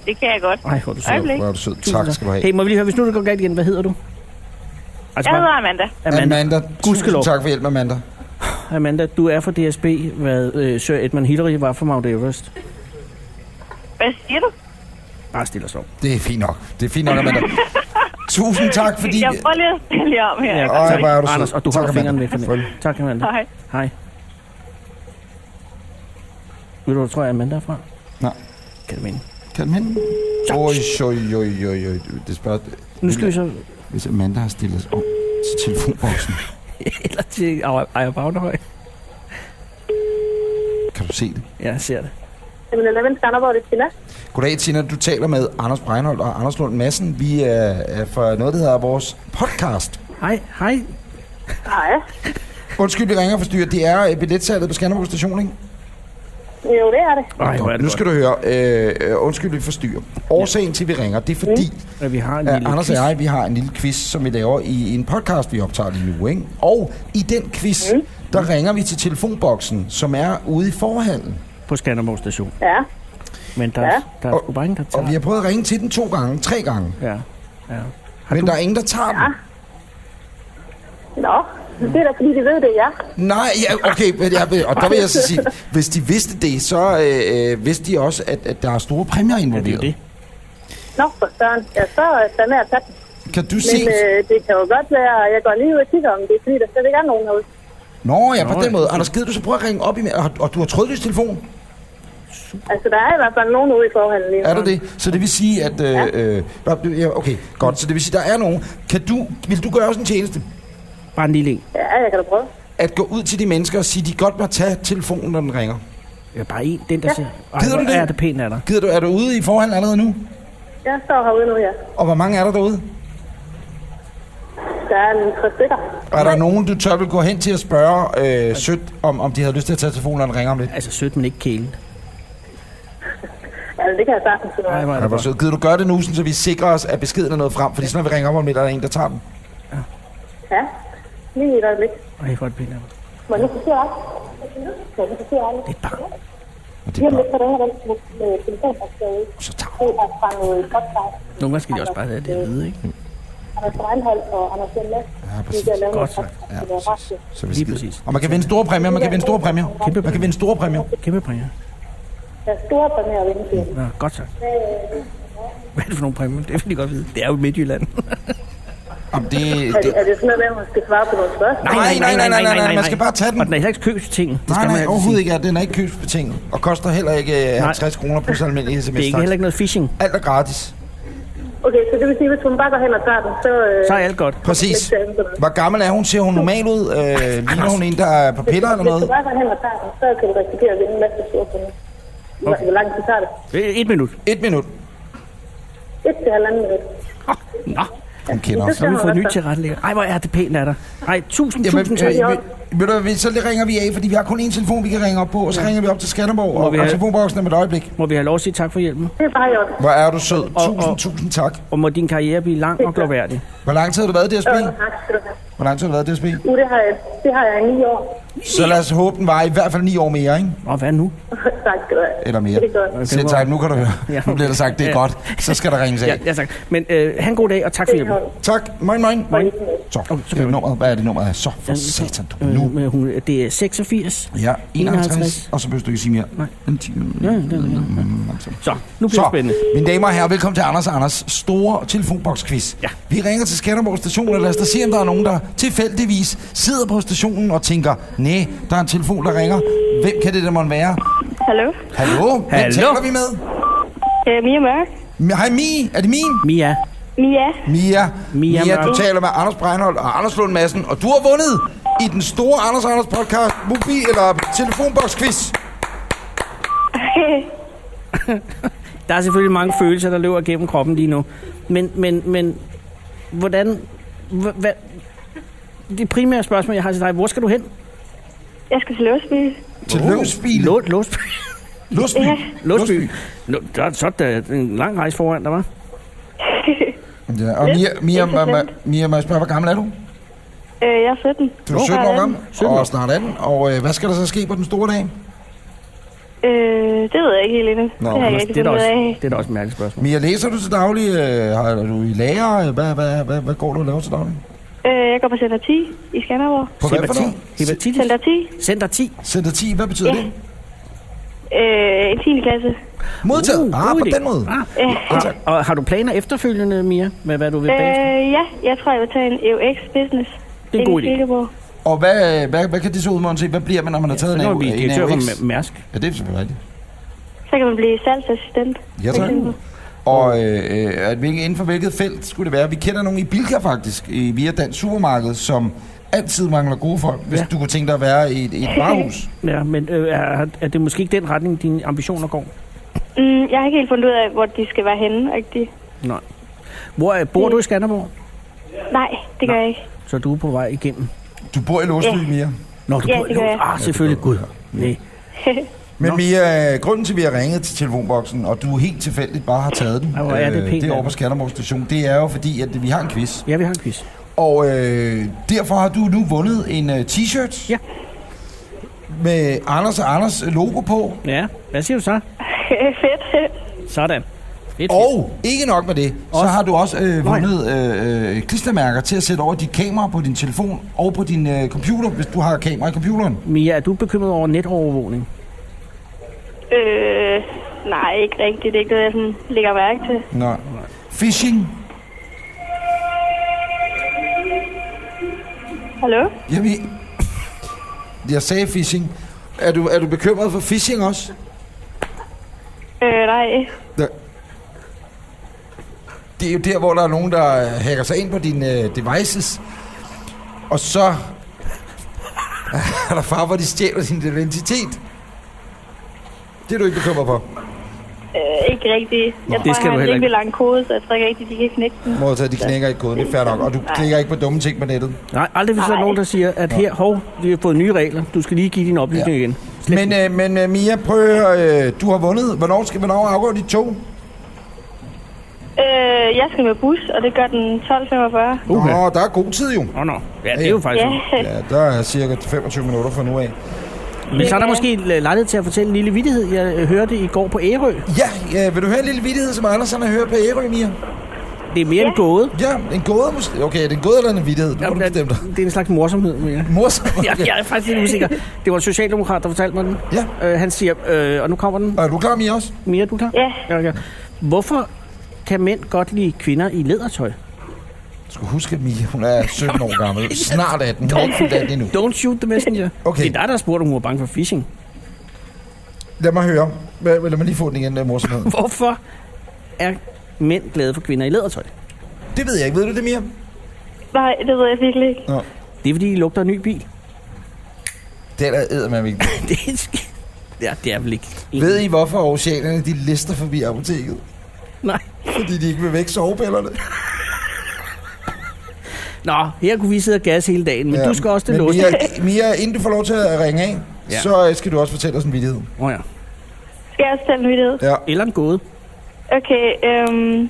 [SPEAKER 15] Det kan jeg godt.
[SPEAKER 3] Ej, hvor er du sød.
[SPEAKER 15] Øjeblik.
[SPEAKER 2] Hvor er du sød. Tak skal du have.
[SPEAKER 3] Hey, må vi lige høre, hvis nu det går galt igen, hvad hedder du? Altså,
[SPEAKER 15] Jeg hedder Amanda.
[SPEAKER 3] Amanda.
[SPEAKER 2] Amanda.
[SPEAKER 3] Gudskelov.
[SPEAKER 2] Tusind tak for hjælpen, Amanda.
[SPEAKER 3] Amanda, du er fra DSB, hvad øh, Sir Edmund Hillary var fra Mount Everest.
[SPEAKER 15] Hvad siger du?
[SPEAKER 3] Bare stille os op.
[SPEAKER 2] Det er fint nok. Det er fint nok, Amanda. Tusind tak, fordi...
[SPEAKER 15] Jeg prøver lige at stille jer om her.
[SPEAKER 3] Ja,
[SPEAKER 15] ikke?
[SPEAKER 2] Øj, hvor er du sød.
[SPEAKER 3] Anders, og du
[SPEAKER 2] Tak,
[SPEAKER 3] holder
[SPEAKER 2] Amanda.
[SPEAKER 3] fingeren væk fra den. Tak, Amanda.
[SPEAKER 15] Hej.
[SPEAKER 3] Hej. Ved du, hvor tror jeg, Amanda er fra?
[SPEAKER 2] Nej.
[SPEAKER 3] Kan du mene?
[SPEAKER 2] Kan du hende? Oj, oj, oj, oj, oj. Det spørger...
[SPEAKER 3] Nu skal vi så...
[SPEAKER 2] Hvis Amanda har stillet os om til telefonboksen,
[SPEAKER 3] Eller til Ejer Bagnehøj.
[SPEAKER 2] kan du se det?
[SPEAKER 3] Ja, jeg ser det.
[SPEAKER 17] Jamen, eller hvem Skanderborg, det er Tina.
[SPEAKER 2] Goddag, Tina. Du taler med Anders Breinholt og Anders Lund Madsen. Vi er, er fra noget, der hedder vores podcast.
[SPEAKER 3] Hej, hej.
[SPEAKER 17] Hej.
[SPEAKER 2] Undskyld, vi ringer og forstyrrer. Det er øh, billetsalget på Skanderborg Station, ikke?
[SPEAKER 17] Jo, det er det.
[SPEAKER 3] Ej, hvor er det
[SPEAKER 2] nu skal du høre. Øh, øh, undskyld, vi forstyrrer. Årsagen til, vi ringer, det er fordi,
[SPEAKER 3] Ja, vi har en
[SPEAKER 2] Ja,
[SPEAKER 3] lille
[SPEAKER 2] Øh, Anders
[SPEAKER 3] quiz.
[SPEAKER 2] og jeg, vi har en lille quiz, som vi laver i, i en podcast, vi optager lige nu, ikke? Og i den quiz, mm. der ringer vi til telefonboksen, som er ude i forhallen.
[SPEAKER 3] På Skanderborg Station.
[SPEAKER 17] Ja.
[SPEAKER 3] Men der, ja. der er
[SPEAKER 2] Og-
[SPEAKER 3] sgu bare ingen, der
[SPEAKER 2] Og vi har
[SPEAKER 3] tager.
[SPEAKER 2] prøvet at ringe til den to gange, tre gange,
[SPEAKER 3] Ja, ja. Har
[SPEAKER 2] men
[SPEAKER 3] du-
[SPEAKER 2] der er ingen, der tager den.
[SPEAKER 17] Nå, det er da fordi, de ved det, ja.
[SPEAKER 2] Nej, ja, okay, men jeg, vil- og der vil jeg så sige, hvis de vidste det, så øh, øh, vidste de også, at, at der er store præmier involveret. Ja,
[SPEAKER 17] Nå, for søren. Ja, så er jeg med at tage den.
[SPEAKER 2] Kan du
[SPEAKER 17] Men
[SPEAKER 2] se...
[SPEAKER 17] øh, det kan jo godt være, at jeg går lige ud og kigger om det, er, fordi der slet ikke er nogen herude.
[SPEAKER 2] Nå, ja, på
[SPEAKER 3] Nå,
[SPEAKER 2] den
[SPEAKER 3] ja.
[SPEAKER 2] måde. Anders, gider du så prøve at ringe op i og, og du har trådløs telefon?
[SPEAKER 17] Altså, der er i hvert fald nogen ude i forhallen lige nu.
[SPEAKER 2] Er der det? Så det vil sige, at... Øh, øh, nå, det- ja, okay, godt. Så det vil sige, der er nogen. Kan du, vil du gøre os en tjeneste?
[SPEAKER 3] Bare en lille en.
[SPEAKER 17] Ja, jeg kan da prøve.
[SPEAKER 2] At gå ud til de mennesker og sige, at de godt må tage telefonen, når den ringer.
[SPEAKER 3] Ja, bare en. Den, der ja. siger... Ej,
[SPEAKER 2] Gider
[SPEAKER 3] hvor
[SPEAKER 2] du det?
[SPEAKER 3] Er det pænt af dig.
[SPEAKER 2] Gider du, er du ude i forhånd allerede nu?
[SPEAKER 17] Jeg står herude nu, ja.
[SPEAKER 2] Og hvor mange er der derude?
[SPEAKER 17] der er en tre stykker.
[SPEAKER 2] Er der nogen, du tør vil gå hen til at spørge øh, sødt, om, om de havde lyst til at tage telefonen, når den ringer om lidt?
[SPEAKER 3] Altså sødt, men ikke kælen.
[SPEAKER 17] Altså, det kan jeg sagtens gøre.
[SPEAKER 3] Nej,
[SPEAKER 2] Er det sødt? Gider du gøre det nu, sådan, så vi sikrer os, at beskeden er nået frem? Fordi sådan, når vi ringer op om lidt, er der en, der tager den.
[SPEAKER 17] Ja, lige et øjeblik.
[SPEAKER 3] Ej, hvor er det pænt. af mig.
[SPEAKER 17] Må jeg nu forsøge op? Må jeg nu forsøge op? Det er bare.
[SPEAKER 2] Lige
[SPEAKER 17] om lidt, så ringer den til øh, telefonopslaget.
[SPEAKER 2] Så
[SPEAKER 17] tager Det er fra noget podcast.
[SPEAKER 3] Nogle gange skal de også bare have det at vide, ikke?
[SPEAKER 17] Anders Breinholt og Anders Hjemme. Ja,
[SPEAKER 2] præcis.
[SPEAKER 17] Godt.
[SPEAKER 2] Ja,
[SPEAKER 3] Så vi Lige præcis.
[SPEAKER 2] Og man kan vinde store præmier, man kan vinde store præmier. Kæmpe man kan vinde store præmier.
[SPEAKER 3] Kæmpe præmier.
[SPEAKER 17] øh, Der er store på den her vindtid.
[SPEAKER 3] Nå, godt så. Hvad er det for nogle præmier? Det vil de godt vide. Det er jo i Midtjylland.
[SPEAKER 2] Om det,
[SPEAKER 17] Er, er det sådan noget med, at man skal svare på nogle spørgsmål?
[SPEAKER 2] man skal bare tage den.
[SPEAKER 3] Og den er heller ikke købsting. Det
[SPEAKER 2] Nej,
[SPEAKER 3] man
[SPEAKER 2] nej,
[SPEAKER 3] altid
[SPEAKER 2] overhovedet
[SPEAKER 3] sige.
[SPEAKER 2] ikke. Ja, Den er ikke købsbetinget. Og koster heller ikke øh, 50 kroner plus almindelig sms
[SPEAKER 3] Det er ikke heller ikke noget phishing.
[SPEAKER 2] Alt er gratis.
[SPEAKER 17] Okay, så det vil sige, at hvis hun bare går hen og tager den, så... Øh,
[SPEAKER 3] Så er alt godt.
[SPEAKER 2] Præcis. Hvor gammel er hun? Ser hun normal ud? Øh, ligner hun en, der er på piller eller
[SPEAKER 17] Hvis
[SPEAKER 2] noget?
[SPEAKER 17] du bare går hen og tager den, så kan du risikere at vinde en masse store penge. Okay. Hvor lang tid tager det?
[SPEAKER 3] Øh, Et minut.
[SPEAKER 2] Et minut.
[SPEAKER 17] Et til halvanden minut.
[SPEAKER 3] Nå.
[SPEAKER 2] Hun kender
[SPEAKER 3] Så har vi fået nyt til retlægger. Ej, hvor er det pænt af dig. Ej, tusind,
[SPEAKER 2] Jamen,
[SPEAKER 3] tusind
[SPEAKER 2] øh,
[SPEAKER 3] tak.
[SPEAKER 2] vi- ved du, hvad, vi- så det ringer vi af, fordi vi har kun én telefon, vi kan ringe op på, og så ringer vi op til Skanderborg,
[SPEAKER 3] Må
[SPEAKER 2] og,
[SPEAKER 3] vi
[SPEAKER 2] og
[SPEAKER 3] have-
[SPEAKER 2] telefonboksen er med et øjeblik.
[SPEAKER 3] Må vi have lov at sige tak for hjælpen?
[SPEAKER 17] Det er bare jo.
[SPEAKER 2] Hvor er du sød.
[SPEAKER 3] Og-
[SPEAKER 2] Tusind,
[SPEAKER 3] og-
[SPEAKER 2] tusind tak.
[SPEAKER 3] Og må din karriere blive lang og glorværdig.
[SPEAKER 2] Hvor lang tid har du været i DSB?
[SPEAKER 17] Øh, tak skal du have.
[SPEAKER 2] Hvor lang tid har du været i DSB?
[SPEAKER 17] Uh, det har jeg, det har jeg i ni år.
[SPEAKER 2] Så lad os håbe, den var i hvert fald ni år mere, ikke?
[SPEAKER 3] Og hvad nu?
[SPEAKER 17] tak skal du have.
[SPEAKER 2] Eller mere.
[SPEAKER 17] Det er godt.
[SPEAKER 2] Selv tak, nu kan du høre. Nu bliver der sagt, det er
[SPEAKER 3] Ja.
[SPEAKER 2] godt. Så skal der ringes af.
[SPEAKER 3] Ja, ja tak. Men øh, have en god dag, og tak for hjælpen.
[SPEAKER 2] Tak. Moin, moin.
[SPEAKER 3] moin.
[SPEAKER 2] Så, okay, nummeret, hvad er det nummeret? Så for
[SPEAKER 3] Ja,
[SPEAKER 2] satan, du.
[SPEAKER 3] Øh, med hun, det er 86.
[SPEAKER 2] Ja, 51,
[SPEAKER 3] 51.
[SPEAKER 2] og så behøver du ikke sige mere. Mm, Nej.
[SPEAKER 3] Ja, det er det.
[SPEAKER 2] altså. Så,
[SPEAKER 3] nu bliver det
[SPEAKER 2] spændende. Mine damer og herrer, velkommen til Anders og Anders store telefonboksquiz. Ja. Vi ringer til Skanderborg station, og lad os da se, om der er nogen, der tilfældigvis sidder på stationen og tænker, nej, der er en telefon, der ringer. Hvem kan det der måtte være?
[SPEAKER 18] Hallo?
[SPEAKER 2] Hallo? Hvem
[SPEAKER 18] Hallo?
[SPEAKER 2] taler vi med?
[SPEAKER 18] Øh, Mia Mørk.
[SPEAKER 2] Mi- Hej, Mi. Er det min?
[SPEAKER 3] Mia.
[SPEAKER 18] Mia.
[SPEAKER 2] Mia. Mia, Mia
[SPEAKER 18] Mørk.
[SPEAKER 2] du taler med Anders Breinholt og Anders Lund Madsen, og du har vundet i den store Anders og Anders podcast mobil- eller telefonboksquiz.
[SPEAKER 3] Der er selvfølgelig mange følelser, der løber gennem kroppen lige nu. Men, men, men hvordan... hva- Hvad, det primære spørgsmål, jeg har til dig, hvor skal du hen?
[SPEAKER 18] Jeg skal til Låsby.
[SPEAKER 2] Til Låsby?
[SPEAKER 3] Lå, Låsby.
[SPEAKER 2] Låsby?
[SPEAKER 18] Ja.
[SPEAKER 3] Låsby. Nå, Der er sådan øh, en lang rejse foran dig, var.
[SPEAKER 2] Ja, og
[SPEAKER 18] Lidt
[SPEAKER 2] Mia, Mia,
[SPEAKER 18] interessant.
[SPEAKER 2] Mia, Mia, må jeg spørge, hvor gammel er du?
[SPEAKER 18] Øh, jeg er 17.
[SPEAKER 2] Du er 17 år gammel, og snart 18. Og øh, hvad skal der så ske på den store dag?
[SPEAKER 18] Øh, det ved jeg ikke helt endnu.
[SPEAKER 2] Nå,
[SPEAKER 18] det har jeg
[SPEAKER 2] men
[SPEAKER 18] ikke
[SPEAKER 2] det er da
[SPEAKER 18] fundet ud
[SPEAKER 2] også-
[SPEAKER 18] af.
[SPEAKER 3] Det er da også et mærkeligt spørgsmål.
[SPEAKER 2] Mia, læser du til daglig? Øh, har- er du i lærer? Hvad, hvad, hvad, hvad går du og laver til daglig?
[SPEAKER 18] Øh, jeg går på Center 10 i Skanderborg.
[SPEAKER 2] På hvad for noget?
[SPEAKER 3] Hepatitis?
[SPEAKER 18] Center 10?
[SPEAKER 3] Center 10.
[SPEAKER 2] Center 10, hvad betyder
[SPEAKER 18] Ja.
[SPEAKER 2] det?
[SPEAKER 18] Øh, i 10. klasse.
[SPEAKER 2] Modtaget.
[SPEAKER 3] Uh,
[SPEAKER 2] ah, på den måde.
[SPEAKER 18] Ja.
[SPEAKER 3] Og, og har du planer efterfølgende, Mia, med hvad du vil bagefter?
[SPEAKER 18] Øh, ja, jeg tror, jeg vil tage en EUX Business.
[SPEAKER 3] Det er en
[SPEAKER 18] inde
[SPEAKER 3] god
[SPEAKER 18] i
[SPEAKER 3] idé.
[SPEAKER 18] Silkeborg.
[SPEAKER 2] Og hvad, hvad, hvad kan det så udmåne til? Hvad bliver man, når man har taget
[SPEAKER 3] så
[SPEAKER 2] en
[SPEAKER 3] kan man blive
[SPEAKER 2] en
[SPEAKER 3] direktør for
[SPEAKER 2] AUX?
[SPEAKER 3] Mæ- Mærsk.
[SPEAKER 2] Ja, det er selvfølgelig rigtigt.
[SPEAKER 18] Så kan man blive salgsassistent.
[SPEAKER 2] Ja,
[SPEAKER 18] for
[SPEAKER 2] tak.
[SPEAKER 18] eksempel.
[SPEAKER 2] Og øh, øh, at hvilke, inden for hvilket felt skulle det være? Vi kender nogen i Bilka faktisk, i, via Dansk Supermarked, som altid mangler gode folk, hvis
[SPEAKER 3] Ja.
[SPEAKER 2] du kunne tænke dig at være i et, et varehus.
[SPEAKER 3] Ja, men øh, er, er det måske ikke den retning, dine ambitioner går?
[SPEAKER 18] Mm, jeg har ikke helt fundet ud af, hvor de skal være henne. Rigtig.
[SPEAKER 3] Nej. Hvor øh, bor du i Skanderborg?
[SPEAKER 18] Nej, det gør jeg ikke.
[SPEAKER 3] Så du er på vej igennem.
[SPEAKER 2] Du bor i Låsby, Mia.
[SPEAKER 3] Nå, du
[SPEAKER 18] Ja,
[SPEAKER 3] bor i
[SPEAKER 18] det gør
[SPEAKER 3] Låsby.
[SPEAKER 18] jeg.
[SPEAKER 3] Ah, selvfølgelig. Gud. Nej.
[SPEAKER 2] Men Mia, grunden til, at vi har ringet til telefonboksen, og du helt tilfældigt bare har taget den, øh,
[SPEAKER 3] Ej, hvor er det pænt
[SPEAKER 2] det er
[SPEAKER 3] af
[SPEAKER 2] over
[SPEAKER 3] dig.
[SPEAKER 2] på Skanderborg Station, det er jo fordi, at vi har en quiz.
[SPEAKER 3] Ja, vi har en quiz.
[SPEAKER 2] Og øh, derfor har du nu vundet en øh, t-shirt.
[SPEAKER 3] Ja.
[SPEAKER 2] Med Anders og Anders logo på.
[SPEAKER 3] Ja, hvad siger du så?
[SPEAKER 18] Fedt.
[SPEAKER 3] Sådan. Fedt,
[SPEAKER 2] Og ikke nok med det, så
[SPEAKER 3] Også-
[SPEAKER 2] har du også øh,
[SPEAKER 3] Nå ja.
[SPEAKER 2] vundet øh, øh, klistermærker til at sætte over dit kamera på din telefon og på din øh, computer, hvis du har kamera i computeren.
[SPEAKER 3] Mia, er du bekymret over netovervågning?
[SPEAKER 18] Øh, nej, ikke rigtigt. Det er ikke noget, jeg sådan lægger mærke til.
[SPEAKER 2] Nej. Phishing.
[SPEAKER 18] Hallo?
[SPEAKER 2] Jeg, ved, jeg sagde phishing. Er du, er du bekymret for phishing også?
[SPEAKER 18] Øh, nej.
[SPEAKER 2] Ja. Det er jo der, hvor der er nogen, der øh, hacker sig ind på dine øh, devices. Og så er der far, hvor de stjæler din identitet. Det er du ikke bekymret for.
[SPEAKER 18] Øh, ikke ikke rigtig... Jeg
[SPEAKER 2] Nå.
[SPEAKER 18] tror,
[SPEAKER 2] Det skal
[SPEAKER 18] jeg har
[SPEAKER 2] du
[SPEAKER 18] en
[SPEAKER 2] heller
[SPEAKER 18] rimelig lang kode, så jeg tror ikke rigtig, de kan knække den.
[SPEAKER 2] Modtaget, de knækker ikke koden, det er fair nok. Og du klikker ikke på dumme ting på nettet.
[SPEAKER 3] Nej, aldrig hvis der er nogen, der siger, at her, hov, vi har fået nye regler. Du skal lige give dine oplysninger ja. igen.
[SPEAKER 2] Men, øh, men øh, Mia, prøv at høre, øh, du har vundet. Hvornår skal hvornår afgår dit tog?
[SPEAKER 18] Øh, jeg skal med bus, og det gør den 12.45.
[SPEAKER 2] Nå, der er god tid jo.
[SPEAKER 3] Nå, nå. Ja, det er jo faktisk-
[SPEAKER 2] Ja, ja der er cirka 25 minutter fra nu af.
[SPEAKER 3] Men så er der måske en lejlighed til at fortælle en lille vittighed. Jeg øh, hørte i går på Ærø.
[SPEAKER 2] Ja, ja vil du høre en lille vittighed, som Anders han har hørt på Ærø, Mia?
[SPEAKER 3] Det er mere ja. en gåde.
[SPEAKER 2] Ja, en gåde måske. Okay, er det en gåde eller en vittighed? Du Jamen, må bestemme dig.
[SPEAKER 3] Det er en slags morsomhed, mere.
[SPEAKER 2] Morsomhed?
[SPEAKER 3] Okay. Jeg, jeg er faktisk lidt usikker. Det var en socialdemokrat, der fortalte mig den. Ja. Øh, han siger, øh, og nu kommer den.
[SPEAKER 2] Er du klar, Mia, også?
[SPEAKER 3] Mia, er du klar?
[SPEAKER 18] Ja.
[SPEAKER 3] ja, ja. Hvorfor kan mænd godt lide kvinder i lædertøj?
[SPEAKER 2] Du skal huske, at Mia, hun er 17 år gammel. Snart 18. Hun er ikke fyldt 18 endnu.
[SPEAKER 3] Don't shoot the messenger. Okay. Det er dig, der har spurgt, om hun var bange for phishing.
[SPEAKER 2] Lad mig høre. Hvad- Lad mig lige få den igen, der morsomhed.
[SPEAKER 3] Hvorfor er mænd glade for kvinder i lædertøj?
[SPEAKER 2] Det ved jeg ikke. Ved du det, Mia?
[SPEAKER 18] Nej, det ved jeg virkelig ikke.
[SPEAKER 2] Nå.
[SPEAKER 3] Det er, fordi I lugter en ny bil.
[SPEAKER 2] Det er der eddermame
[SPEAKER 3] det er sk- Ja, det er vel ikke...
[SPEAKER 2] Ved I, hvorfor oceanerne de lister forbi apoteket?
[SPEAKER 3] Nej.
[SPEAKER 2] Fordi de ikke vil væk sovepillerne.
[SPEAKER 3] Nå, her kunne vi sidde og gasse hele dagen, men ja, du skal også til
[SPEAKER 2] men
[SPEAKER 3] låst.
[SPEAKER 2] Mia, Mia, inden du får lov til at ringe af, ja.
[SPEAKER 3] Ja.
[SPEAKER 2] så øh, skal du også fortælle os en vidighed.
[SPEAKER 3] Åh oh, ja.
[SPEAKER 18] Skal jeg også tælle en nyhed?
[SPEAKER 2] ja.
[SPEAKER 3] Eller en gåde.
[SPEAKER 18] Okay, øhm...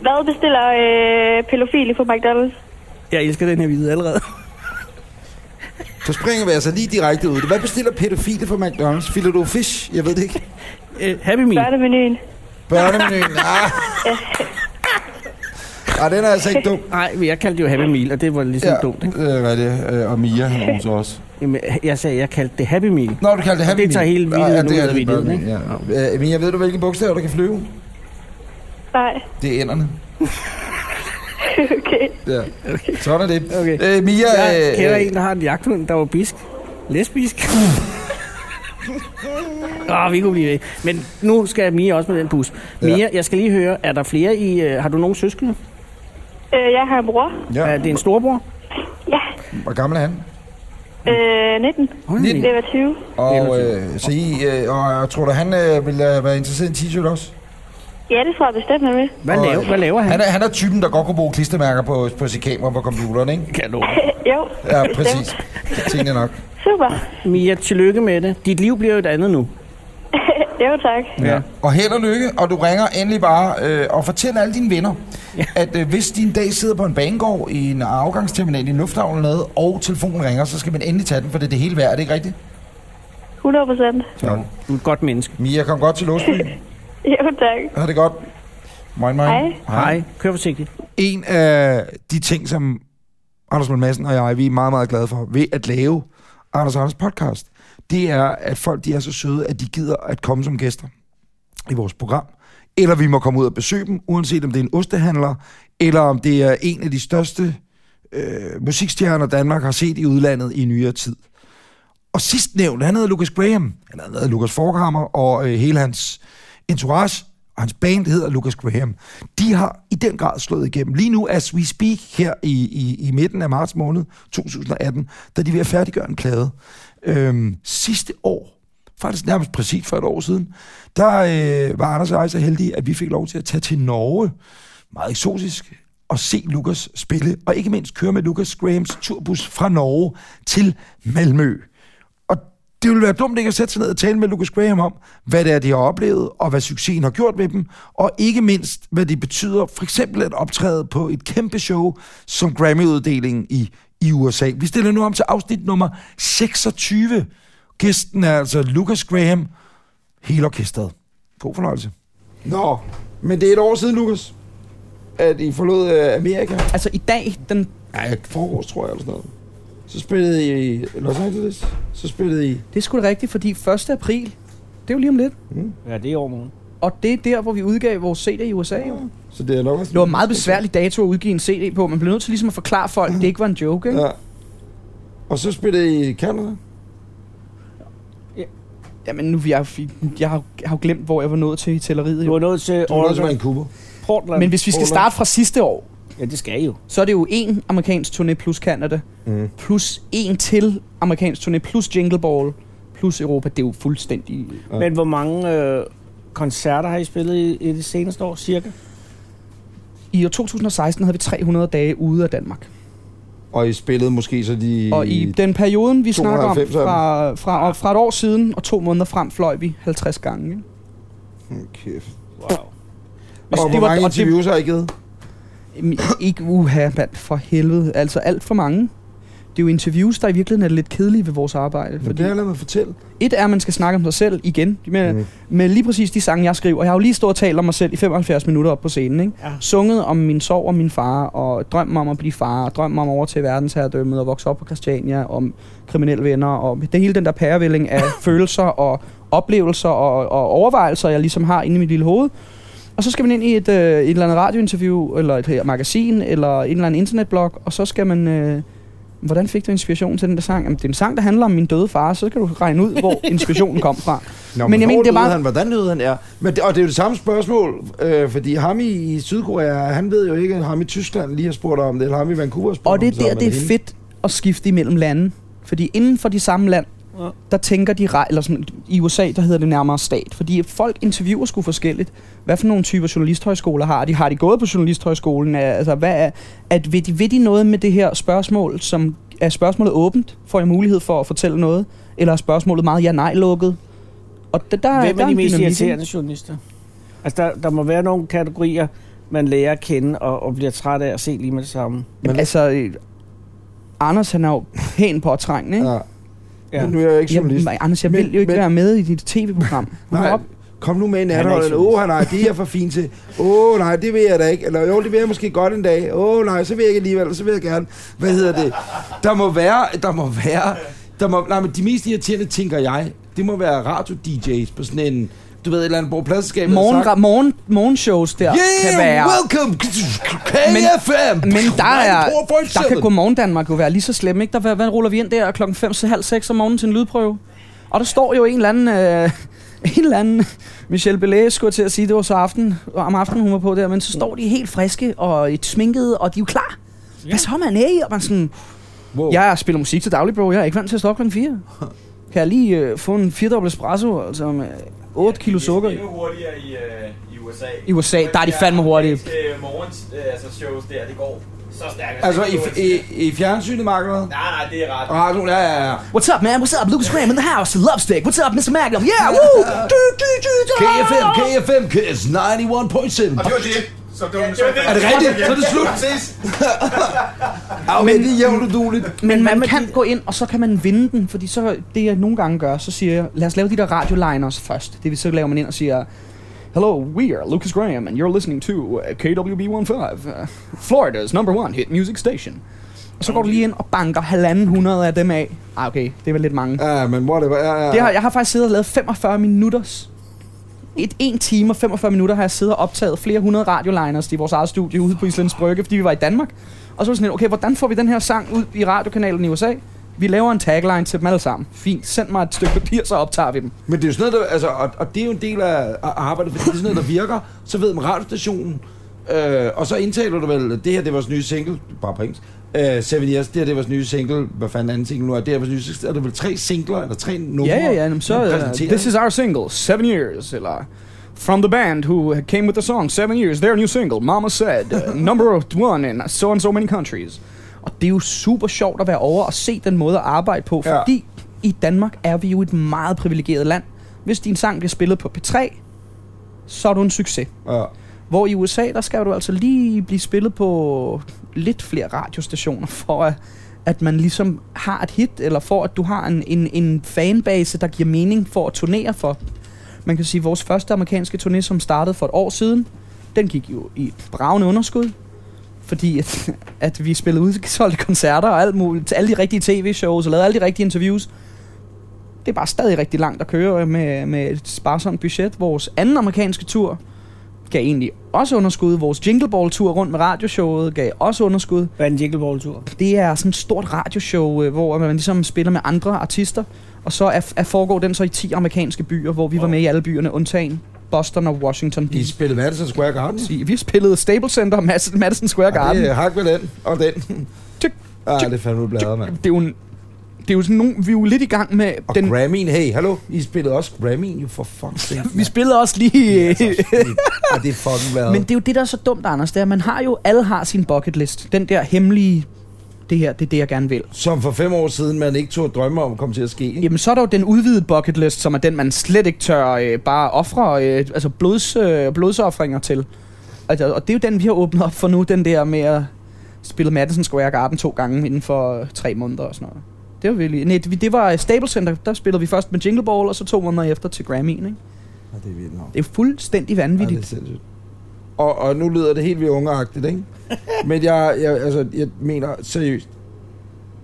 [SPEAKER 18] Hvad bestiller øh, pædofile på McDonald's?
[SPEAKER 3] Jeg elsker den her vide allerede.
[SPEAKER 2] Så springer vi altså lige direkte ud. Hvad bestiller pædofile fra McDonald's? Filet du fish? Jeg ved det ikke.
[SPEAKER 3] Uh, happy Meal.
[SPEAKER 18] Børnemenuen.
[SPEAKER 2] Børnemenuen. Ah. Ah, den er altså ikke dum.
[SPEAKER 3] Nej, men jeg kaldte det jo Happy Meal, og det var ligesom
[SPEAKER 2] Ja,
[SPEAKER 3] ja. dumt, ikke?
[SPEAKER 2] Øh, hvad er det? Øh, og Mia, han roser også.
[SPEAKER 3] Jamen, jeg sagde, jeg kaldte det Happy Meal.
[SPEAKER 2] Nå, du kalder det
[SPEAKER 3] Og
[SPEAKER 2] happy
[SPEAKER 3] Det tager
[SPEAKER 2] meal.
[SPEAKER 3] hele
[SPEAKER 2] Ah,
[SPEAKER 3] videoen ud
[SPEAKER 2] det er
[SPEAKER 3] af
[SPEAKER 2] det
[SPEAKER 3] videoen,
[SPEAKER 2] børnemenuen,
[SPEAKER 3] ikke?
[SPEAKER 2] Ja. Øh, Mia, ved du, hvilke bogstaver der kan flyve?
[SPEAKER 18] Nej.
[SPEAKER 2] Det er ænderne.
[SPEAKER 18] okay.
[SPEAKER 2] Ja. Sådan er det.
[SPEAKER 3] Okay.
[SPEAKER 2] Øh, Mia,
[SPEAKER 3] jeg
[SPEAKER 2] øh,
[SPEAKER 3] kender
[SPEAKER 2] øh,
[SPEAKER 3] en, der har en jagthund, der var bisk. Lesbisk. Åh, oh, vi kunne blive ved. Men nu skal Mia også med den bus. Mia, ja. jeg skal lige høre, er der flere i... Øh, har du nogen søskende?
[SPEAKER 18] Øh, jeg har en bror.
[SPEAKER 2] Ja.
[SPEAKER 3] Er det en storbror?
[SPEAKER 18] Ja.
[SPEAKER 2] Hvor gammel er han?
[SPEAKER 18] Øh, 19.
[SPEAKER 2] 19.
[SPEAKER 18] Det var 20.
[SPEAKER 2] Og øh, så I, øh, og tror du, han øh, vil øh, være interesseret i en t-shirt også?
[SPEAKER 18] Ja, det tror jeg bestemt, han vil.
[SPEAKER 2] Og, øh,
[SPEAKER 3] han?
[SPEAKER 2] Han er, han er typen, der godt kunne bruge klistermærker på, på sit kamera på computeren, ikke?
[SPEAKER 3] Kan du?
[SPEAKER 18] jo.
[SPEAKER 2] Ja,
[SPEAKER 18] bestemt.
[SPEAKER 2] præcis. Tingene nok.
[SPEAKER 18] Super.
[SPEAKER 3] Mia, tillykke med det. Dit liv bliver jo et andet nu.
[SPEAKER 18] jo, tak.
[SPEAKER 2] Ja. Og held og lykke, og du ringer endelig bare øh, og fortæller alle dine venner, ja. at øh, hvis din dag sidder på en banegård i en afgangsterminal i en lufthavn eller noget, og telefonen ringer, så skal man endelig tage den, for det er det hele værd, er det ikke rigtigt?
[SPEAKER 18] 100 procent.
[SPEAKER 2] Sådan.
[SPEAKER 3] Du er et godt menneske.
[SPEAKER 2] Mia, kom godt til Låsby.
[SPEAKER 18] Jo, tak.
[SPEAKER 2] Ha' det godt. Moin, moin.
[SPEAKER 18] Hej.
[SPEAKER 3] Hej. Kør forsigtigt.
[SPEAKER 2] En af de ting, som Anders Lund Madsen og jeg, vi er meget, meget glade for ved at lave Anders og Anders podcast, det er, at folk de er så søde, at de gider at komme som gæster i vores program. Eller vi må komme ud og besøge dem, uanset om det er en ostehandler, eller om det er en af de største øh, musikstjerner, Danmark har set i udlandet i nyere tid. Og sidst nævnt, han hedder Lucas Graham. Han hedder Lucas Forhammer, og øh, hele hans entourage og hans band hedder Lucas Graham. De har i den grad slået igennem. Lige nu, as we speak, her i, i, i midten af marts måned 2018, da de er ved at færdiggøre en plade. Øhm, sidste år, faktisk nærmest præcis for et år siden, der øh, var Anders og jeg så heldige, at vi fik lov til at tage til Norge, meget eksotisk, og se Lukas spille, og ikke mindst køre med Lukas Grahams turbus fra Norge til Malmø. Og det ville være dumt ikke at sætte sig ned og tale med Lucas Graham om, hvad det er, de har oplevet, og hvad succesen har gjort ved dem, og ikke mindst, hvad det betyder for eksempel at optræde på et kæmpe show som Grammy-uddelingen i, i USA. Vi stiller nu om til afsnit nummer 26. Gæsten er altså Lucas Graham, hele orkestret. God fornøjelse. Nå, men det er et år siden, Lukas, at I forlod øh, Amerika.
[SPEAKER 19] Altså i dag, den...
[SPEAKER 2] Nej, forårs, tror jeg, eller sådan noget. Så spillede I i Los Angeles. Så spillede I...
[SPEAKER 19] Det er sgu da rigtigt, fordi 1. april, det er jo lige om lidt.
[SPEAKER 2] Mm.
[SPEAKER 3] Ja, det er i overmorgen.
[SPEAKER 19] Og det er der, hvor vi udgav vores CD i USA. Jo.
[SPEAKER 2] Så det er nok også...
[SPEAKER 19] Det var en meget besværlig dato at udgive en CD på. Man blev nødt til ligesom at forklare folk, at det ikke var en joke. Ikke?
[SPEAKER 2] Ja. Og så spillede I i Canada?
[SPEAKER 19] Ja. Jamen nu, jeg, jeg, har, jeg har jo glemt, hvor jeg var nået til i tælleriet. Du
[SPEAKER 3] var nået til
[SPEAKER 2] Du var nået til Vancouver.
[SPEAKER 3] Portland.
[SPEAKER 19] Men hvis vi skal
[SPEAKER 3] Portland.
[SPEAKER 19] starte fra sidste år,
[SPEAKER 3] Ja, det skal I jo.
[SPEAKER 19] så er det jo en amerikansk turné plus Canada,
[SPEAKER 3] Mm.
[SPEAKER 19] plus en til amerikansk turné plus Jingle Ball, plus Europa. Det er jo fuldstændig...
[SPEAKER 3] Men hvor mange øh, koncerter har I spillet i, i det seneste år, cirka?
[SPEAKER 19] I år 2016 havde vi 300 dage ude af Danmark.
[SPEAKER 2] Og I spillede måske så de...
[SPEAKER 19] Og i den perioden, vi snakker om,
[SPEAKER 2] 92 af dem.
[SPEAKER 19] fra, fra, fra et år siden og to måneder frem, fløj vi 50 gange. Ikke?
[SPEAKER 2] Kæft.
[SPEAKER 19] Og
[SPEAKER 2] Og hvor mange interviews har I givet?
[SPEAKER 19] Jamen, Ikke uha, mand, for helvede. Altså alt for mange. Det er jo interviews, der i virkeligheden er lidt kedelige ved vores arbejde. Fordi det
[SPEAKER 2] har jeg mig fortælle.
[SPEAKER 19] Et er, at man skal snakke om sig selv igen. Med,
[SPEAKER 2] Mhm.
[SPEAKER 19] mm. med lige præcis de sange, jeg skriver. Jeg har jo lige stået og talt om mig selv i 75 minutter op på scenen. Ikke? Ja. Sunget om min sorg og min far, og drømmen om at blive far, og drømmen om over til verdensherredømmet, og vokse op på Christiania, om kriminelle venner, og det hele den der pærevælling af følelser og oplevelser og, og overvejelser, jeg ligesom har inde i mit lille hoved. Og så skal man ind i et, øh, et eller andet radiointerview, eller et her magasin, eller en eller anden internetblog, og så skal man... Øh, hvordan fik du inspiration til den der sang? Jamen, det er en sang, der handler om min døde far, så kan du regne ud, hvor inspirationen kom fra.
[SPEAKER 2] Nå, men, men jeg mener, det var... han, hvordan lød han er? Men det, og det er jo det samme spørgsmål, øh, fordi ham i, i Sydkorea, han ved jo ikke, at ham i Tyskland lige har spurgt om det, eller ham i Vancouver har spurgt
[SPEAKER 19] Og det er
[SPEAKER 2] om
[SPEAKER 19] der,
[SPEAKER 2] om
[SPEAKER 19] det er
[SPEAKER 2] hende.
[SPEAKER 19] fedt at skifte imellem lande. Fordi inden for de samme land, der tænker de, re- eller sådan, i USA, der hedder det nærmere stat. Fordi folk interviewer sgu forskelligt. Hvad for nogle typer journalisthøjskoler har de? Har de gået på journalisthøjskolen? Er- Altså, hvad er, at vil, de, vil de noget med det her spørgsmål, som er spørgsmålet åbent? Får jeg mulighed for at fortælle noget? Eller er spørgsmålet meget ja-nej-lukket? Og det, der,
[SPEAKER 3] Hvem
[SPEAKER 19] der
[SPEAKER 3] er de
[SPEAKER 19] en
[SPEAKER 3] mest
[SPEAKER 19] dynamik i det.
[SPEAKER 3] irriterende journalister? Altså, der, der må være nogle kategorier, man lærer at kende og, og bliver træt af at se lige med det samme.
[SPEAKER 19] Men altså, øh, Anders han er jo pæn påtrængende, ikke? Ja.
[SPEAKER 2] Ja. Men nu er jeg jo ikke journalist.
[SPEAKER 19] Jamen, Anders, jeg
[SPEAKER 2] Men-
[SPEAKER 19] vil jo ikke
[SPEAKER 2] men-
[SPEAKER 19] være med i dit tv-program.
[SPEAKER 2] Nej, kom nu med en
[SPEAKER 19] Han er
[SPEAKER 2] anden.
[SPEAKER 19] ikke
[SPEAKER 2] Åh, oh, nej, det er jeg for fin til. Åh, oh, nej, det vil jeg da ikke. Eller jo, det vil jeg måske godt en dag. Åh, oh, nej, så vil jeg ikke alligevel. Så vil jeg gerne. Hvad hedder det? Der må være... Der må være... Der må, nej, men de mest irriterende, tænker jeg, det må være radio-DJ's på sådan en... Du ved, et eller andet bordpladskab.
[SPEAKER 19] Morgen, ra- morgen, morgenshows der
[SPEAKER 2] Yeah,
[SPEAKER 19] kan være...
[SPEAKER 2] welcome KFM.
[SPEAKER 19] Men, men der, er,
[SPEAKER 2] 94.7.
[SPEAKER 19] der kan Godmorgen Danmark jo være lige så slem, ikke? Der, hvad, hvad ruller vi ind der klokken 5 til halv 6 om morgenen til en lydprøve? Og der står jo en eller anden... Øh, en eller anden Michelle Bellet skulle jeg til at sige, det var så aften, og om aftenen hun var på der, men så står de helt friske og et sminkede, og de er jo klar. Hvad så, man er i? Og man sådan,
[SPEAKER 2] wow.
[SPEAKER 19] jeg spiller musik til daglig, bro, jeg er ikke vant til at stå klokken 4. Kan jeg lige øh, få en 4 espresso, altså med 8 kilo sukker i?
[SPEAKER 20] Endnu hurtigere i, øh, i USA.
[SPEAKER 19] I USA, der er de fandme hurtige.
[SPEAKER 20] Det morgens øh, altså shows der, det går så stærkt.
[SPEAKER 2] Altså, i, i, i fjernsynet, Mark, eller
[SPEAKER 20] Nej,
[SPEAKER 2] hvad?
[SPEAKER 20] nej, det er ret.
[SPEAKER 2] Radioen, Ah, ja, ja, ja.
[SPEAKER 19] What's up, man? What's up? Lucas Graham in the house. Love stick. What's up, Mr. Magnum? Yeah,
[SPEAKER 2] uh!
[SPEAKER 19] woo! Du, du, du, du.
[SPEAKER 2] KFM, KFM, KS 91.7.
[SPEAKER 21] Og det var det. Så det var ja,
[SPEAKER 2] Er det rigtigt? Så er det slut.
[SPEAKER 21] Ses.
[SPEAKER 2] Men det er jævnt uduligt.
[SPEAKER 19] Men man kan gå ind, og så kan man vinde den, fordi så det jeg nogle gange gør, så siger jeg, lad os lave de der radioliners først. Det vil så laver man ind og siger, Hello, we are Lucas Graham, and you're listening to uh, KWB15, uh, Florida's number one hit music station. Og så går du lige ind og banker halvanden hundrede af dem af. Ah, okay, det var lidt mange.
[SPEAKER 2] Ja, men whatever. Ja, ja.
[SPEAKER 19] Det har, jeg har faktisk siddet og lavet 45 minutters. Et 1 time og 45 minutter har jeg siddet og optaget flere hundrede radioliners i vores eget studie ude på Islands Brygge, fordi vi var i Danmark. Og så var det sådan, lidt, okay, hvordan får vi den her sang ud i radiokanalen i USA? Vi laver en tagline til dem alle sammen. Fint, send mig et stykke papir, så optager vi dem.
[SPEAKER 2] Men det er jo sådan noget, der, altså, og, og det er jo en del af af arbejdet, fordi det er sådan noget, der virker. Så ved man radiostationen, øh, og så indtaler du vel, det her, det er vores nye single, bare på engelsk, øh, Seven Years, det her, det er vores nye single, hvad fanden er anden single nu er, det her er vores nye single, er det vel tre singler, eller tre numre?
[SPEAKER 19] Ja, ja, ja. jamen, Så,
[SPEAKER 2] man
[SPEAKER 19] uh,
[SPEAKER 2] præsenterer?
[SPEAKER 19] this is our single, Seven Years, eller... From the band who uh, came with the song Seven Years, their new single, Mama Said, uh, number one in so and so many countries. Og det er jo super sjovt at være over og se den måde at arbejde på,
[SPEAKER 2] Ja.
[SPEAKER 19] fordi i Danmark er vi jo et meget privilegeret land. Hvis din sang bliver spillet på P3, så er du en succes.
[SPEAKER 2] Ja.
[SPEAKER 19] Hvor i USA, der skal du altså lige blive spillet på lidt flere radiostationer, for at, at man ligesom har et hit, eller for at du har en, en, en fanbase, der giver mening for at turnere for. Man kan sige, at vores første amerikanske turné, som startede for et år siden, den gik jo i et bravende underskud, fordi at, at vi spillede udsolgte koncerter og alt muligt, til alle de rigtige tv-shows og lavede alle de rigtige interviews. Det er bare stadig rigtig langt at køre øh, med, med et sparsomt budget. Vores anden amerikanske tur, gav egentlig også underskud. Vores Jingle Ball-tur rundt med radioshowet gav også underskud.
[SPEAKER 3] Hvad er en Jingle Ball-tur?
[SPEAKER 19] Det er sådan et stort radioshow, øh, hvor man ligesom spiller med andre artister, og så er, er foregår den så i 10 amerikanske byer, hvor vi var med i alle byerne, undtagen Boston og Washington.
[SPEAKER 2] I spillede Madison Square Garden?
[SPEAKER 19] Vi spillede Staples Center og Mas-
[SPEAKER 2] Øh,
[SPEAKER 19] Madison Square Garden.
[SPEAKER 2] Det er hak ved den, og den. Ja, det er fandme bladet, mand.
[SPEAKER 19] Det er jo en det er jo sådan nogle, vi er jo lidt i gang med...
[SPEAKER 2] Og den... Grammy'en, hey, hallo, I spillede også Grammy'en, jo for fuck's sake.
[SPEAKER 19] Vi spillede også lige...
[SPEAKER 2] Ja, det er fucking været.
[SPEAKER 19] Men det er jo det, der er så dumt, Anders, det er, at man har jo, alle har sin bucket list. Den der hemmelige, det her, det er det, jeg gerne vil.
[SPEAKER 2] Som for fem år siden, man ikke tog at drømme om, kom til at ske. Ikke?
[SPEAKER 19] Jamen, så er der jo den udvidede bucket list, som er den, man slet ikke tør øh, bare ofre, øh, altså blods, øh, blodsoffringer til. Altså, og det er jo den, vi har åbnet op for nu, den der med at spille Madison Square Garden to gange inden for øh, tre måneder og sådan noget. Det var virkelig... Nej, det det var Stable Center, der spillede vi først med Jingle Ball, og så to måneder efter til Grammy'en, ikke?
[SPEAKER 2] Ja, det er vildt nok.
[SPEAKER 19] Det er fuldstændig vanvittigt. Ja, det er
[SPEAKER 2] sindssygt. Og, og nu lyder det helt vildt ungeagtigt, ikke? Men jeg, jeg, altså, jeg mener seriøst,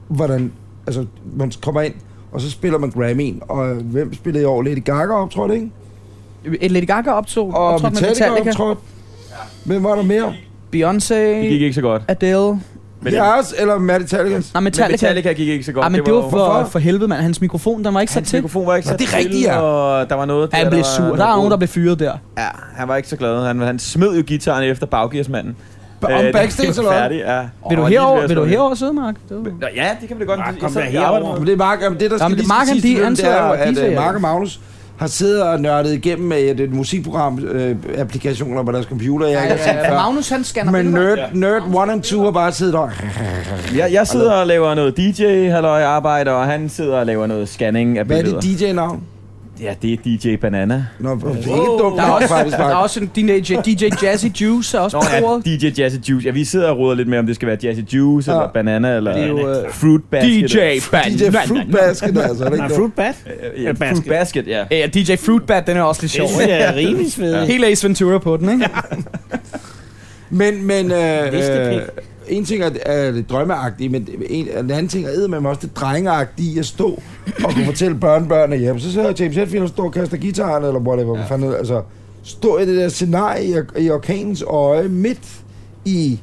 [SPEAKER 2] hvordan, altså, man kommer ind, og så spiller man Grammy'en, og hvem spillede i år? Lady Gaga optrådte, ikke?
[SPEAKER 19] Et Øh, Lady Gaga optog,
[SPEAKER 2] Og
[SPEAKER 19] optrådte med
[SPEAKER 2] Metallica
[SPEAKER 19] Metallica.
[SPEAKER 2] optrådte. Hvem var der mere?
[SPEAKER 19] Beyoncé.
[SPEAKER 2] Det gik
[SPEAKER 1] ikke så godt.
[SPEAKER 19] Adele.
[SPEAKER 2] Men Jeres, eller Metallica?
[SPEAKER 19] Nej, Metallica.
[SPEAKER 1] Men Metallica gik ikke så godt.
[SPEAKER 19] Ah, men det,
[SPEAKER 1] Det var
[SPEAKER 19] var,
[SPEAKER 1] jo-
[SPEAKER 19] for,
[SPEAKER 1] Hvorfor?
[SPEAKER 19] for helvede, mand. Hans mikrofon, den var ikke sat til.
[SPEAKER 1] mikrofon var ikke sat
[SPEAKER 19] Nå, det er
[SPEAKER 1] til,
[SPEAKER 19] rigtigt, ja.
[SPEAKER 1] og der var noget...
[SPEAKER 19] Han blev sur. Der er nogen, der blev fyret der.
[SPEAKER 1] Ja, han var ikke så glad. Han, han smed jo gitaren efter baggearsmanden.
[SPEAKER 19] Om
[SPEAKER 1] Øh, det-
[SPEAKER 19] backstage,
[SPEAKER 1] det var
[SPEAKER 19] eller hvad?
[SPEAKER 1] færdigt, ja.
[SPEAKER 19] Vil du
[SPEAKER 1] Og lige ved
[SPEAKER 19] herover,
[SPEAKER 1] at
[SPEAKER 19] vil du
[SPEAKER 1] slå
[SPEAKER 19] herover sidde, Mark? Det var-
[SPEAKER 1] Nå, ja, det kan vi da godt.
[SPEAKER 2] Mark,
[SPEAKER 1] Jeg
[SPEAKER 2] kom
[SPEAKER 1] sad
[SPEAKER 2] da
[SPEAKER 1] og arbejdede
[SPEAKER 2] herover. Men det er Mark, jamen, det der
[SPEAKER 1] Nå,
[SPEAKER 2] skal
[SPEAKER 1] men
[SPEAKER 2] lige
[SPEAKER 1] Mark,
[SPEAKER 2] skal
[SPEAKER 1] han-
[SPEAKER 2] siges til
[SPEAKER 1] de-
[SPEAKER 2] dem,
[SPEAKER 1] han
[SPEAKER 2] det er
[SPEAKER 1] sidder
[SPEAKER 2] jo,
[SPEAKER 1] og
[SPEAKER 2] at
[SPEAKER 1] DJ'er.
[SPEAKER 2] øh, Mark og Magnus har siddet og nørdet igennem med et, et musikprogram, øh, applikationer på deres computer. Jeg
[SPEAKER 19] Ja,
[SPEAKER 2] ikke har set
[SPEAKER 19] ja,
[SPEAKER 2] før.
[SPEAKER 19] ja. øh, Magnus, han scanner
[SPEAKER 2] Men
[SPEAKER 19] billeder.
[SPEAKER 2] nerd, nerd one and two har bare siddet og...
[SPEAKER 1] Jeg, jeg sidder og laver noget DJ, halløj arbejde, og han sidder og laver noget scanning af
[SPEAKER 2] Hvad er
[SPEAKER 1] billeder.
[SPEAKER 2] dit DJ-navn?
[SPEAKER 1] Ja, det er DJ Banana.
[SPEAKER 2] Nå, det er ikke
[SPEAKER 19] der, er også, der er også en DJ, DJ Jazzy Juice er også
[SPEAKER 1] Nå,
[SPEAKER 19] på
[SPEAKER 1] ja,
[SPEAKER 19] bordet.
[SPEAKER 1] DJ Jazzy Juice. Ja, vi sidder og roder lidt med, om det skal være Jazzy Juice,
[SPEAKER 19] Ja.
[SPEAKER 1] eller Banana, eller
[SPEAKER 19] Det er jo, øh,
[SPEAKER 1] Fruit Basket.
[SPEAKER 19] DJ Banana. DJ Fruit Basket,
[SPEAKER 2] altså, er det ikke
[SPEAKER 1] Nej,
[SPEAKER 2] det?
[SPEAKER 1] Fruit Bat? Ja, Fruit Basket, ja.
[SPEAKER 19] Ja, DJ Fruitbat, den er også lidt sjov.
[SPEAKER 1] Det synes jeg er rimelig svedig.
[SPEAKER 19] Helt Ace Ventura på den, ikke?
[SPEAKER 2] Men, men øh,
[SPEAKER 19] Listepik.
[SPEAKER 2] øh, en ting er, er det drømmeagtige, men en, en anden ting er med også det drengeagtige i at stå og kunne fortælle børnebørn, at jamen, så sidder James Hetfield og står og kaster gitaren, eller whatever, ja. hvad fanden hedder, altså, stå i det der scenarie i, i orkanens øje, midt i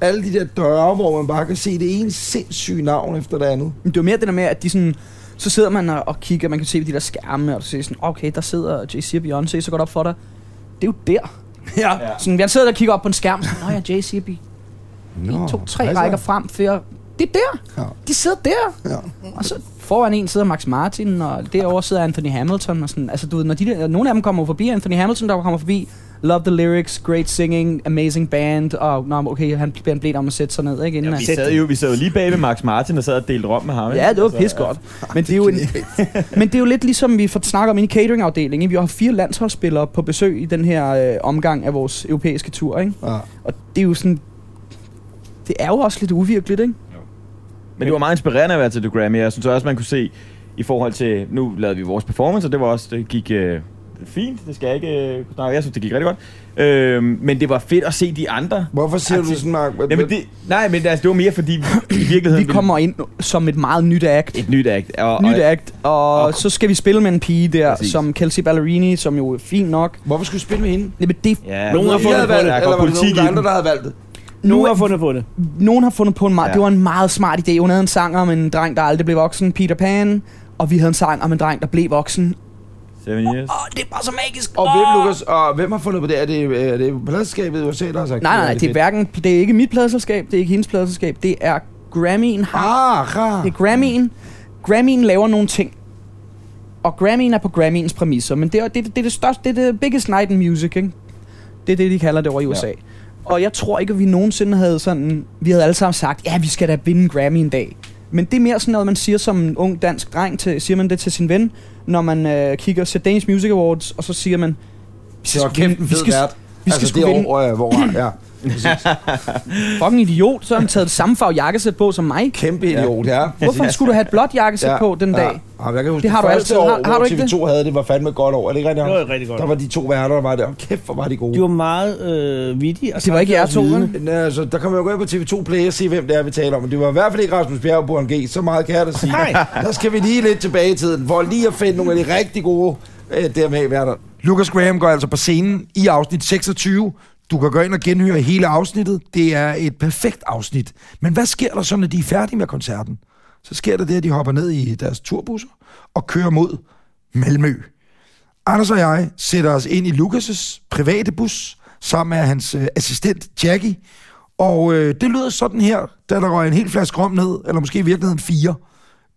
[SPEAKER 2] alle de der døre, hvor man bare kan se det ene sindssyge navn efter det andet.
[SPEAKER 19] Men det var mere det der med, at de sådan... Så sidder man og og kigger, man kan se på de der skærme, og du ser sådan, okay, der sidder Jay-Z og Beyoncé, så går det op for dig. Det er jo der. Ja. Sådan, jeg sidder der og kigger op på en skærm, sådan, nå ja, Jay-Z og Bey-
[SPEAKER 2] Nå,
[SPEAKER 19] to, tre
[SPEAKER 2] altså.
[SPEAKER 19] rækker frem, fire. Det er der. Ja. De sidder der.
[SPEAKER 2] Ja.
[SPEAKER 19] Og så foran en sidder Max Martin, og derovre sidder Anthony Hamilton. Og sådan. Altså, du ved, når de der, nogle af dem kommer forbi, Anthony Hamilton, der kommer forbi, love the lyrics, great singing, amazing band, og nå, okay, han, han blev om at sætte sig ned, ikke? Inden
[SPEAKER 1] Ja, vi,
[SPEAKER 19] han-
[SPEAKER 1] sad jo, vi sad jo lige bag ved Max Martin og sad og delte rom med ham. ikke?
[SPEAKER 19] Ja, det var
[SPEAKER 1] Altså,
[SPEAKER 19] pis godt. Men det er jo, en, men det er jo lidt ligesom, vi får snakket om inde i cateringafdelingen. ikke? Vi har fire landsholdsspillere på besøg i den her øh, omgang af vores europæiske tur, ikke?
[SPEAKER 2] Ja.
[SPEAKER 19] Og det er jo sådan... Det er jo også lidt uvirkeligt, ikke?
[SPEAKER 1] Men det var meget inspirerende at være til The Grammy. Jeg synes også, man kunne se i forhold til... Nu lavede vi vores performance, og det var også... Det gik øh, fint. Det skal jeg ikke øh, kunne snakke. Jeg synes, det gik rigtig godt. Øh, men det var fedt at se de andre.
[SPEAKER 2] Hvorfor siger du sådan, Mark?
[SPEAKER 1] Nej, men, det, nej, men altså, det var mere fordi, vi- i virkeligheden...
[SPEAKER 19] Vi kommer ind som et meget nyt act.
[SPEAKER 1] Et nyt act. Og,
[SPEAKER 19] Nyt
[SPEAKER 1] og-
[SPEAKER 19] act, og, og så skal vi spille med en pige der,
[SPEAKER 1] Præcis.
[SPEAKER 19] Præcis. som Kelsey Ballerini, som jo er fin nok.
[SPEAKER 2] Hvorfor skulle vi spille med hende?
[SPEAKER 19] Jamen, det...
[SPEAKER 1] Ja, Nogen har fundet på det. Der går politik i den.
[SPEAKER 2] valgt det?
[SPEAKER 19] Nogen
[SPEAKER 3] har fundet på det.
[SPEAKER 19] Nogen har fundet på en meget...
[SPEAKER 3] Ja.
[SPEAKER 19] Ja. Det var en meget smart idé. Hun havde en sang om en dreng, der aldrig blev voksen, Peter Pan. Og vi havde en sang om en dreng, der blev voksen.
[SPEAKER 1] Seven years.
[SPEAKER 19] det er bare så magisk.
[SPEAKER 2] Og hvem, Lukas, og hvem har fundet på det? Er det, øh, er det pladskabet i USA, der har sagt
[SPEAKER 19] Nej, nej, nej,
[SPEAKER 2] er
[SPEAKER 19] det er
[SPEAKER 2] fedt?
[SPEAKER 19] hverken, det er ikke mit pladselskab, det er ikke hendes pladselskab, det er Grammy'en
[SPEAKER 2] har. Ah,
[SPEAKER 19] det er Grammy'en. Grammy'en laver nogle ting. Og Grammy'en er på Grammy'ens præmisser, men det er det, det, er det største, det er det biggest night in music, ikke? Det er det, de kalder det over i USA. Ja. Og jeg tror ikke, at vi nogensinde havde sådan, vi havde alle sammen sagt, ja, vi skal da vinde en Grammy en dag. Men det er mere sådan noget, man siger som en ung dansk dreng, til, siger man det til sin ven, når man øh, kigger til Danish Music Awards, og så siger man, vi
[SPEAKER 2] Det var
[SPEAKER 19] sgu vinde-
[SPEAKER 2] kæmpe fed vært.
[SPEAKER 19] Vi skal
[SPEAKER 2] Altså,
[SPEAKER 19] sgu
[SPEAKER 2] det
[SPEAKER 19] vinde.
[SPEAKER 2] år, øh, hvor, ja. Præcis.
[SPEAKER 19] Fucking idiot, så har han taget det samme farve jakkesæt på som mig.
[SPEAKER 2] Kæmpe idiot, ja.
[SPEAKER 19] Hvorfor skulle du have et blåt jakkesæt ja. på den dag?
[SPEAKER 2] Ja. Ja, jeg kan huske,
[SPEAKER 19] Det har du
[SPEAKER 2] det første
[SPEAKER 19] altid.
[SPEAKER 2] år,
[SPEAKER 19] Har- har du
[SPEAKER 2] hvor
[SPEAKER 19] ikke
[SPEAKER 2] TV2 havde det, var fandme et godt år. Er det ikke rigtigt?
[SPEAKER 3] Det var
[SPEAKER 2] Anders?
[SPEAKER 3] et rigtig godt
[SPEAKER 2] Der
[SPEAKER 3] år.
[SPEAKER 2] var de to værter, der var der. Hold Kæft, hvor var de gode.
[SPEAKER 3] De var meget øh, vittige. og samtidig også vidende.
[SPEAKER 2] Næ, altså, der kan man jo gå ind på TV2 Play og se, hvem det er, vi taler om. Men det var i hvert fald ikke Rasmus Bjerg og Burhan G. Så meget kan jeg da sige.
[SPEAKER 3] Nej.
[SPEAKER 2] Der skal vi lige lidt tilbage i tiden, for lige at finde nogle af de rigtig gode øh, dermed værter. Lucas Graham går altså på scenen i afsnit 26. Du kan gå ind og genhøre hele afsnittet. Det er et perfekt afsnit. Men hvad sker der så, når de er færdige med koncerten? Så sker der det, at de hopper ned i deres turbusser og kører mod Malmø. Anders og jeg sætter os ind i Lukas' private bus sammen med hans øh, assistent Jackie. Og øh, det lyder sådan her, da der røg en hel flaske rom ned, eller måske i virkeligheden fire,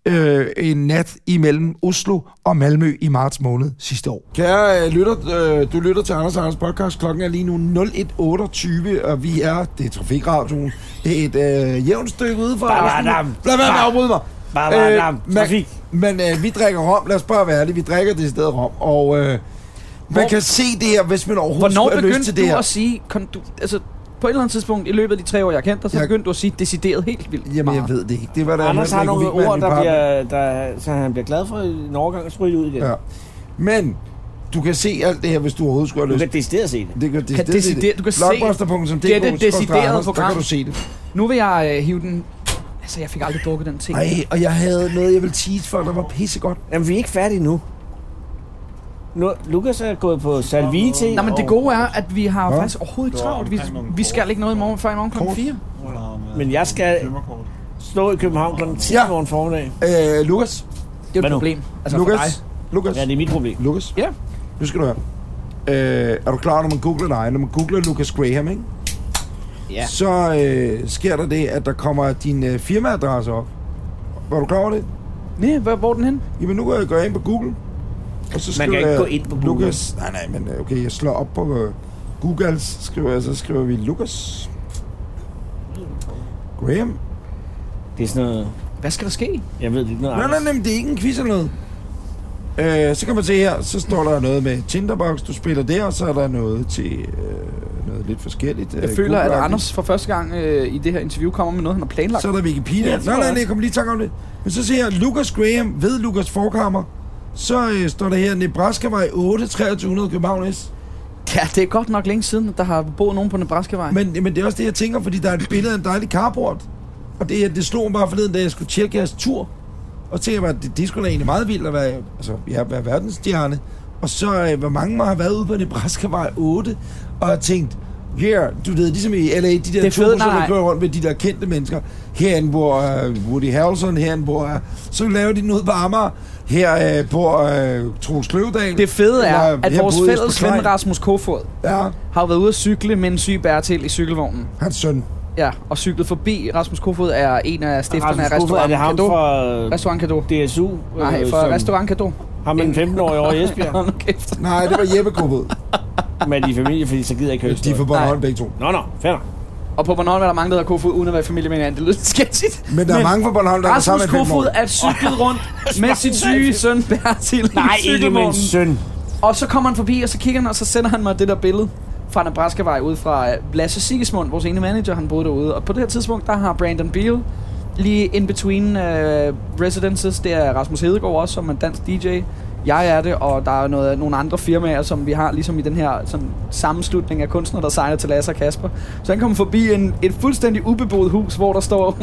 [SPEAKER 7] øh, en nat imellem Oslo og Malmø i marts måned sidste år.
[SPEAKER 2] Kære øh, lytter, øh, du lytter til Anders og Anders podcast. Klokken er lige nu 01.28, og vi er, det er Trafikradioen, det er et øh, jævnt stykke ude fra...
[SPEAKER 7] Babadam.
[SPEAKER 2] aften. Lad være med at afbryde mig.
[SPEAKER 7] Babadam.
[SPEAKER 2] men- Men øh, vi drikker rom, lad os bare være det, vi drikker det sted rom, og... Øh, man kan se det her, hvis man overhovedet
[SPEAKER 19] Hvornår
[SPEAKER 2] skulle have
[SPEAKER 19] begyndte
[SPEAKER 2] lyst til det
[SPEAKER 19] du
[SPEAKER 2] her.
[SPEAKER 19] at sige, kon, du, altså på et eller andet tidspunkt i løbet af de tre år, jeg kendte dig, så begyndte du at sige decideret helt vildt
[SPEAKER 2] Jamen, jeg ved det ikke. Det var da
[SPEAKER 3] Anders har nogle ord, der
[SPEAKER 2] bliver...
[SPEAKER 3] bliver, der, så han bliver glad for en overgang og så ryger det ud igen.
[SPEAKER 2] Ja. Men du kan se alt det her, hvis du overhovedet skulle have
[SPEAKER 3] Du
[SPEAKER 2] lyst.
[SPEAKER 3] kan decideret se det.
[SPEAKER 2] Det kan
[SPEAKER 19] Kan
[SPEAKER 2] decideret se
[SPEAKER 19] decideret,
[SPEAKER 2] det.
[SPEAKER 19] du kan se
[SPEAKER 2] Blockbuster.dk,
[SPEAKER 19] det er det
[SPEAKER 2] skråstreg
[SPEAKER 19] deciderede
[SPEAKER 2] Anders, der
[SPEAKER 19] program.
[SPEAKER 2] kan du se det.
[SPEAKER 19] Nu vil jeg øh, hive den... Altså, jeg fik aldrig drukket den ting.
[SPEAKER 2] Nej, og jeg havde noget, jeg ville tease for, der var pissegodt.
[SPEAKER 3] Jamen, vi er ikke færdige nu. nu Lukas er gået på Salvite.
[SPEAKER 19] Nej, men det gode er, at vi har
[SPEAKER 3] Nå.
[SPEAKER 19] faktisk overhovedet ikke travlt. Vi, vi skal ikke noget i morgen, før i morgen kl. 4.
[SPEAKER 3] Men jeg skal stå i København kl. 10 ja. morgen formiddag.
[SPEAKER 2] Øh, Lukas.
[SPEAKER 19] Det er jo et problem. Altså
[SPEAKER 2] Lukas,
[SPEAKER 19] for dig.
[SPEAKER 2] Lukas.
[SPEAKER 3] Ja, det er mit problem.
[SPEAKER 2] Lukas.
[SPEAKER 19] Ja.
[SPEAKER 2] Nu skal du høre. Øh, er du klar, når man googler dig? Når man googler Lucas Graham, ikke?
[SPEAKER 19] Ja.
[SPEAKER 2] Så øh, sker der det, at der kommer din øh, firmaadresse op. Var du klar over det?
[SPEAKER 19] Nej, hvor, hvor er den hen?
[SPEAKER 2] Jamen, nu kan jeg gå ind på Google. Og så
[SPEAKER 3] Man
[SPEAKER 2] skriver
[SPEAKER 3] kan ikke
[SPEAKER 2] jeg
[SPEAKER 3] gå ind på Google.
[SPEAKER 2] Lucas. Nej, nej, men øh, okay, jeg slår op på øh, Google, så skriver jeg, så skriver vi Lucas. Graham.
[SPEAKER 3] Det er sådan noget...
[SPEAKER 19] Hvad skal der ske?
[SPEAKER 3] Jeg ved det ikke noget.
[SPEAKER 2] Nej, nej, nej, men det er ikke en quiz eller noget. Øh, så kan man se her, så står der noget med Tinderbox, du spiller der, og så er der noget til øh, noget lidt forskelligt. øh,
[SPEAKER 19] Jeg føler, at Anders for første gang øh, i det her interview kommer med noget, han har planlagt.
[SPEAKER 2] Så er der Wikipedia. Ja, nej, nej, nej, jeg kom lige i tanke om det. Men så ser jeg Lucas Graham ved Lucas Forkammer. Så øh, står der her, Nebraska-vej 8, 2300 København S.
[SPEAKER 19] Ja, det er godt nok længe siden, at der har boet nogen på Nebraska-vej.
[SPEAKER 2] Men, men det er også det, jeg tænker, fordi der er et billede af en dejlig carport. Og det, her, det slog mig bare forleden, da jeg skulle tjekke jeres tur. Og så tænkte jeg bare, det, det skulle da egentlig meget vildt at være, altså, ja, være verdensstjerne. Og så, øh, hvor mange må have været ude på Nebraska-vej 8, og har tænkt, yeah, du ved, ligesom i LA, de der
[SPEAKER 19] er fedt,
[SPEAKER 2] ture,
[SPEAKER 19] nej,
[SPEAKER 2] der
[SPEAKER 19] nej.
[SPEAKER 2] kører rundt med de der kendte mennesker. Herinde bor øh, Woody Harrelson, herinde bor... Øh, så laver de noget på Amager. Her øh, bor øh, Troels Kløvedal.
[SPEAKER 19] Det fede er,
[SPEAKER 2] Eller,
[SPEAKER 19] at
[SPEAKER 2] her
[SPEAKER 19] vores
[SPEAKER 2] boede Jesper
[SPEAKER 19] fælles
[SPEAKER 2] Klein.
[SPEAKER 19] ven Rasmus Kofod
[SPEAKER 2] ja.
[SPEAKER 19] har jo været ude at cykle med en syg bærtil i cykelvognen.
[SPEAKER 2] Hans søn.
[SPEAKER 19] Ja, og cyklet forbi. Rasmus Kofod er en af stifterne af
[SPEAKER 3] Rasmus Kofod, er
[SPEAKER 19] Restaurant
[SPEAKER 3] det ham
[SPEAKER 19] Cadeau.
[SPEAKER 3] fra øh,
[SPEAKER 19] Restaurant Cadeau.
[SPEAKER 3] DSU?
[SPEAKER 19] Nej,
[SPEAKER 3] øh,
[SPEAKER 19] fra
[SPEAKER 3] som-
[SPEAKER 19] Restaurant Cadeau.
[SPEAKER 3] Har man 15 år over i Esbjerg?
[SPEAKER 19] Hold nu kæft.
[SPEAKER 2] Nej, det var Jeppe Kofod.
[SPEAKER 3] Men de er familie, fordi så gider jeg ikke høre
[SPEAKER 2] De er fra Bornholm begge to.
[SPEAKER 3] Nå, nå, fair nok.
[SPEAKER 19] Og på Bornholm er der mange, der hedder Kofod, uden at være i familie med hinanden. Det lyder skætsigt.
[SPEAKER 2] Men der er mange fra Bornholm, der er
[SPEAKER 19] Rasmus
[SPEAKER 2] sammen med fem
[SPEAKER 19] Kofod
[SPEAKER 2] år.
[SPEAKER 19] er cyklet rundt med sit syge søn Bertil i
[SPEAKER 3] Nej, ikke med
[SPEAKER 19] cykelvognen.
[SPEAKER 3] en søn.
[SPEAKER 19] Og så kommer han forbi, og så kigger han, og så sender han mig det der billede fra Nebraska-vej ud fra øh, Lasse Sigismund, vores ene manager, han boede derude. Og på det her tidspunkt, der har Brandon Beal lige in between øh, residences, det er Rasmus Hedegaard også, som er en dansk DJ. Jeg er det, og der er noget, nogle andre firmaer, som vi har ligesom i den her sådan, sammenslutning af kunstnere, der signer til Lasse og Kasper. Så han kommer forbi en, et fuldstændig ubeboet hus, hvor der står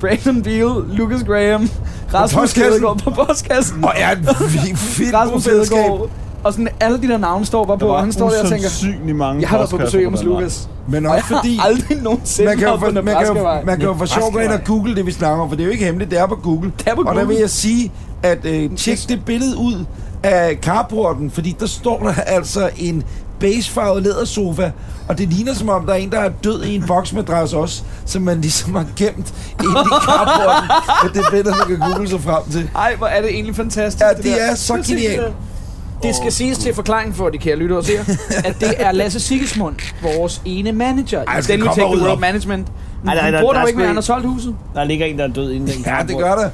[SPEAKER 19] Brandon Beal, Lucas Graham, Rasmus
[SPEAKER 2] postkassen.
[SPEAKER 19] Hedegaard på postkassen.
[SPEAKER 2] Og er et vi- fedt
[SPEAKER 19] Rasmus
[SPEAKER 2] bofællesskab.
[SPEAKER 19] Hedegaard. Og sådan alle de der navne står bare
[SPEAKER 2] Der
[SPEAKER 19] på,
[SPEAKER 2] var
[SPEAKER 19] og han står der og
[SPEAKER 2] usandsynlig
[SPEAKER 19] tænker,
[SPEAKER 2] mange
[SPEAKER 19] jeg har været på
[SPEAKER 2] postkasser
[SPEAKER 19] besøg
[SPEAKER 2] på
[SPEAKER 19] hos
[SPEAKER 2] den vej."
[SPEAKER 19] Lukas.
[SPEAKER 2] Men
[SPEAKER 19] Og
[SPEAKER 2] også
[SPEAKER 19] jeg har
[SPEAKER 2] fordi-
[SPEAKER 19] aldrig nogensinde
[SPEAKER 2] Man kan jo
[SPEAKER 19] været
[SPEAKER 2] for,
[SPEAKER 19] på
[SPEAKER 2] man kan jo,
[SPEAKER 19] Nebraskavej.
[SPEAKER 2] man kan jo for sjov gå ind og
[SPEAKER 19] Nebraskavej.
[SPEAKER 2] google det, vi snakker om, for det er jo ikke hemmeligt, det er på Google. Det er
[SPEAKER 19] på
[SPEAKER 2] Og der vil
[SPEAKER 19] Google.
[SPEAKER 2] jeg sige, at øh, tjek det billede ud af carporten, fordi der står der altså en beigefarvet lædersofa, og det ligner som om, der er en, der er død i en boksmadras også, som man ligesom har gemt ind i carporten. Men det er bedre, man kan google sig frem til.
[SPEAKER 19] Ej, hvor er det egentlig fantastisk.
[SPEAKER 2] Ja, det
[SPEAKER 19] der.
[SPEAKER 2] er så genialt.
[SPEAKER 19] Det skal siges til forklaring for de kære lyttere og seere, at det er Lasse Sigismund, vores ene manager
[SPEAKER 3] Ej,
[SPEAKER 19] i
[SPEAKER 3] jeg skal
[SPEAKER 19] Denver
[SPEAKER 3] komme
[SPEAKER 19] Tech
[SPEAKER 3] ud
[SPEAKER 19] World
[SPEAKER 3] op.
[SPEAKER 19] Management.
[SPEAKER 3] Ej, nej,
[SPEAKER 19] Han
[SPEAKER 3] der-
[SPEAKER 19] bor
[SPEAKER 3] der
[SPEAKER 19] der
[SPEAKER 3] er
[SPEAKER 19] jo ikke
[SPEAKER 3] sgu
[SPEAKER 19] med, han har
[SPEAKER 3] ikke-
[SPEAKER 19] solgt huset.
[SPEAKER 3] Der ligger en, der er død inden den
[SPEAKER 2] Ja,
[SPEAKER 3] kamp,
[SPEAKER 2] det
[SPEAKER 3] hvor-
[SPEAKER 2] gør der.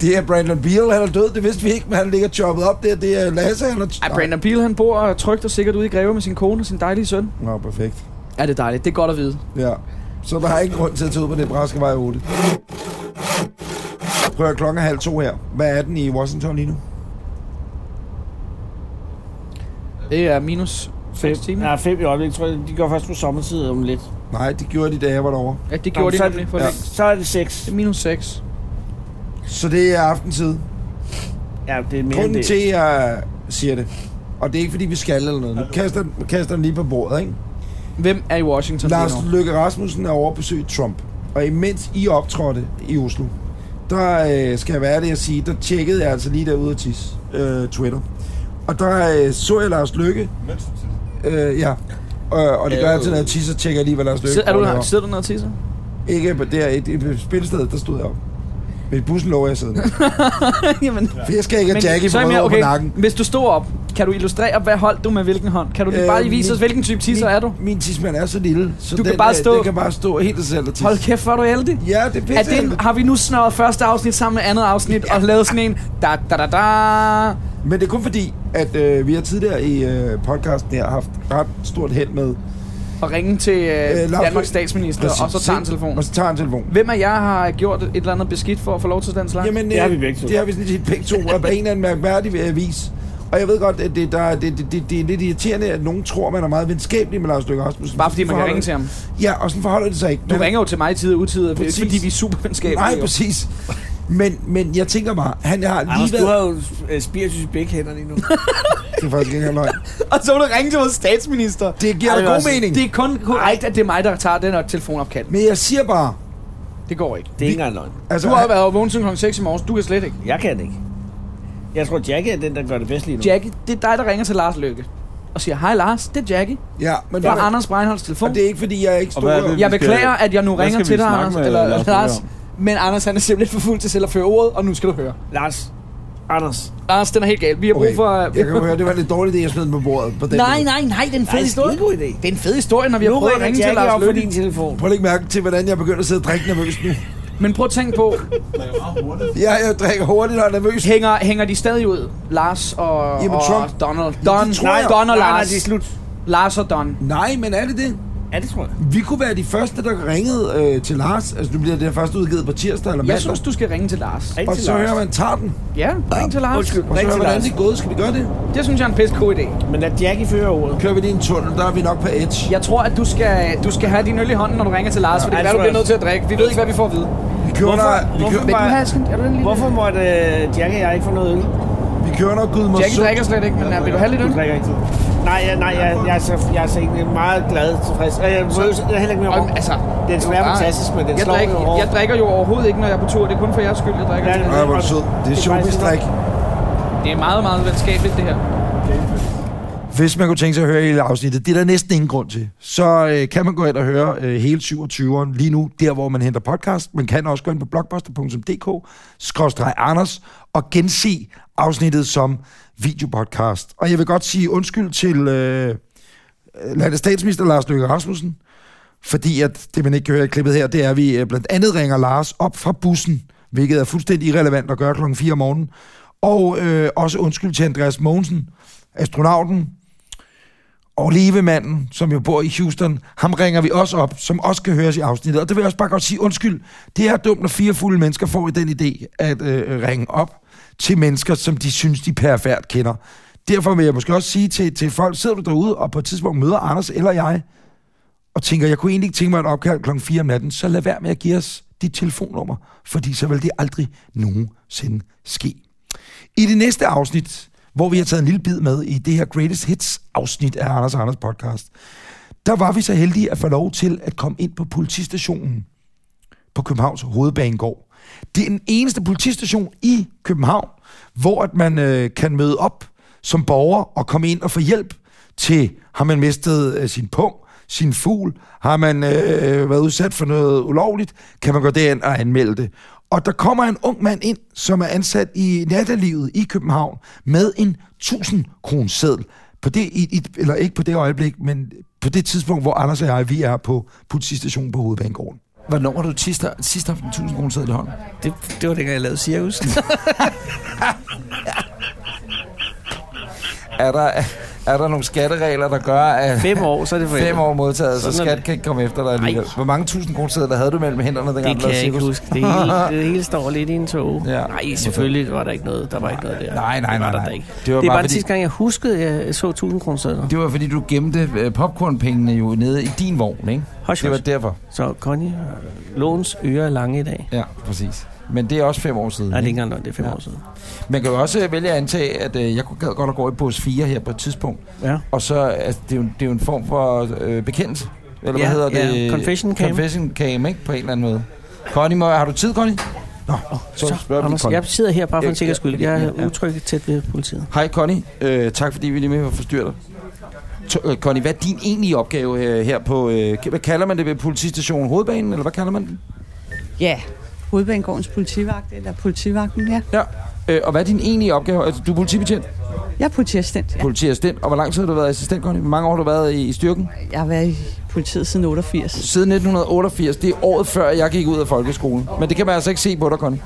[SPEAKER 2] Det er Brandon Beal, han er død, det vidste vi ikke, men han ligger choppet op der. Det er Lasse, han er...
[SPEAKER 19] Ej, Brandon Beal, han bor trygt og sikkert ude i Greve med sin kone og sin dejlige søn.
[SPEAKER 2] Nå, perfekt.
[SPEAKER 19] Ja, det er dejligt. Det er godt at vide.
[SPEAKER 2] Ja. Så der er ikke grund til at tage ud på Nebraska-vej 8. Prøv at klokken er halv to her. Hvad er den i Washington lige nu?
[SPEAKER 19] Det er minus 6 timer.
[SPEAKER 3] Ja, fem i øjeblikket, tror jeg. De gør først på sommertid om lidt.
[SPEAKER 2] Nej, det gjorde de, da jeg var derovre.
[SPEAKER 19] Ja, det gjorde de
[SPEAKER 3] så,
[SPEAKER 19] nemlig for
[SPEAKER 3] ja.
[SPEAKER 19] længst.
[SPEAKER 3] så er det 6. Det
[SPEAKER 19] er minus 6.
[SPEAKER 2] Så det er aftentid.
[SPEAKER 3] Ja, det er mere end
[SPEAKER 2] Grunden
[SPEAKER 3] det.
[SPEAKER 2] til, at jeg siger det, og det er ikke, fordi vi skal eller noget. Nu kaster, den- kaster den lige på bordet, ikke?
[SPEAKER 19] Hvem er i Washington
[SPEAKER 2] Lars
[SPEAKER 19] lige nu?
[SPEAKER 2] Løkke Rasmussen er over at besøge Trump. Og imens I optrådte i Oslo, der øh, skal jeg være det at sige, der tjekkede jeg altså lige derude og tis, øh, Twitter. Og der øh, så jeg Lars Løkke. Øh, ja. Øh, og det gør jeg altid, når jeg tisser, tjekker jeg lige, hvad Lars Løkke
[SPEAKER 19] Sidder, er
[SPEAKER 2] går
[SPEAKER 19] du,
[SPEAKER 2] deroppe.
[SPEAKER 19] sidder du nede og tisser?
[SPEAKER 2] Ikke på der, et, et spilsted, der stod jeg op. Men i bussen lå jeg siddende.
[SPEAKER 19] Jamen.
[SPEAKER 2] For jeg skal ikke have Jackie på
[SPEAKER 19] så er jeg
[SPEAKER 2] rød
[SPEAKER 19] mere-
[SPEAKER 2] over på nakken.
[SPEAKER 19] Hvis du står op, kan du illustrere, hvad hold du med hvilken hånd? Kan du øh, bare lige vise os, hvilken type tisser
[SPEAKER 2] min,
[SPEAKER 19] er du?
[SPEAKER 2] Min tidsmand er så lille, så
[SPEAKER 19] Du
[SPEAKER 2] den,
[SPEAKER 19] kan bare
[SPEAKER 2] øh,
[SPEAKER 19] stå-
[SPEAKER 2] den kan bare stå helt af sig selv og tisse.
[SPEAKER 19] Hold kæft, hvor er du heldig.
[SPEAKER 2] Ja, det er pisse
[SPEAKER 19] er den,
[SPEAKER 2] heldigt.
[SPEAKER 19] Har vi nu snøret første afsnit sammen med andet afsnit og lavet sådan en... Da, da, da, da.
[SPEAKER 2] Men det er kun fordi, at øh, vi har tidligere i øh, podcasten her haft ret stort held med...
[SPEAKER 19] At ringe til øh,
[SPEAKER 2] Lars Løkke-
[SPEAKER 19] Danmarks statsminister,
[SPEAKER 2] Præcis.
[SPEAKER 19] og så tager han telefonen.
[SPEAKER 2] Og så tager han telefonen.
[SPEAKER 19] Hvem af jer har gjort et eller andet beskidt for at få lov til den slags?
[SPEAKER 2] Jamen, øh, Det har vi sådan set begge to, og på en eller anden mærkværdig øh, vis. Og jeg ved godt, at det, der, er- det, det, det, det er lidt irriterende, at nogen tror, man er meget venskabelig med Lars Løkke Rasmussen.
[SPEAKER 19] Bare fordi man kan
[SPEAKER 2] Forholder-
[SPEAKER 19] ringe til ham.
[SPEAKER 2] Ja, og sådan forholder det sig ikke.
[SPEAKER 19] Du
[SPEAKER 2] Man-
[SPEAKER 19] ringer jo til mig i tid og utid, og det er ikke,
[SPEAKER 2] Præcis.
[SPEAKER 19] fordi vi er supervenskabelige.
[SPEAKER 2] Nej,
[SPEAKER 19] jo.
[SPEAKER 2] præcis. Men, men jeg tænker bare, han har lige
[SPEAKER 3] Anders,
[SPEAKER 2] været...
[SPEAKER 3] du har jo øh, spiritus i begge hænder lige nu.
[SPEAKER 2] Det er faktisk ikke engang løgn.
[SPEAKER 19] Og så vil du ringe til vores statsminister.
[SPEAKER 2] Det giver
[SPEAKER 19] Ej,
[SPEAKER 2] da
[SPEAKER 19] det
[SPEAKER 2] god
[SPEAKER 19] er også-
[SPEAKER 2] mening.
[SPEAKER 19] Det er kun korrekt, at det er mig, der tager den her telefonopkald.
[SPEAKER 2] Men jeg siger bare...
[SPEAKER 19] Det går ikke.
[SPEAKER 3] Det er ikke engang løgn.
[SPEAKER 19] Altså, du har været vågen siden kl. 6 i morges. Du kan slet ikke.
[SPEAKER 3] Jeg kan det ikke. Jeg tror, Jackie er den, der gør det bedst lige nu.
[SPEAKER 19] Jackie, det er dig, der ringer til Lars Løkke. Og siger, hej Lars, det er Jackie.
[SPEAKER 2] Ja, men
[SPEAKER 19] det er
[SPEAKER 2] hvad-
[SPEAKER 19] Anders Breinholds telefon.
[SPEAKER 2] Og det er ikke, fordi jeg er ikke
[SPEAKER 19] Og hvad er det,
[SPEAKER 2] stor...
[SPEAKER 19] vi Jeg skal- beklager, at jeg nu hvad ringer skal til vi dig, snakke Anders, med eller Lars Løkke Lars. om? Men Anders, han er simpelthen for fuld til selv at føre ordet, og nu skal du høre.
[SPEAKER 3] Lars. Anders.
[SPEAKER 19] Lars, den er helt gal. Vi har brug for... øh,
[SPEAKER 2] Jeg kan jo høre, det var lidt dårligt, det jeg smed på bordet. På den
[SPEAKER 19] Nej,
[SPEAKER 2] måde.
[SPEAKER 19] nej, nej, det er en fed
[SPEAKER 3] Nej,
[SPEAKER 19] historie.
[SPEAKER 3] skidegod idé.
[SPEAKER 19] Det er en fed historie, når vi har
[SPEAKER 3] Nu
[SPEAKER 19] prøvet at
[SPEAKER 3] ringer
[SPEAKER 19] ringe til
[SPEAKER 3] Jackie
[SPEAKER 19] Lars
[SPEAKER 3] op på
[SPEAKER 19] Løkke.
[SPEAKER 3] din telefon.
[SPEAKER 2] Prøv at lægge mærke til, hvordan jeg begynder at sidde og drikke nervøs nu.
[SPEAKER 19] Men prøv at tænke på...
[SPEAKER 2] Ja, jeg drikker hurtigt og er nervøs.
[SPEAKER 19] Hænger, hænger de stadig ud? Lars og,
[SPEAKER 2] Jamen,
[SPEAKER 19] og
[SPEAKER 2] Trump.
[SPEAKER 19] Donald. Don,
[SPEAKER 2] Det tror
[SPEAKER 19] nej,
[SPEAKER 2] jeg.
[SPEAKER 19] Don og
[SPEAKER 2] Nej, nej,
[SPEAKER 19] Lars.
[SPEAKER 2] det er
[SPEAKER 3] slut.
[SPEAKER 19] Lars og Don.
[SPEAKER 2] Nej, men er det det?
[SPEAKER 3] Ja, det tror jeg.
[SPEAKER 2] Vi kunne være de første, der ringede øh, til Lars. Altså, nu bliver det første udgivet på tirsdag eller mandag.
[SPEAKER 19] Jeg synes, du skal ringe til Lars.
[SPEAKER 2] og så hører man, tager den.
[SPEAKER 19] Ja, ring til Lars.
[SPEAKER 2] Undskyld, Og så hører hvordan det er gået. Skal vi gøre det?
[SPEAKER 19] Det synes jeg er en pisse god idé.
[SPEAKER 3] Men lad Jackie føre ordet.
[SPEAKER 2] Kører vi det i en tunnel, der er vi nok på edge.
[SPEAKER 19] Jeg tror, at du skal, du skal have din øl i hånden, når du ringer til Lars,
[SPEAKER 3] Ja.
[SPEAKER 19] ja. for det
[SPEAKER 3] Ja,
[SPEAKER 19] er,
[SPEAKER 3] det
[SPEAKER 19] du
[SPEAKER 3] tror
[SPEAKER 19] bliver
[SPEAKER 3] jeg
[SPEAKER 19] nødt til at drikke. Vi ved ikke, hvad vi får at vide.
[SPEAKER 2] Vi kører
[SPEAKER 3] Hvorfor-
[SPEAKER 2] der, vi
[SPEAKER 3] hvorfor
[SPEAKER 2] kører,
[SPEAKER 3] Vil du have
[SPEAKER 19] sådan, er du
[SPEAKER 3] Hvorfor måtte uh, Jackie og jeg ikke få noget øl?
[SPEAKER 2] vi kører der Gud mod
[SPEAKER 19] Jackie drikker slet ikke, men øh, vil du have lidt øl?
[SPEAKER 3] Du drikker ikke. Nej, jeg, nej, jeg, jeg, er så, jeg er så egentlig meget glad tilfreds. Og jeg, så, jeg er heller ikke mere rum.
[SPEAKER 19] Altså,
[SPEAKER 3] den
[SPEAKER 19] det er jo
[SPEAKER 3] smager
[SPEAKER 19] bare-
[SPEAKER 3] fantastisk, men den
[SPEAKER 19] jeg
[SPEAKER 3] slår
[SPEAKER 19] drikker,
[SPEAKER 3] mig over.
[SPEAKER 19] Jeg drikker jo overhovedet ikke, når jeg er på tur. Det er kun for jeres skyld, jeg drikker.
[SPEAKER 3] Ja,
[SPEAKER 19] til.
[SPEAKER 3] det-
[SPEAKER 2] Ej, hvor er du sød. Det er showbiz-drik.
[SPEAKER 19] Det er meget, meget venskabeligt, det her.
[SPEAKER 2] Hvis man kunne tænke sig at høre hele afsnittet, det er der næsten ingen grund til, så øh, kan man gå ind og høre øh, hele 27'eren lige nu, der hvor man henter podcast. Man kan også gå ind på blogbuster.dk, skråstreg Anders, og gense afsnittet som videopodcast. Og jeg vil godt sige undskyld til øh, landets statsminister Lars Løkke Rasmussen, fordi at det, man ikke kan høre i klippet her, det er, at vi øh, blandt andet ringer Lars op fra bussen, hvilket er fuldstændig irrelevant at gøre klokken 4 om morgenen. Og øh, også undskyld til Andreas Mogensen, astronauten, og levemanden, som jo bor i Houston, ham ringer vi også op, som også kan høres i afsnittet. Og det vil jeg også bare godt sige, undskyld, det er dumt, når fire fulde mennesker får i den idé at øh, ringe op til mennesker, som de synes, de perfekt kender. Derfor vil jeg måske også sige til, til folk, sidder du derude og på et tidspunkt møder Anders eller jeg, og tænker, jeg kunne egentlig ikke tænke mig et opkald klokken 4 om natten, så lad være med at give os dit telefonnummer, fordi så vil det aldrig nogensinde ske. I det næste afsnit, hvor vi har taget en lille bid med i det her Greatest Hits afsnit af Anders og Anders podcast, der var vi så heldige at få lov til at komme ind på politistationen på Københavns Hovedbanegård. Det er den eneste politistation i København, hvor at man øh, kan møde op som borger og komme ind og få hjælp til, har man mistet øh, sin pung, sin fugl, har man øh, været udsat for noget ulovligt, kan man gå derind og anmelde det. Og der kommer en ung mand ind, som er ansat i nattelivet i København med en 1000 kroner seddel. På det, i, i, eller ikke på det øjeblik, men på det tidspunkt, hvor Anders og jeg, vi er på politistationen på Hovedbanegården. Hvornår har du sidst, sidst haft en 1000 kroner sædel i hånden?
[SPEAKER 3] Det, det var dengang, jeg lavede cirkus.
[SPEAKER 5] Er der, er der nogle skatteregler, der gør, at
[SPEAKER 3] Fem år, så er det forældet.
[SPEAKER 5] fem år modtaget, så
[SPEAKER 3] Sådan er
[SPEAKER 5] skat
[SPEAKER 3] det.
[SPEAKER 5] kan ikke komme efter dig alligevel? Hvor mange tusind kroner sædler havde du mellem hænderne, dengang
[SPEAKER 3] det
[SPEAKER 5] du
[SPEAKER 3] kan
[SPEAKER 5] lavede
[SPEAKER 3] jeg ikke
[SPEAKER 5] cirkus?
[SPEAKER 3] huske. Det hele, det hele står lidt i en tog. Ja. Nej, selvfølgelig var der ikke noget. Der var ikke noget der.
[SPEAKER 5] Nej, nej,
[SPEAKER 3] Det var
[SPEAKER 5] nej,
[SPEAKER 3] der
[SPEAKER 5] nej.
[SPEAKER 3] da ikke.
[SPEAKER 5] Det var
[SPEAKER 3] Det var, det er
[SPEAKER 5] bare
[SPEAKER 3] bare den
[SPEAKER 5] fordi-
[SPEAKER 3] sidste gang, jeg huskede, jeg så 1000 kroner sædler.
[SPEAKER 5] Det var, fordi du gemte øh, popcornpengene jo nede i din vogn, ikke?
[SPEAKER 3] Hush,
[SPEAKER 5] det var
[SPEAKER 3] hush.
[SPEAKER 5] derfor.
[SPEAKER 3] Så Connie, øh, låns ører er lange i dag.
[SPEAKER 5] Ja, præcis. Men det er også fem år siden.
[SPEAKER 3] Nej, det
[SPEAKER 5] ikke?
[SPEAKER 3] er ikke engang løgn, det er fem ja. år siden.
[SPEAKER 5] Man kan jo også øh, vælge at antage, at øh, jeg kunne gad godt at gå i bås 4 her på et tidspunkt.
[SPEAKER 3] Ja.
[SPEAKER 5] Og så, altså, det er jo, det er jo en form for øh, bekendt. Eller
[SPEAKER 3] Ja,
[SPEAKER 5] hvad hedder
[SPEAKER 3] ja,
[SPEAKER 5] det?
[SPEAKER 3] confession cam.
[SPEAKER 5] Confession cam, ikke? På en eller anden måde. Connie, må, har du tid, Connie? Nå, så, så spørger
[SPEAKER 3] Anders, jeg sidder her bare for en sikkerheds skyld. Jeg er
[SPEAKER 5] Ja.
[SPEAKER 3] utryg tæt ved politiet.
[SPEAKER 5] Hej Connie, øh, tak fordi vi lige med forstyrrer dig. To- øh, Connie, hvad er din egentlige opgave øh, her, her på... Øh, hvad kalder man det ved politistationen? Hovedbanen, eller hvad kalder man den?
[SPEAKER 4] Ja, Hovedbanegårdens politivagt, eller politivagten, ja.
[SPEAKER 2] Ja. Øh, og hvad er din egentlige opgave? Altså, du er politibetjent?
[SPEAKER 4] Jeg er politiassistent, ja.
[SPEAKER 2] Politiassistent. Og hvor lang tid har du været assistent, Conny? Hvor mange år har du været i, i styrken?
[SPEAKER 4] Jeg har været i politiet siden 88.
[SPEAKER 2] Siden 1988. Det er året før, jeg gik ud af folkeskolen. Men det kan man altså ikke se på dig, Conny.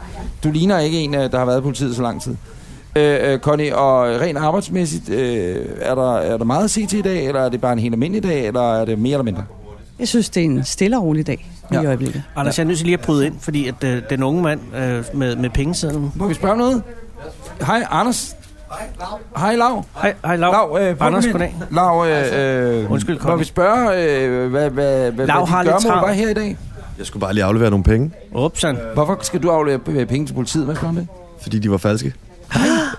[SPEAKER 2] Du ligner ikke en, øh, der har været i politiet så lang tid. Øh, øh, Conny, og rent arbejdsmæssigt, øh, er, der, er der meget at se til i dag? Eller er det bare en helt almindelig dag? Eller er det mere eller mindre?
[SPEAKER 4] Jeg synes, det er en stille og rolig dag ja. i øjeblikket.
[SPEAKER 3] Anders, jeg er nødt til lige at bryde ind, fordi at, øh, den unge mand øh, med, med pengesedlen...
[SPEAKER 2] Må vi spørge om noget? Hej, Anders. Hej, Lav.
[SPEAKER 3] Hej, hej Lav.
[SPEAKER 2] Lav øh,
[SPEAKER 3] Anders,
[SPEAKER 2] Bryggemann.
[SPEAKER 3] goddag.
[SPEAKER 2] Lav, øh, øh,
[SPEAKER 3] Altså, Undskyld,
[SPEAKER 2] må
[SPEAKER 3] Conny.
[SPEAKER 2] vi spørge, øh, hvad, hvad, hvad,
[SPEAKER 3] Lav har
[SPEAKER 2] hvad
[SPEAKER 3] lidt
[SPEAKER 2] dit gørmål
[SPEAKER 3] travlt.
[SPEAKER 2] var her i dag?
[SPEAKER 6] Jeg skulle bare lige aflevere nogle penge.
[SPEAKER 3] Upsen.
[SPEAKER 2] Hvorfor skal du aflevere øh, penge til politiet? Hvad skal du om det?
[SPEAKER 6] Fordi de var falske.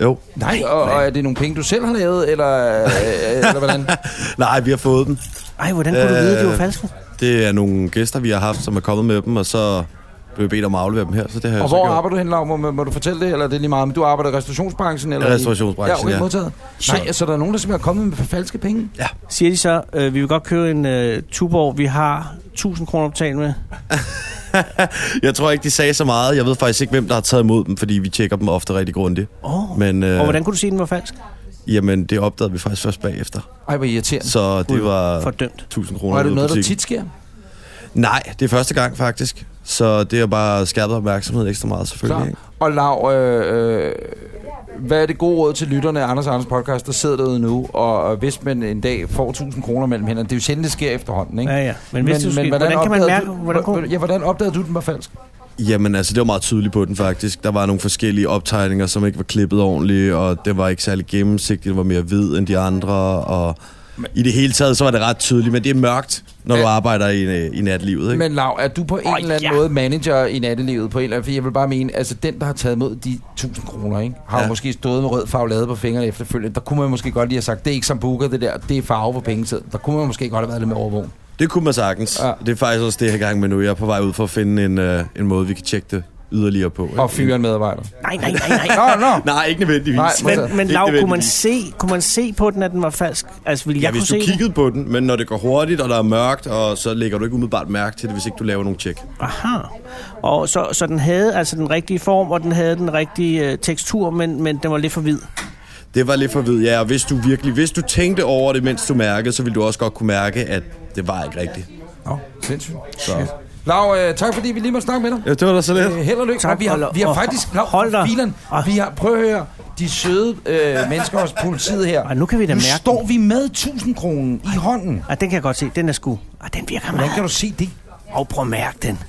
[SPEAKER 6] Jo.
[SPEAKER 2] Nej, og, og er det nogle penge, du selv har lavet, eller, øh, eller hvordan?
[SPEAKER 6] Nej, vi har fået dem. Øh,
[SPEAKER 3] Ej, hvordan kunne du vide, de var falske?
[SPEAKER 6] Det er nogle gæster, vi har haft, som er kommet med dem, og så blev jeg bedt om at aflevere dem her, så det har
[SPEAKER 2] Og
[SPEAKER 6] jeg så
[SPEAKER 2] hvor
[SPEAKER 6] gjort.
[SPEAKER 2] arbejder du hen, Lav? Må, må du fortælle det, eller er det lige meget? Men du arbejder i restaurationsbranchen? Eller
[SPEAKER 6] Ja, restaurationsbranchen,
[SPEAKER 2] i... Ja, okay,
[SPEAKER 6] ja.
[SPEAKER 2] modtaget. Nej, så altså, der er nogen, der simpelthen er kommet med falske penge?
[SPEAKER 6] Ja.
[SPEAKER 3] Siger de så, øh, vi vil godt købe en øh, Tuborg, vi har 1000 kroner betalt med.
[SPEAKER 6] Jeg tror ikke, de sagde så meget. Jeg ved faktisk ikke, hvem der har taget imod dem, fordi vi tjekker dem ofte rigtig grundigt.
[SPEAKER 3] Oh.
[SPEAKER 6] Men, øh,
[SPEAKER 3] Og hvordan kunne du sige, den var falsk?
[SPEAKER 6] Jamen, det opdagede vi faktisk først bagefter.
[SPEAKER 2] Ej, hvor irriterende.
[SPEAKER 6] Så det var
[SPEAKER 3] Fordømt.
[SPEAKER 6] 1000 kroner.
[SPEAKER 2] Og er det
[SPEAKER 6] ud af
[SPEAKER 2] noget, der
[SPEAKER 6] butikken.
[SPEAKER 2] tit sker?
[SPEAKER 6] Nej, det er første gang faktisk. Så det har bare skærpet opmærksomheden ekstra meget, selvfølgelig.
[SPEAKER 2] Klar.
[SPEAKER 6] Ikke?
[SPEAKER 2] Og Lav, øh, øh, hvad er det gode råd til lytterne af Anders og Anders podcast, der sidder derude nu, og hvis man en dag får 1000 kroner mellem hænderne, det er jo sjældent, det sker efterhånden, ikke?
[SPEAKER 6] Ja, ja. Men hvis det sker- hvordan kan man
[SPEAKER 2] opdagede
[SPEAKER 6] mærke-
[SPEAKER 2] Du,
[SPEAKER 6] hvordan
[SPEAKER 2] hvordan, hvordan, ja, hvordan opdagede du, den var falsk?
[SPEAKER 6] Jamen altså, det var meget tydeligt på den faktisk. Der var nogle forskellige optegninger, som ikke var klippet ordentligt, og det var ikke særlig gennemsigtigt, det var mere hvid end de andre, og i det hele taget, så var det ret tydeligt, men det er mørkt, når du arbejder i, i natlivet, ikke?
[SPEAKER 2] Men Lav, er du på en oh, eller anden ja. måde manager i nattelivet? På en eller anden, for jeg vil bare mene, altså den, der har taget mod de 1000 kroner, ikke, har ja.
[SPEAKER 6] Ja.
[SPEAKER 2] måske stået med rød farvelade på fingrene efterfølgende. Der kunne man måske godt lige have sagt, det er ikke som booker det der, det er farve på pengesedlen. Der kunne man måske godt have været lidt mere overvågen.
[SPEAKER 6] Det kunne man sagtens. Ja. Det er faktisk også det, jeg er i gang med nu. Jeg er på vej ud for at finde en, øh, en måde, vi kan tjekke det yderligere på. Ikke?
[SPEAKER 2] Og fyre en medarbejder.
[SPEAKER 3] Nej, nej, nej,
[SPEAKER 2] nej. nå, nå.
[SPEAKER 6] Nej, ikke nødvendigvis.
[SPEAKER 3] men, men, men
[SPEAKER 6] Ikke
[SPEAKER 3] Lav, kunne man,
[SPEAKER 6] nødvendigvis.
[SPEAKER 3] se, kunne man se på den, at den var falsk? Altså, ville
[SPEAKER 6] Ja,
[SPEAKER 3] jeg kunne
[SPEAKER 6] hvis du
[SPEAKER 3] se
[SPEAKER 6] kiggede på den, men når det går hurtigt, og der er mørkt, og så lægger du ikke umiddelbart mærke til det, hvis ikke du laver nogle tjek.
[SPEAKER 3] Aha. Og så, så den havde altså den rigtige form, og den havde den rigtige øh, tekstur, men, men den var lidt for hvid.
[SPEAKER 6] Det var lidt for vidt, ja, og hvis du virkelig, hvis du tænkte over det, mens du mærkede, så ville du også godt kunne mærke, at det var ikke rigtigt.
[SPEAKER 2] Nå, sindssygt. Så. Lav, øh, tak fordi vi lige måtte snakke med dig.
[SPEAKER 6] Ja, det var da så lidt.
[SPEAKER 2] Øh, held og lykke.
[SPEAKER 6] Tak,
[SPEAKER 2] og vi har,
[SPEAKER 6] og-
[SPEAKER 2] vi har
[SPEAKER 6] og-
[SPEAKER 2] faktisk... Lav, hold dig. Filen, vi har, prøv at høre, de søde øh, mennesker hos politiet her. Og
[SPEAKER 3] nu kan vi da
[SPEAKER 2] nu
[SPEAKER 3] mærke
[SPEAKER 2] står vi med 1000 kronen i hånden.
[SPEAKER 3] Ah, den kan jeg godt se. Den er sku. Ah, den virker
[SPEAKER 2] Hvordan kan du se det?
[SPEAKER 3] Og prøv at mærke den.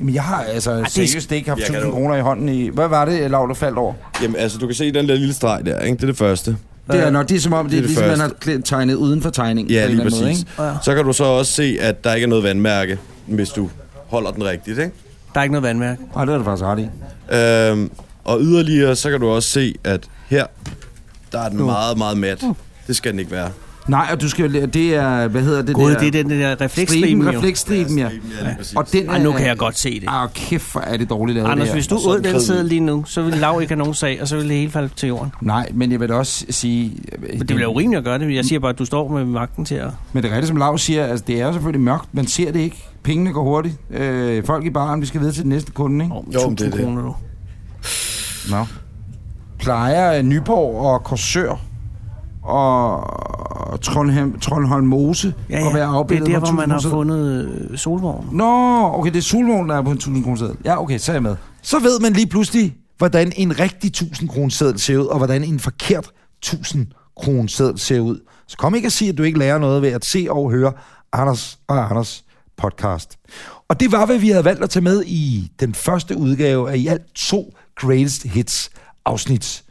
[SPEAKER 2] Jamen, jeg har altså
[SPEAKER 6] det
[SPEAKER 2] ah,
[SPEAKER 6] er
[SPEAKER 2] seriøst
[SPEAKER 6] sk-
[SPEAKER 2] ikke haft
[SPEAKER 6] Jeg kan
[SPEAKER 2] 1000
[SPEAKER 6] da-
[SPEAKER 2] kroner i hånden i... Hvad var det, Lav, du faldt over?
[SPEAKER 6] Jamen, altså, du kan se den der lille streg der, ikke? Det er det første.
[SPEAKER 2] Det er nok, det er som om, det, det er ligesom, man
[SPEAKER 6] første.
[SPEAKER 2] har klæ- tegnet uden for tegningen.
[SPEAKER 6] Ja,
[SPEAKER 2] på en
[SPEAKER 6] lige
[SPEAKER 2] eller anden
[SPEAKER 6] præcis.
[SPEAKER 2] Måde,
[SPEAKER 6] Så kan du så også se, at der ikke er noget vandmærke, hvis du holder den rigtigt, ikke?
[SPEAKER 3] Der er ikke noget vandmærke.
[SPEAKER 2] Nej, det er du faktisk ret i.
[SPEAKER 6] Øhm, og yderligere, så kan du også se, at her, der er den
[SPEAKER 2] Nu.
[SPEAKER 6] meget, meget mat. Det skal den ikke være.
[SPEAKER 2] ikke? Nej, og du skal jo... Det er... Hvad hedder det
[SPEAKER 6] Gud,
[SPEAKER 2] der?
[SPEAKER 6] det er den
[SPEAKER 3] der
[SPEAKER 22] refleksstriben,
[SPEAKER 2] Striben,
[SPEAKER 22] jo.
[SPEAKER 2] refleksstriben, ja.
[SPEAKER 6] ja,
[SPEAKER 2] Og den
[SPEAKER 3] Ah, nu kan jeg godt se det.
[SPEAKER 2] Ah, kæft, hvor er det dårligt lavet
[SPEAKER 3] Anders,
[SPEAKER 2] det her.
[SPEAKER 3] hvis du ud den sidder lige nu, så vil Lav ikke have nogen sag, og så vil det hele falde til jorden.
[SPEAKER 2] Nej, men jeg vil da også sige...
[SPEAKER 3] Men det bliver urimeligt at gøre det. Jeg siger bare, at du står med magten til at...
[SPEAKER 2] Men det er rigtigt, som Lav siger, altså, det er jo selvfølgelig mørkt. Man ser det ikke. Pengene går hurtigt. Øh, folk i baren, vi skal videre til den næste kunde, ikke?
[SPEAKER 6] men Jo, 1000 det er det. kroner,
[SPEAKER 3] du.
[SPEAKER 2] Nå. Plejer øh, Nyborg og Korsør og Trondheim, Trondholm Mose
[SPEAKER 3] Ja, ja.
[SPEAKER 2] at være
[SPEAKER 3] det er
[SPEAKER 2] afbildet
[SPEAKER 3] der,
[SPEAKER 2] på
[SPEAKER 3] hvor man har
[SPEAKER 2] 1000 kroner
[SPEAKER 3] fundet øh, solvognen.
[SPEAKER 2] Nå, okay, det er solvognen, der er på en 1000 kroner seddel. Ja, okay, så er jeg med. Så ved man lige pludselig, hvordan en rigtig 1000 kroner seddel ser ud, og hvordan en forkert 1000 kroner seddel ser ud. Så kom ikke og sige, at du ikke lærer noget ved at se og høre Anders og Anders podcast. Og det var, hvad vi havde valgt at tage med i den første udgave af i alt to Greatest Hits afsnit.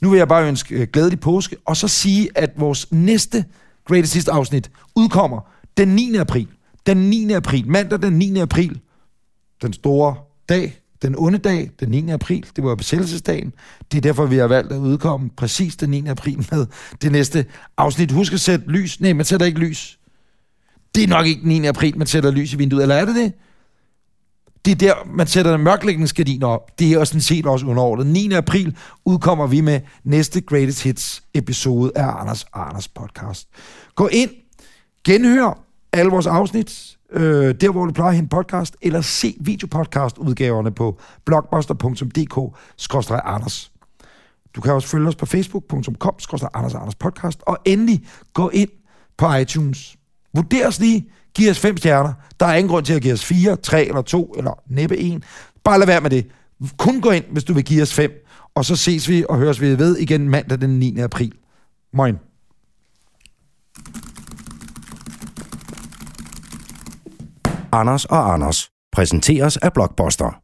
[SPEAKER 2] Nu vil jeg bare ønske øh, glædelig påske, og så sige, at vores næste Greatest Hits afsnit udkommer den 9. april. Den 9. april, mandag den 9. april, den store dag, den onde dag, den 9. april, det var besættelsesdagen. Det er derfor, vi har valgt at udkomme præcis den 9. april med det næste afsnit. Husk at sætte lys. Nej, man sætter ikke lys. Det er nok ikke den 9. april, man sætter lys i vinduet, eller er det det? Det er der, man sætter mørklægningsgardiner op. Det er også sådan set også underordnet. 9. april udkommer vi med næste Greatest Hits episode af Anders og Anders podcast. Gå ind, genhør alle vores afsnit, øh, der hvor du plejer at hente podcast, eller se videopodcastudgaverne på blogbuster.dk-anders. Du kan også følge os på facebook.com Anders Anders Podcast, og endelig gå ind på iTunes. Vurder os lige, giv os fem stjerner. Der er ingen grund til at give os fire, tre eller to, eller næppe en. Bare lad være med det. Kun gå ind, hvis du vil give os fem. Og så ses vi og høres vi ved igen mandag den 9. april. Moin.
[SPEAKER 7] Anders og Anders præsenteres af Blockbuster.